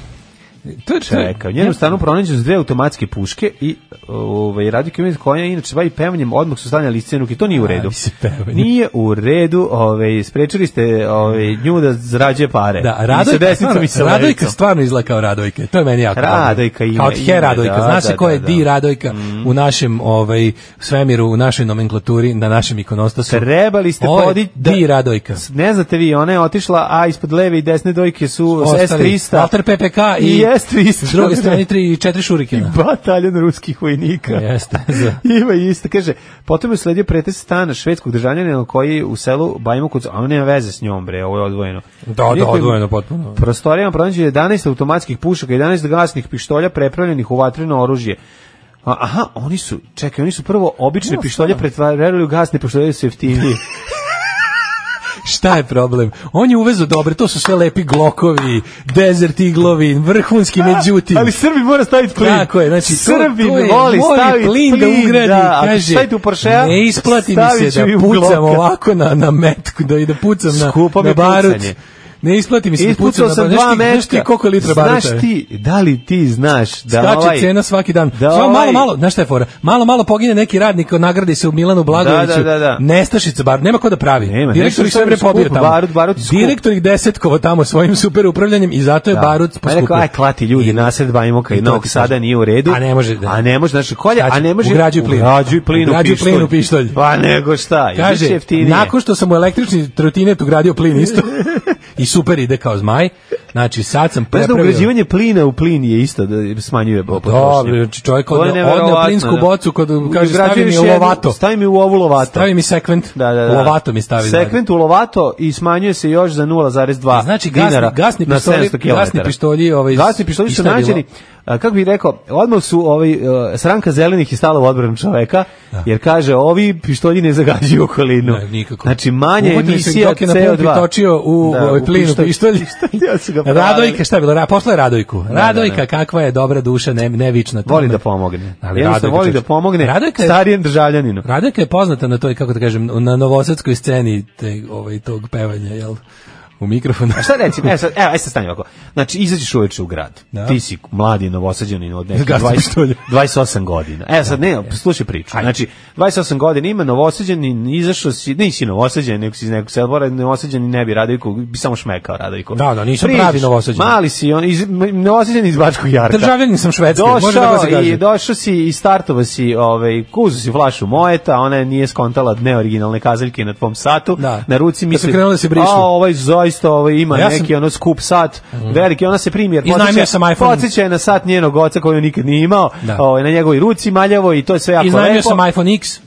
F: To je
E: Čekaj, u njenom stanu pronađene su dve automatske puške i ovaj radio kemiz koja inače se bavi pevanjem, odmah su stavljali scenu i to nije u redu. Nije u redu, ovaj sprečili ste ovaj nju da zarađuje pare.
F: Da,
E: I
F: Radojka,
E: sa desnicom
F: stvarno,
E: i sa
F: Radojka
E: levicom.
F: stvarno izgleda kao Radojka. To je meni jako drago.
E: Radojka ime,
F: Kao od
E: ime,
F: He Radojka.
E: da,
F: Zna se
E: da,
F: ko je
E: da, Mm.
F: Di
E: da.
F: Radojka u našem ovaj, svemiru, u našoj nomenklaturi, na našem ikonostasu.
E: Trebali ste
F: Ovo je
E: podići da-
F: Di Radojka.
E: Ne znate vi, ona je otišla, a ispod leve i desne dojke su
F: Ostali
E: S300.
F: Walter PPK
E: [LAUGHS]
F: i,
E: I S300.
F: s druge
E: [LAUGHS]
F: strane tri, četiri šurikina.
E: bataljon ruskih vojnika. [LAUGHS]
F: Jeste. za-
E: Ima isto, kaže, potom je sledio pretes stana švedskog državljanina koji u selu Bajmukuc, a on nema veze s njom, bre, ovo je odvojeno.
F: Da, da,
E: Njihovim
F: odvojeno potpuno.
E: Prostorijama pronađe 11 automatskih pušaka, 11 gasnih pištolja prepravljenih u vatreno oružje. A, aha, oni su, čekaj, oni su prvo obične
F: No,
E: pištolje
F: stvarno.
E: pretvarali u gasne pištolje jer su jeftiniji.
F: Šta je problem? On je uvezo dobre, to su sve lepi glokovi, desert iglovi, vrhunski međutim.
E: [LAUGHS] Ali Srbi mora staviti plin.
F: Tako je, znači to-
E: Srbi
F: to je,
E: voli
F: mora
E: staviti
F: plin, da
E: plin,
F: ugradi,
E: da, ako
F: kaže.
E: stavite u Porschea,
F: ne isplati mi
E: stavit ću
F: se
E: i
F: da
E: u
F: pucam
E: Glocka."
F: ovako na na metku, da i da pucam na
E: Skupo mi
F: na
E: je
F: barut.
E: pucanje.
F: Ne isplati mi se da pucam
E: Ispucao
F: na barut.
E: sam
F: Znaš
E: dva
F: ti-
E: metka.
F: Znaš ti koliko je litra baruta? je?
E: Znaš ti, da li ti znaš da
F: Skače
E: ovaj...
F: cena svaki dan.
E: da
F: Samo malo,
E: ovaj-
F: malo, znaš šta je fora? Malo, malo pogine neki radnik, nagradi se u Milanu Blagoviću.
E: Da, da, da, da.
F: Nestašica bar, nema ko da pravi.
E: Nema,
F: Direktor
E: nešto
F: ih sve vreme
E: što je
F: pobije
E: skup,
F: tamo.
E: barut, barut je skup.
F: Direktor ih desetkova tamo svojim super upravljanjem i zato je
E: Da.
F: barut
E: Pa je rekao,
F: poskupio.
E: aj klati ljudi, nasred Bajmoka i
F: I to
E: Novog
F: ti
E: Sada
F: kažem.
E: nije u redu.
F: A ne može da-
E: A ne može, znači kolje, a ne može...
F: Ugrađuj plin.
E: Ugrađuj plin u
F: Ugrađuj plin u pištolj.
E: Pa nego šta,
F: Kaže,
E: Kaže, jeftinije.
F: nakon što sam u električni trotinet ugradio plin isto [LAUGHS] i super ide kao zmaj, znači sad sam
E: Znaš da
F: prepravio...
E: ugrađivanje plina u plin je isto da smanjuje potrošnju.
F: Dobro, znači čovjek
E: To je
F: odne, odne
E: neverovatno,
F: plinsku
E: da.
F: bocu kod kaže stavi
E: Ugrađuješ
F: mi u
E: jednu-
F: lovato.
E: Stavi mi u ovu lovato.
F: Stavi mi sekvent.
E: Da, da, da.
F: Lovato mi stavi. znači.
E: Sekvent u lovato i smanjuje se još za 0,2
F: Znači, gasni-
E: dinara
F: gasni
E: na
F: pištolji-
E: 700 km.
F: gasni pištolji, ovaj,
E: gasni pištolji
F: i
E: su
F: šta je bilo?
E: nađeni, a, kako bih rekao, odmah su ovaj, e, sranka zelenih i stala u odbranu čoveka, jer kaže, ovi pištolji ne zagađuju okolinu.
F: Ne, nikako.
E: Znači, manje
F: Uhvatili su ih
E: emisija
F: dok je na
E: CO2.
F: pumpi točio u,
E: Da,
F: ovaj, plin u
E: pištolj. [LAUGHS]
F: pištolj.
E: Pištolj, ja
F: [LAUGHS]
E: su ga pravili.
F: Radojka, šta je bilo? Ra, posla je Radojku.
E: da,
F: Radojka,
E: da.
F: kakva je dobra duša, ne, nevična.
E: Voli
F: tome.
E: da pomogne.
F: Ali
E: Jednostavno
F: Radojka,
E: voli
F: čoveče.
E: da pomogne
F: Radojka je-
E: starijem državljaninu.
F: Radojka je poznata na toj, kako da kažem, na novosadskoj sceni te, ovaj, tog pevanja, jel? U mikrofonu.
E: A šta recimo, evo sad, evo, aj sad stani ovako. Znači, izađeš uveče u grad.
F: Da.
E: Ti si mladi novosađanin od nekih
F: Gasni
E: 20,
F: pištolj.
E: 28 godina. Evo sad, ne, slušaj priču. Znači, 28 godina ima novosađanin, izašao si, nisi novosađanin, nego si iz nekog selbora, novosađanin ne bi Radojko, bi samo šmekao Radojko.
F: Da, da, nisam
E: Priđeš,
F: pravi Novosađanin.
E: Mali si, on, iz, m- novosađanin iz Bačkog Jarka.
F: Državljanin sam Švedske, može tako da se
E: Došao
F: kaže.
E: i došao si i startovo si, ovaj, kuzu si flašu mojeta, ona je nije skontala neoriginalne kazaljke na tvom satu,
F: Da.
E: na ruci
F: Kad
E: misli,
F: su krenule da se brišu.
E: a ovaj zaista ovaj, ima
F: A ja sam- Mm.
E: neki ono skup sat, veliki, ona se primjer,
F: Iznajmio sam iPhone.
E: podsjeća je na sat njenog oca koju nikad nije imao,
F: Da.
E: ovaj, na njegovoj ruci maljavo i to je sve jako
F: Iznajmio
E: lepo.
F: sam iPhone X.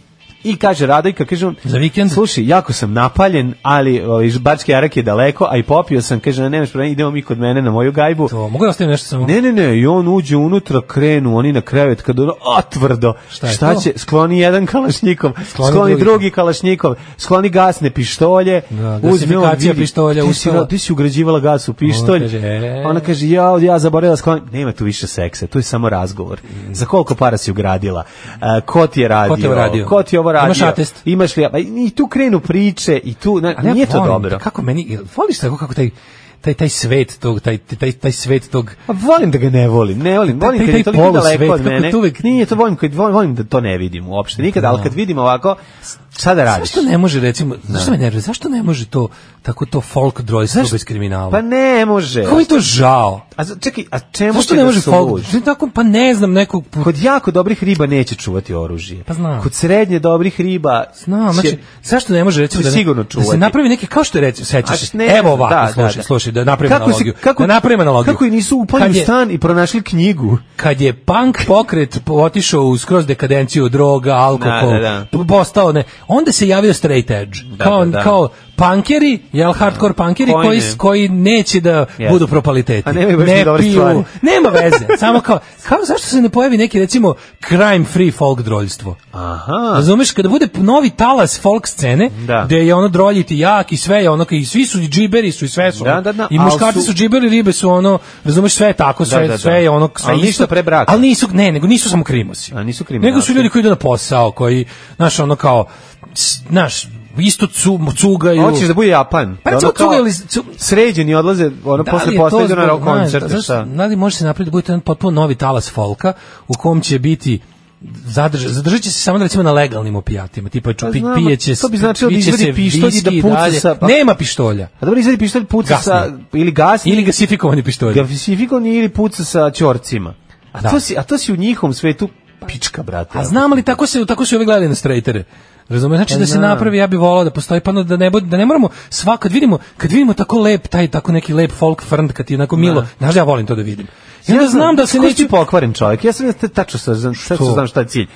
E: I kaže Radojka, kaže on,
F: Za vikend?
E: slušaj, jako sam napaljen, ali ovaj, Bački Jarak je daleko, a i popio sam, kaže, "Ne, nemaš problema, idemo mi kod mene na moju gajbu.
F: To, mogu da ostavim nešto samo?
E: Ne, ne, ne, i on uđe unutra, krenu oni na krevet, kad ono, a tvrdo,
F: Šta je to?
E: će, skloni jedan [LAUGHS] kalašnjikov, skloni,
F: Skloni
E: drugi.
F: drugi.
E: kalašnjikov, skloni gasne pištolje,
F: Da,
E: uzme on
F: gasifikacija
E: vidi,
F: pištolja,
E: ti si,
F: uspela.
E: ti si ugrađivala gas u pištolj,
F: Ona kaže, "E."
E: ona kaže, ja, ja zaboravila skloni, nema tu više seksa, tu je samo razgovor, za koliko para si ugradila, A, ko ti je radio,
F: Mm. Ko ti je uradio?
E: ko ti je ovo radio,
F: Imaš atest?
E: imaš li, pa i tu krenu priče, i tu, na,
F: Ali ja
E: nije to
F: volim
E: dobro.
F: Pa Kako meni, voliš tako kako taj, taj, taj svet tog, taj, taj, taj svet tog,
E: A volim da ga ne volim, ne volim,
F: Taj-
E: volim
F: taj-
E: kad je
F: taj
E: toliko
F: polusvet,
E: daleko od
F: kako
E: mene.
F: to uvek-
E: Nije to volim, kad volim, volim da to ne vidim uopšte nikada, ali kad vidim ovako, šta da radiš?
F: Zašto ne može recimo, zašto me nervira? Zašto ne može to tako to folk drojstvo bez kriminala?
E: Pa ne može.
F: Kako mi je to žao?
E: A za- čekaj, a čemu
F: Zašto
E: će
F: ne
E: da
F: može
E: se
F: folk?
E: luži?
F: Ne, Tako, pa ne znam nekog pu-
E: Kod jako dobrih riba neće čuvati oružje.
F: Pa znam.
E: Kod srednje dobrih riba
F: Znam, znači,
E: će-
F: zašto ne može recimo
E: će
F: da, ne-
E: sigurno
F: da se
E: čuvati.
F: napravi neki, kao što je recimo, sećaš,
E: A
F: se,
E: ne
F: evo
E: znam,
F: ovako,
E: da, da,
F: slušaj,
E: da.
F: slušaj, da napravim
E: Kako si-
F: analogiju.
E: kako-
F: da napravim analogiju.
E: Kako i nisu upali u
F: Kad je-
E: stan i pronašli knjigu?
F: kad je punk pokret otišao u skroz dekadenciju droga, alkohol,
E: Da, da,
F: p- postao ne, onda se javio straight edge. kao,
E: da, da.
F: kao punkeri, jel hardcore punkeri
E: Koji
F: koji, koji,
E: ne.
F: neće da
E: Jeste.
F: budu propaliteti.
E: A nemaju baš ni dobre stvari.
F: Nema veze. samo kao, kao zašto se ne pojavi neki recimo crime free folk droljstvo?
E: Aha.
F: Razumeš, kada bude novi talas folk scene,
E: Da.
F: gde je ono droljiti jak i sve je ono, i svi su i džiberi su i sve su. ono,
E: Da, da, da,
F: I
E: ali
F: muškarci
E: su-
F: su džiberi, ribe su ono, razumeš, sve je tako, sve,
E: Da, da, da.
F: sve je ono, sve
E: Ali ništa
F: isto,
E: pre braka.
F: Ali nisu, ne, nego nisu samo krimosi.
E: A, nisu kriminalci.
F: Nego su ljudi koji idu na posao, koji, znaš, ono kao, s- znaš, isto cu, cugaju.
E: Hoćeš da bude Japan.
F: Pa
E: Da ono
F: recimo
E: kao
F: cugaju ili... Cu...
E: Sređeni odlaze ono
F: Da li
E: posle
F: je to
E: poslednjeg
F: zbog-
E: na rock
F: znaš,
E: koncerta,
F: znaš,
E: šta?
F: Da li može se napraviti da bude jedan potpuno novi talas folka u kom će biti zadrž, zadržat će se samo recimo na legalnim opijatima, tipa ću, pi,
E: znam,
F: pijeće
E: Pa to bi značilo da
F: piće
E: izvadi
F: se
E: pištolj i da
F: viski
E: puca
F: dalje.
E: sa- pa-
F: Nema pištolja.
E: A dobro izvedi pištolj puca
F: Gasni.
E: sa ili gasni
F: Ili gasifikovani pištolj.
E: gasifikovani ili puca sa ćorcima. A
F: Da.
E: to si a to si u njihovom svetu pička brate.
F: A znam li tako se tako se ove gledali na strejtere. Razumem, znači
E: Pa
F: da se
E: znam.
F: napravi, ja bih volao da postoji pa da ne bude- da ne moramo sva kad vidimo, kad vidimo tako lep taj tako neki lep folk frnd kad ti je onako milo,
E: Da.
F: znaš da ja volim to da vidim. I onda znam da se
E: Skroz
F: neću
E: si pokvaren čovjek. Ja sam ja te tačno sa znam sad
F: Što?
E: znam šta je cilj.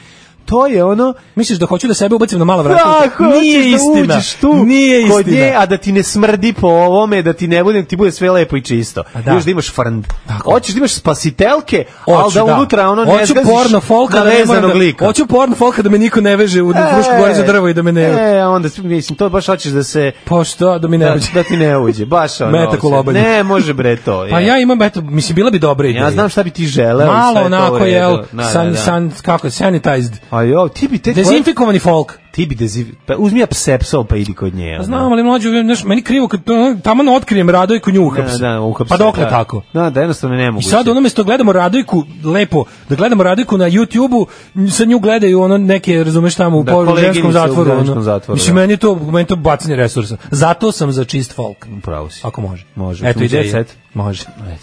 E: To je ono
F: Misliš da hoću da sebe ubacim na mala vrata?
E: Tako,
F: nije
E: hoćeš
F: istina.
E: Da uđeš tu
F: nije
E: kod
F: istina.
E: nje, a da ti ne smrdi po ovome, da ti ne bude, da ti bude sve lepo i čisto.
F: A da.
E: Još da imaš frnd.
F: Tako.
E: Hoćeš da imaš spasitelke, ali
F: Hoću,
E: da, unutra ono ne
F: hoću
E: zgaziš
F: porno folka da ne moram
E: navezanog
F: da,
E: lika.
F: Hoću porno folka da me niko ne veže u
E: E,
F: Frušku Goru za drvo i da me ne...
E: E, onda mislim, to baš hoćeš da se...
F: Pa šta, da mi ne
E: Da,
F: veže.
E: da ti ne uđe, baš ono.
F: Metak u lobanju.
E: Ne, može bre to.
F: Pa
E: je.
F: ja imam, eto, mislim, bila bi dobra ideja.
E: Ja znam šta bi ti želeo. i sve
F: Malo
E: je to u
F: onako,
E: redu.
F: jel,
E: Da, da,
F: san,
E: da.
F: san, kako, sanitized.
E: A jo, ti bi te... tvoje-
F: Dezinfikovani folk.
E: Ti bi dezinf... Pa uzmi apsepsol pa idi kod nje.
F: Pa
E: ono.
F: Znam, ali mlađu, znaš, meni krivo kad to, tamo otkrijem Radojku nju
E: Da,
F: uhapsim.
E: da, uhapsi,
F: Pa dokle
E: da.
F: tako?
E: Da, da, jednostavno ne mogu.
F: I sad ono mesto gledamo Radojku lepo, da gledamo Radojku na YouTubeu, nj- sa nju gledaju ono neke, razumeš tamo u
E: Da,
F: po- u ženskom
E: koleginice u
F: zatvoru,
E: ženskom
F: ono.
E: zatvoru,
F: Mislim
E: da.
F: meni je to, meni je to bacanje resursa. Zato sam za čist folk,
E: Pravo si.
F: ako može.
E: Može.
F: Eto
E: Ćemo
F: ideja.
E: jet set?
F: Može.
E: Ajde.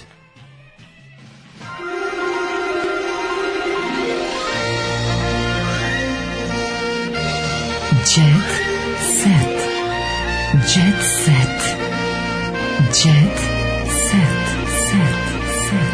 D: Jet set. Jet set. Jet set.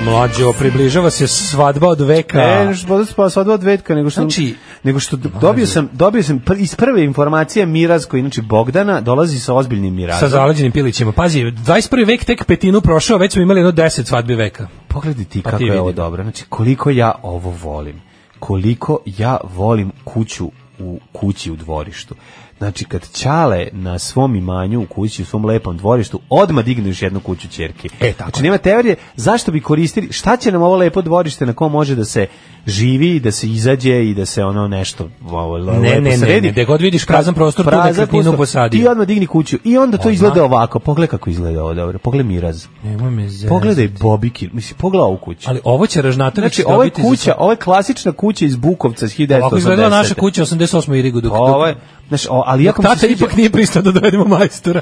F: Mlađo, približava se svadba od veka.
E: Ne, nego što bodo spa sva dva dvetka, nego što
F: Znači-
E: nego što d- dobio sam dobio sam pr- iz prve informacije Miraz koji inače Bogdana dolazi sa ozbiljnim
F: sa
E: Mirazom.
F: zaleđenim pilićima. Pazi, 21. vek tek petinu prošao, već smo imali jedno 10 svadbi veka.
E: Pogledaj ti
F: Pa
E: kako
F: ti
E: je
F: vidi.
E: ovo dobro. Znači koliko ja ovo volim. Koliko ja volim kuću u kući u dvorištu. Znači kad Ćale na svom imanju u kući u svom lepom dvorištu odmah digne još jednu kuću ćerki.
F: E, tako
E: Znači nema teorije zašto bi koristili, šta će nam ovo lepo dvorište na kom može da se živi, i da se izađe i da se ono nešto ovo, le-
F: Ne,
E: lepo
F: ne, ne,
E: sredi.
F: ne, gde god vidiš prazan prostor, tu nekretninu
E: prostor.
F: posadi.
E: Ti odmah digni kuću i onda to
F: Odmah.
E: izgleda ovako. Pogledaj kako izgleda ovo dobro. Pogledaj Miraz.
F: Nemoj me zezati.
E: Pogledaj Bobikin, mislim pogledaj ovu kuću.
F: Ali ovo će Ražnatović
E: Znači, ovo je
F: dobiti za
E: kuća,
F: svoj-
E: ovo je klasična kuća iz Bukovca iz 1980.
F: Ovako izgledala naša kuća 88. Irigu dok,
E: Ovo je, znači, o, ali
F: dok,
E: jako
F: dok
E: mi se
F: tata
E: sviđa-
F: ipak nije pristao da dovedemo
E: [LAUGHS]
F: majstora.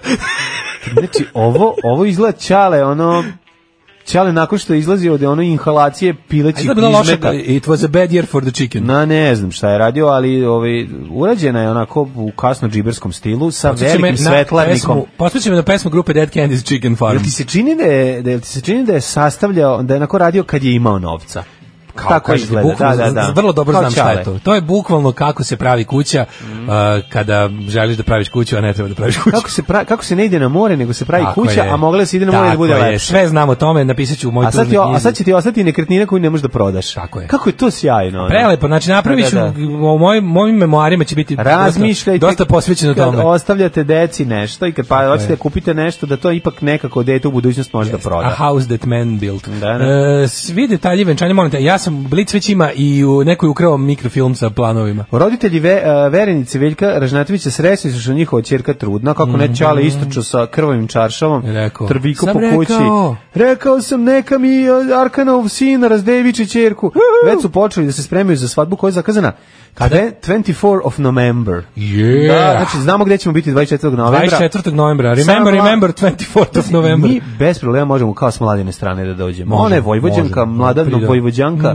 E: Znači, ovo, ovo izgleda čale, ono... Čale nakon što je izlazio od ono inhalacije
F: A
E: pilećih
F: izgleda bila loša, pa-
E: izmeta.
F: it was a bad year for the chicken.
E: Na ne znam šta je radio, ali ovaj urađena je onako u kasno džiberskom stilu sa
F: Podsjeća me
E: velikim
F: na
E: svetlarnikom.
F: pesmu- Podsjeća me na pesmu grupe Dead Candy's Chicken Farm.
E: Jel ti se čini da je da jel ti se čini da je sastavljao da je onako radio kad je imao novca. Tako
F: kažete,
E: izgleda. Da,
F: bukvalno,
E: da, da.
F: Vrlo dobro
E: Kao
F: znam šta je
E: Ćale.
F: to. To je bukvalno kako se pravi kuća a, kada želiš da praviš kuću, a ne treba da praviš kuću.
E: Kako se pra, kako se ne ide na more, nego se pravi
F: Tako
E: kuća,
F: je.
E: a mogla se ide na more da
F: Tako
E: bude
F: je.
E: lepše.
F: Sve znam o tome, napisat ću u moj
E: A sad,
F: tužnoj
E: ti, o- a
F: knjizi.
E: sad će ti ostati nekretnina koju ne možeš da prodaš.
F: Tako je.
E: Kako je to sjajno. ono?
F: Prelepo, znači napravit ću,
E: Da, da, da.
F: u mojim, mojim memoarima će biti dosta-
E: Razmišljajte
F: dosta, posvećeno
E: kad
F: tome.
E: ostavljate deci nešto i kad pa
F: je.
E: hoćete da kupite nešto da to ipak nekako dete u budućnost može Pa da proda.
F: A house that man built.
E: Da, da.
F: E, svi detalji venčanja, molim te, ja sam Blic već ima i u neko je ukrao mikrofilm sa planovima.
E: Roditelji ve, e, Verenice Veljka Ražnatovića sresni su što je njihova ćerka trudna, kako ne čale istoču sa krvavim čaršavom,
F: Mhm. Je rekao.
E: trviku
F: Sam
E: po kući.
F: rekao.
E: Rekao sam neka mi e, Arkanov sin razdeviči ćerku. Već su počeli da se spremaju za svadbu koja je zakazana. Kada? 24 of November.
F: Yeah.
E: Da, znači znamo gde ćemo biti 24. novembra.
F: 24. novembra. Remember,
E: Samo-
F: remember, 24. of novembra.
E: Mi bez problema možemo kao s mladine strane da dođemo.
F: Možemo,
E: Ona je vojvođanka,
F: možemo.
E: mladavno
F: Prida.
E: vojvođanka.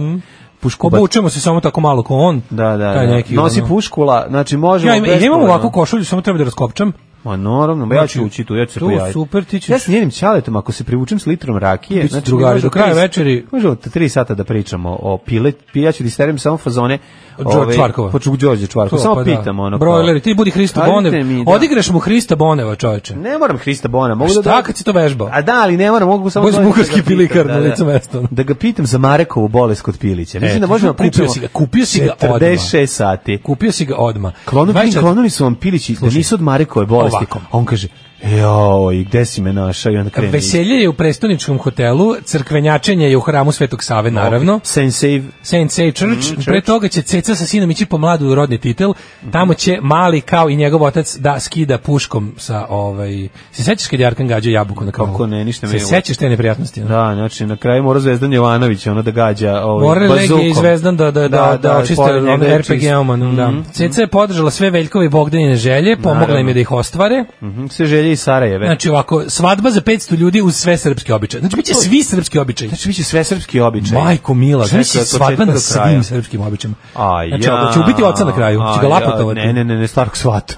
E: Pušku
F: Obučemo se samo tako malo ko on.
E: Da, da,
F: Mhm. Taj
E: da.
F: neki,
E: Nosi
F: ono-
E: puškula, znači možemo...
F: Ja, im,
E: bez
F: ja imam
E: problema.
F: ovakvu košulju, samo treba da raskopčam.
E: Ma naravno, ma Pa ja ću
F: Znači,
E: ući tu, ja ću se
F: tu
E: pojaviti.
F: super, ti ćeš-
E: Ja s njenim ćaletom, ako se privučem s litrom rakije...
F: Biće
E: znači,
F: drugari,
E: mi možemo
F: do kraja
E: tri-
F: večeri-
E: Možemo t- tri sata da pričamo o pile, pi- ja ću da isterim samo fazone...
F: Od Đor- Čvarkova.
E: Poču u Đorđe Čvarkova,
F: To,
E: samo
F: pa da.
E: pitam ono... kao-
F: Brojleri, ti budi Hristo
E: Kažite
F: Bonev.
E: mi, da.
F: Odigraš mu Hrista Boneva, čoveče.
E: Ne moram Hrista Bona, mogu
F: Mogu
E: da...
F: Šta kad si to vežbao?
E: A da, ali ne moram, mogu samo...
F: Boš
E: da- da ga
F: bugarski
E: pitam,
F: pilikar
E: da,
F: na
E: da.
F: licu mesta.
E: Da ga pitam za Marekovu bolest kod pilića. Mislim
F: E,
E: da možemo
F: kupio
E: pričamo
F: si ga- kupio si ga odmah.
E: 46 sati.
F: Kupio si ga odma.
E: Klonu, klonuli su vam pilići da nisu od Marekove bolesti.
F: Ovako.
E: A on kaže, joj, gde si me našao? I onda kreni.
F: Veselje je u prestoničkom hotelu, crkvenjačenje je u hramu Svetog Save, naravno.
E: Saint Save.
F: Saint Save Church.
E: Mhm,
F: Pre
E: church.
F: toga će ceca sa sinom ići po mladu rodni titel. Tamo će mali kao i njegov otac da skida puškom sa ovaj... Se sećaš kad je Arkan gađao jabuku na kanalu?
E: Kako ne, ništa
F: Se
E: me.
F: sećaš te neprijatnosti? ono?
E: Da, znači na kraju mora Zvezdan Jovanović ona da gađa ovaj
F: Morali
E: bazukom.
F: Legije i Zvezdan da, da, da, da, očiste
E: pored
F: on
E: njega je
F: RPG
E: čist.
F: Oman. Da.
E: Mhm.
F: Ceca je podržala sve Veljkove i Bogdanine želje, pomogla im
E: Naravno.
F: je da ih ostvare.
E: Mhm, Sve želje i Sarajeve.
F: Znači ovako, svadba za 500 ljudi uz sve srpske običaje. Znači biće svi srpski običaji.
E: Znači biće sve srpski običaj.
F: Majko Mila,
E: Znači,
F: znači svadba na svim srpskim običajima.
E: Aj,
F: Znači, ovo će ubiti oca na kraju, će ga lapotovati.
E: Ne, ne, ne, ne, Stark svata.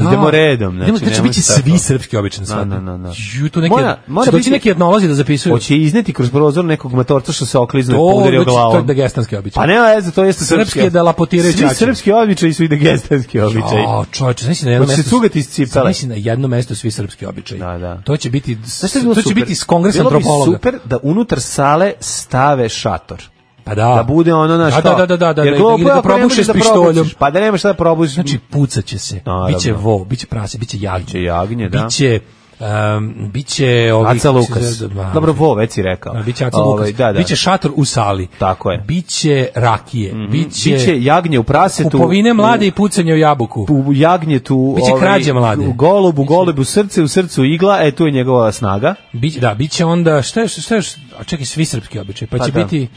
E: Idemo redom. Znači,
F: Idemo, znači
E: nemoj
F: biće
E: se tako.
F: svi srpski običajni
E: Na,
F: svadbe.
E: na, na, na.
F: Ju, tu neki,
E: Mora- mora
F: će doći
E: biti-
F: neki etnolozi da zapisuju.
E: Hoće izneti kroz prozor nekog matorca što se oklizne i
F: To,
E: udario
F: znači,
E: glavom.
F: to je degestanski običaj.
E: Pa ne, veze, to jeste
F: Srpski
E: srpski.
F: je da lapotiraju
E: Svi
F: čače.
E: srpski običaji su i degestanski običaji.
F: A, čovječe, znači na jednom
E: Hoće se
F: mestu...
E: cugati iz cipele.
F: Znači na jednom mestu svi srpski običaji. Da, da. To će biti,
E: Znaš šta bi bilo
F: to će
E: super?
F: biti s kongresa
E: Bilo bi
F: antropologa.
E: super da unutar sale stave šator.
F: Pa da.
E: Da bude ono na
F: Da,
E: što.
F: da, da, da, da,
E: Jer
F: da,
E: glupo
F: ili da
E: je ako ne
F: probušeš
E: možeš da
F: pištoljom.
E: probušiš. Pa da nemaš šta da probušiš.
F: Znači, pucaće se,
E: Naravno.
F: biće vo, biće prase, biće jagnje. Biće
E: jagnje, da.
F: Biće, um, biće ovih...
E: Aca Lukas.
F: Da, da,
E: Dobro, vo, već si rekao.
F: da, biće Aca
E: Ovaj,
F: Lukas.
E: Da, da.
F: Biće šator u sali.
E: Tako je. Mhm.
F: Biće rakije. Biće...
E: Biće jagnje u prasetu.
F: Kupovine mlade i pucanje u jabuku.
E: u jagnjetu, ovaj,
F: Biće krađe mlade.
E: u golubu, golubu srce, u srcu igla, e tu je njegova snaga.
F: Biće, da, biće onda, šta je, šta je, a čekaj, svi srpski običaj, pa
E: Pa
F: će
E: da.
F: biti,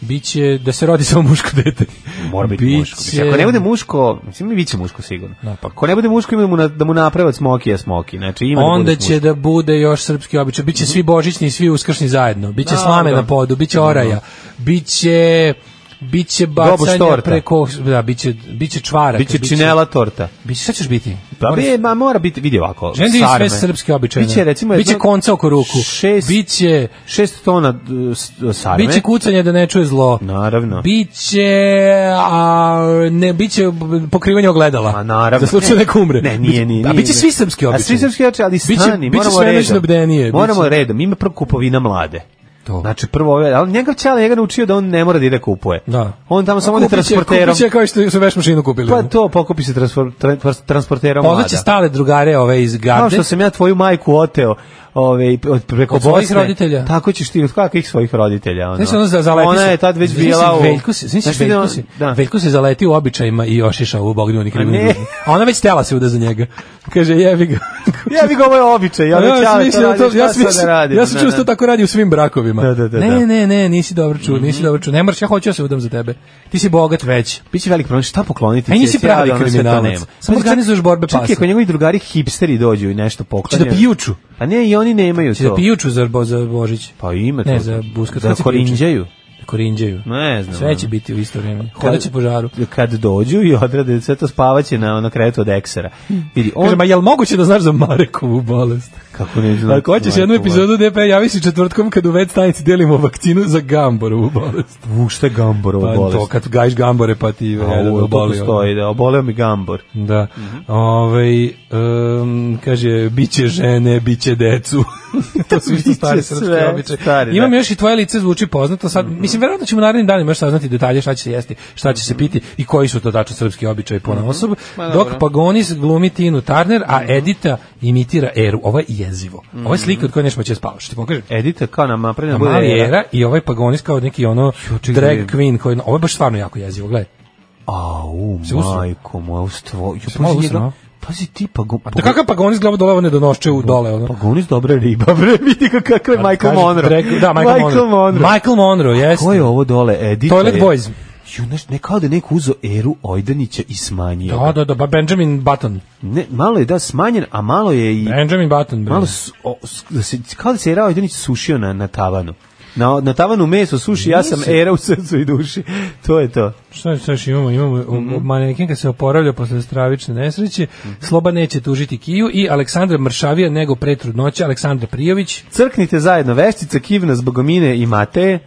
F: biće da se rodi samo muško dete.
E: Mora biti
F: Biće-
E: muško. Mislim, ako ne bude muško, mislim mi biće muško sigurno.
F: Da, pa-
E: Ako ne bude muško ima mu na, da mu naprave od smokija smoki. Znači ima da
F: Onda
E: bude
F: će da bude još srpski običaj. Biće svi božićni i svi uskršni zajedno. Biće
E: Da,
F: slame
E: da.
F: na podu, biće oraja, biće biće
E: Doboš
F: bacanje
E: torta.
F: preko da biće biće čvarak,
E: Biće činela torta.
F: Biće šta ćeš biti?
E: Pa
F: Moraš-
E: bi, ma, mora biti, vidi ovako.
F: Želim da vidim sve
E: sarme.
F: srpske običaje.
E: Biće, recimo, jedno-
F: biće konca oko ruku.
E: Šest-
F: biće
E: Šest tona d- s- sarme.
F: biće kucanje da ne čuje zlo.
E: Naravno.
F: Biće a, ne biće b- pokrivanje ogledala.
E: A
F: Za
E: naravno.
F: slučaj
E: Ne.
F: neko umre.
E: Ne, nije, nije.
F: A
E: nije,
F: biće svi srpski
E: A
F: običaji.
E: svi srpski običaji, ali
F: Biće-
E: stani,
F: biće
E: moramo
F: svenoćno
E: redom.
F: bdenije,
E: Moramo
F: biće-
E: redom, ima prvo kupovina mlade.
F: To.
E: Znači prvo ove, ali njegov ćale njega naučio da on ne mora da ide kupuje.
F: Da.
E: On tamo samo ide
F: Kupit će-
E: transporterom.
F: kupit će kao što su veš mašinu kupili.
E: Pa to pokupi se transfor, tra- transporterom mlada.
F: Pozvaće stale drugare ove iz
E: Kao
F: garde.
E: što sam ja tvoju majku oteo ove, i od, preko
F: Od svojih
E: Bosne,
F: roditelja?
E: Tako ćeš ti od kakvih svojih roditelja. Ono.
F: Znaš, ono za zaleti
E: Ona
F: se-
E: je tad već
F: Znaš,
E: bila u...
F: Veljko se, znaš,
E: Znaš,
F: Veljko
E: ide-
F: se,
E: da.
F: Veljko se zaleti u običajima i ošiša u Bogdanu ni krivu ni
E: ne.
F: dužnu. A ona već tela se uda za njega. Kaže, jebi ga.
E: Ja bih ovo je običaj, ja bih
F: sam
E: ja,
F: mislio
E: to,
F: to-
E: radi, šta
F: ja sam
E: sad da
F: mislio-
E: radim. ono?
F: Ja sam
E: Da,
F: čuo
E: da.
F: što tako radi u svim brakovima.
E: Da, da, da,
F: ne,
E: da. Mhm.
F: ne, ne, nisi dobro čuo, nisi dobro čuo. Ne moraš, ja hoću da se udam za tebe. Ti si bogat već.
E: Biće velik problem, šta pokloniti?
F: A i nisi
E: ceci,
F: pravi
E: ali ona sve to
F: kriminalac.
E: nema.
F: Samo
E: Pa čak-
F: organizuješ borbe
E: Čak
F: pasa.
E: i ako njegovi drugari hipsteri dođu i nešto
F: Če da
E: poklonju.
F: pijuču.
E: Pa ne, i oni nemaju
F: Če da
E: to.
F: pijuču za, bo- za Božić.
E: Pa ima to.
F: Ne, za buskac.
E: Za
F: Kad si
E: korinđaju.
F: Da korinđaju.
E: Ne znam. ono.
F: Sve će biti u isto vrijeme. Hodaće po žaru.
E: Kad dođu i odrade sve to spavaće na ono kretu od eksera. Vidi, on
F: Kaže, ma jel moguće da znaš za Marekovu bolest?
E: kako ne znam.
F: Ako hoćeš jednu epizodu DP, javi se četvrtkom kad u vet stanici delimo vakcinu za Gamborovu bolest.
E: U šta je Gamborova
F: Pa
E: bolest?
F: to kad gajiš Gambore pa ti
E: A,
F: jedan
E: u, to
F: oboli, ono.
E: postoji, da, oboleo mi Gambor.
F: Da.
E: Mhm.
F: Ovaj em, kaže biće žene, biće decu. [LAUGHS] to su isto
E: Biće
F: stari srpski
E: sve,
F: običaji.
E: stari,
F: Imam
E: da. Mhm.
F: još i tvoje lice zvuči poznato sad. Mislim verovatno ćemo u narednim danima još saznati detalje šta će se jesti, šta će se piti i koji su to tačno srpski običaji po osob.
E: Mhm. Ma,
F: Dok
E: dobro. Mhm.
F: Pagonis glumi Tinu Turner, a Edita imitira Eru. Ovo je jezivo. Ovo je slika od koje nešto će spavaš. Što ti pokažem?
E: Edita kao nam napravljena
F: A
E: Mhm. bude
F: Mali
E: era.
F: Era i ovaj Pagonis kao neki ono
E: čekaj,
F: drag
E: vidim.
F: queen koji ovo je baš stvarno jako jezivo, gledaj.
E: Au,
F: Se usro.
E: majko moja, ustvo. Jo,
F: malo
E: pazi,
F: usro,
E: njega-
F: a?
E: pazi ti, pa, go,
F: Da kakav Pagonis glava dole, ovo ne donošče u dole ono.
E: Pa Gonis dobra riba, [LAUGHS] bre, vidi ga kakav je Michael
F: Pa, Kaže,
E: Monroe.
F: drag- Da, Michael, Monroe. Michael Monroe, jeste.
E: Ko je ovo dole, Edita?
F: Toilet
E: je-
F: Boys.
E: Ju, znaš, ne kao da je neko uzeo Eru Ojdanića i smanjio.
F: Da, da, da, ba- Benjamin Button.
E: Ne, malo je da smanjen, a malo je i...
F: Benjamin Button, bre.
E: Malo s, o, s- da se, kao da se Era Ojdanić sušio na, na tavanu. Na, na tavanu meso suši, ja sam Era u srcu i duši. To je to.
F: Šta šta još imamo? Imamo mm
E: Mhm.
F: manekenka se oporavlja posle stravične nesreće. Sloba neće tužiti Kiju i Aleksandra Mršavija nego pre trudnoće Aleksandra Prijović.
E: Crknite zajedno veštice, kivna zbogomine i mateje.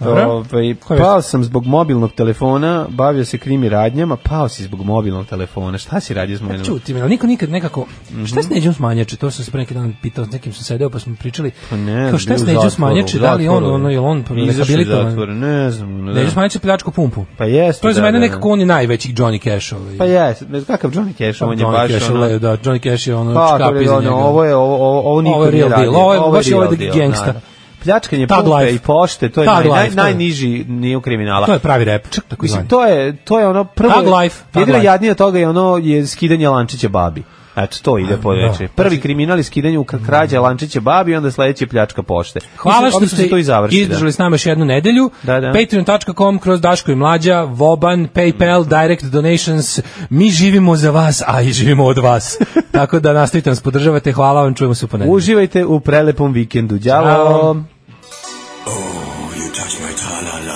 F: Dobro.
E: Ovaj,
F: Koja
E: pao sam zbog mobilnog telefona, bavio se krimi radnjama, pao si zbog mobilnog telefona. Šta si radio s mojim?
F: Čuti me, ali niko nikad nekako...
E: Mhm.
F: Šta je s Neđom Smanjače? To sam se pre neki dan pitao, s nekim sam sedeo pa smo pričali.
E: Pa ne,
F: Kao šta
E: bio
F: je s
E: u
F: Neđom
E: zatvoru,
F: Smanjače?
E: u
F: Da li on,
E: zatvoru.
F: ono, je on
E: Izašao iz
F: rehabilitovan?
E: zatvora, ne znam. ne
F: Neđo
E: znam.
F: Smanjače pljačku pumpu.
E: Pa jeste,
F: To je za
E: da,
F: mene
E: da, da.
F: nekako on je najveći Johnny Cash. Ovaj.
E: Pa jes, ne znam kakav Johnny Cash, on je
F: Pa Johnny
E: baš
F: Cash,
E: ono...
F: le- da, Johnny Cash je ono
E: Pa,
F: čkap
E: dobro,
F: iza
E: ono,
F: njega.
E: ovo je, ovo, ovo, ovo niko
F: Ovo je real
E: nije radio.
F: deal, ovo je baš
E: real
F: ovaj
E: deal,
F: gangsta.
E: naravno. Pljačkanje
F: Tag
E: pumpe
F: life.
E: i pošte, to je
F: Tag
E: naj, naj,
F: life, to je-
E: najniži niju kriminala.
F: To je pravi rap, čak tako
E: Mislim,
F: izvan.
E: to je, to je ono prvo...
F: Tag life, tag
E: Jedino
F: life.
E: jadnije od toga je ono je skidanje lančića babi. Eto, to ide po veče.
F: Znači-
E: Prvi kriminal je skidanje u krađa lančića babi i onda sledeći je pljačka pošte.
F: Hvala
E: Mislim,
F: što
E: obično
F: ste
E: se to i završi. da.
F: izdržali s nama još jednu nedelju.
E: Da, da.
F: Patreon.com kroz Daško i Mlađa, Voban, Paypal, Direct Donations. Mi živimo za vas, a i živimo od
E: [LAUGHS]
F: vas. Tako da nastavite nas podržavate. Hvala vam, čujemo se u ponedjeljak.
E: Uživajte u prelepom vikendu. Ćao!
F: Ćao.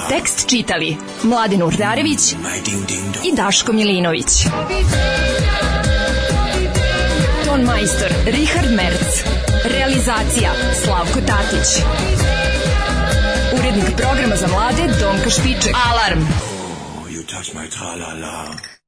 D: Tekst čitali Mladin Urdarević i Daško Milinović. Ton majstor Richard Merc. Realizacija Slavko Tatić. Urednik programa za mlade Donka Špiček. Alarm!
L: You touch my tra-la-la.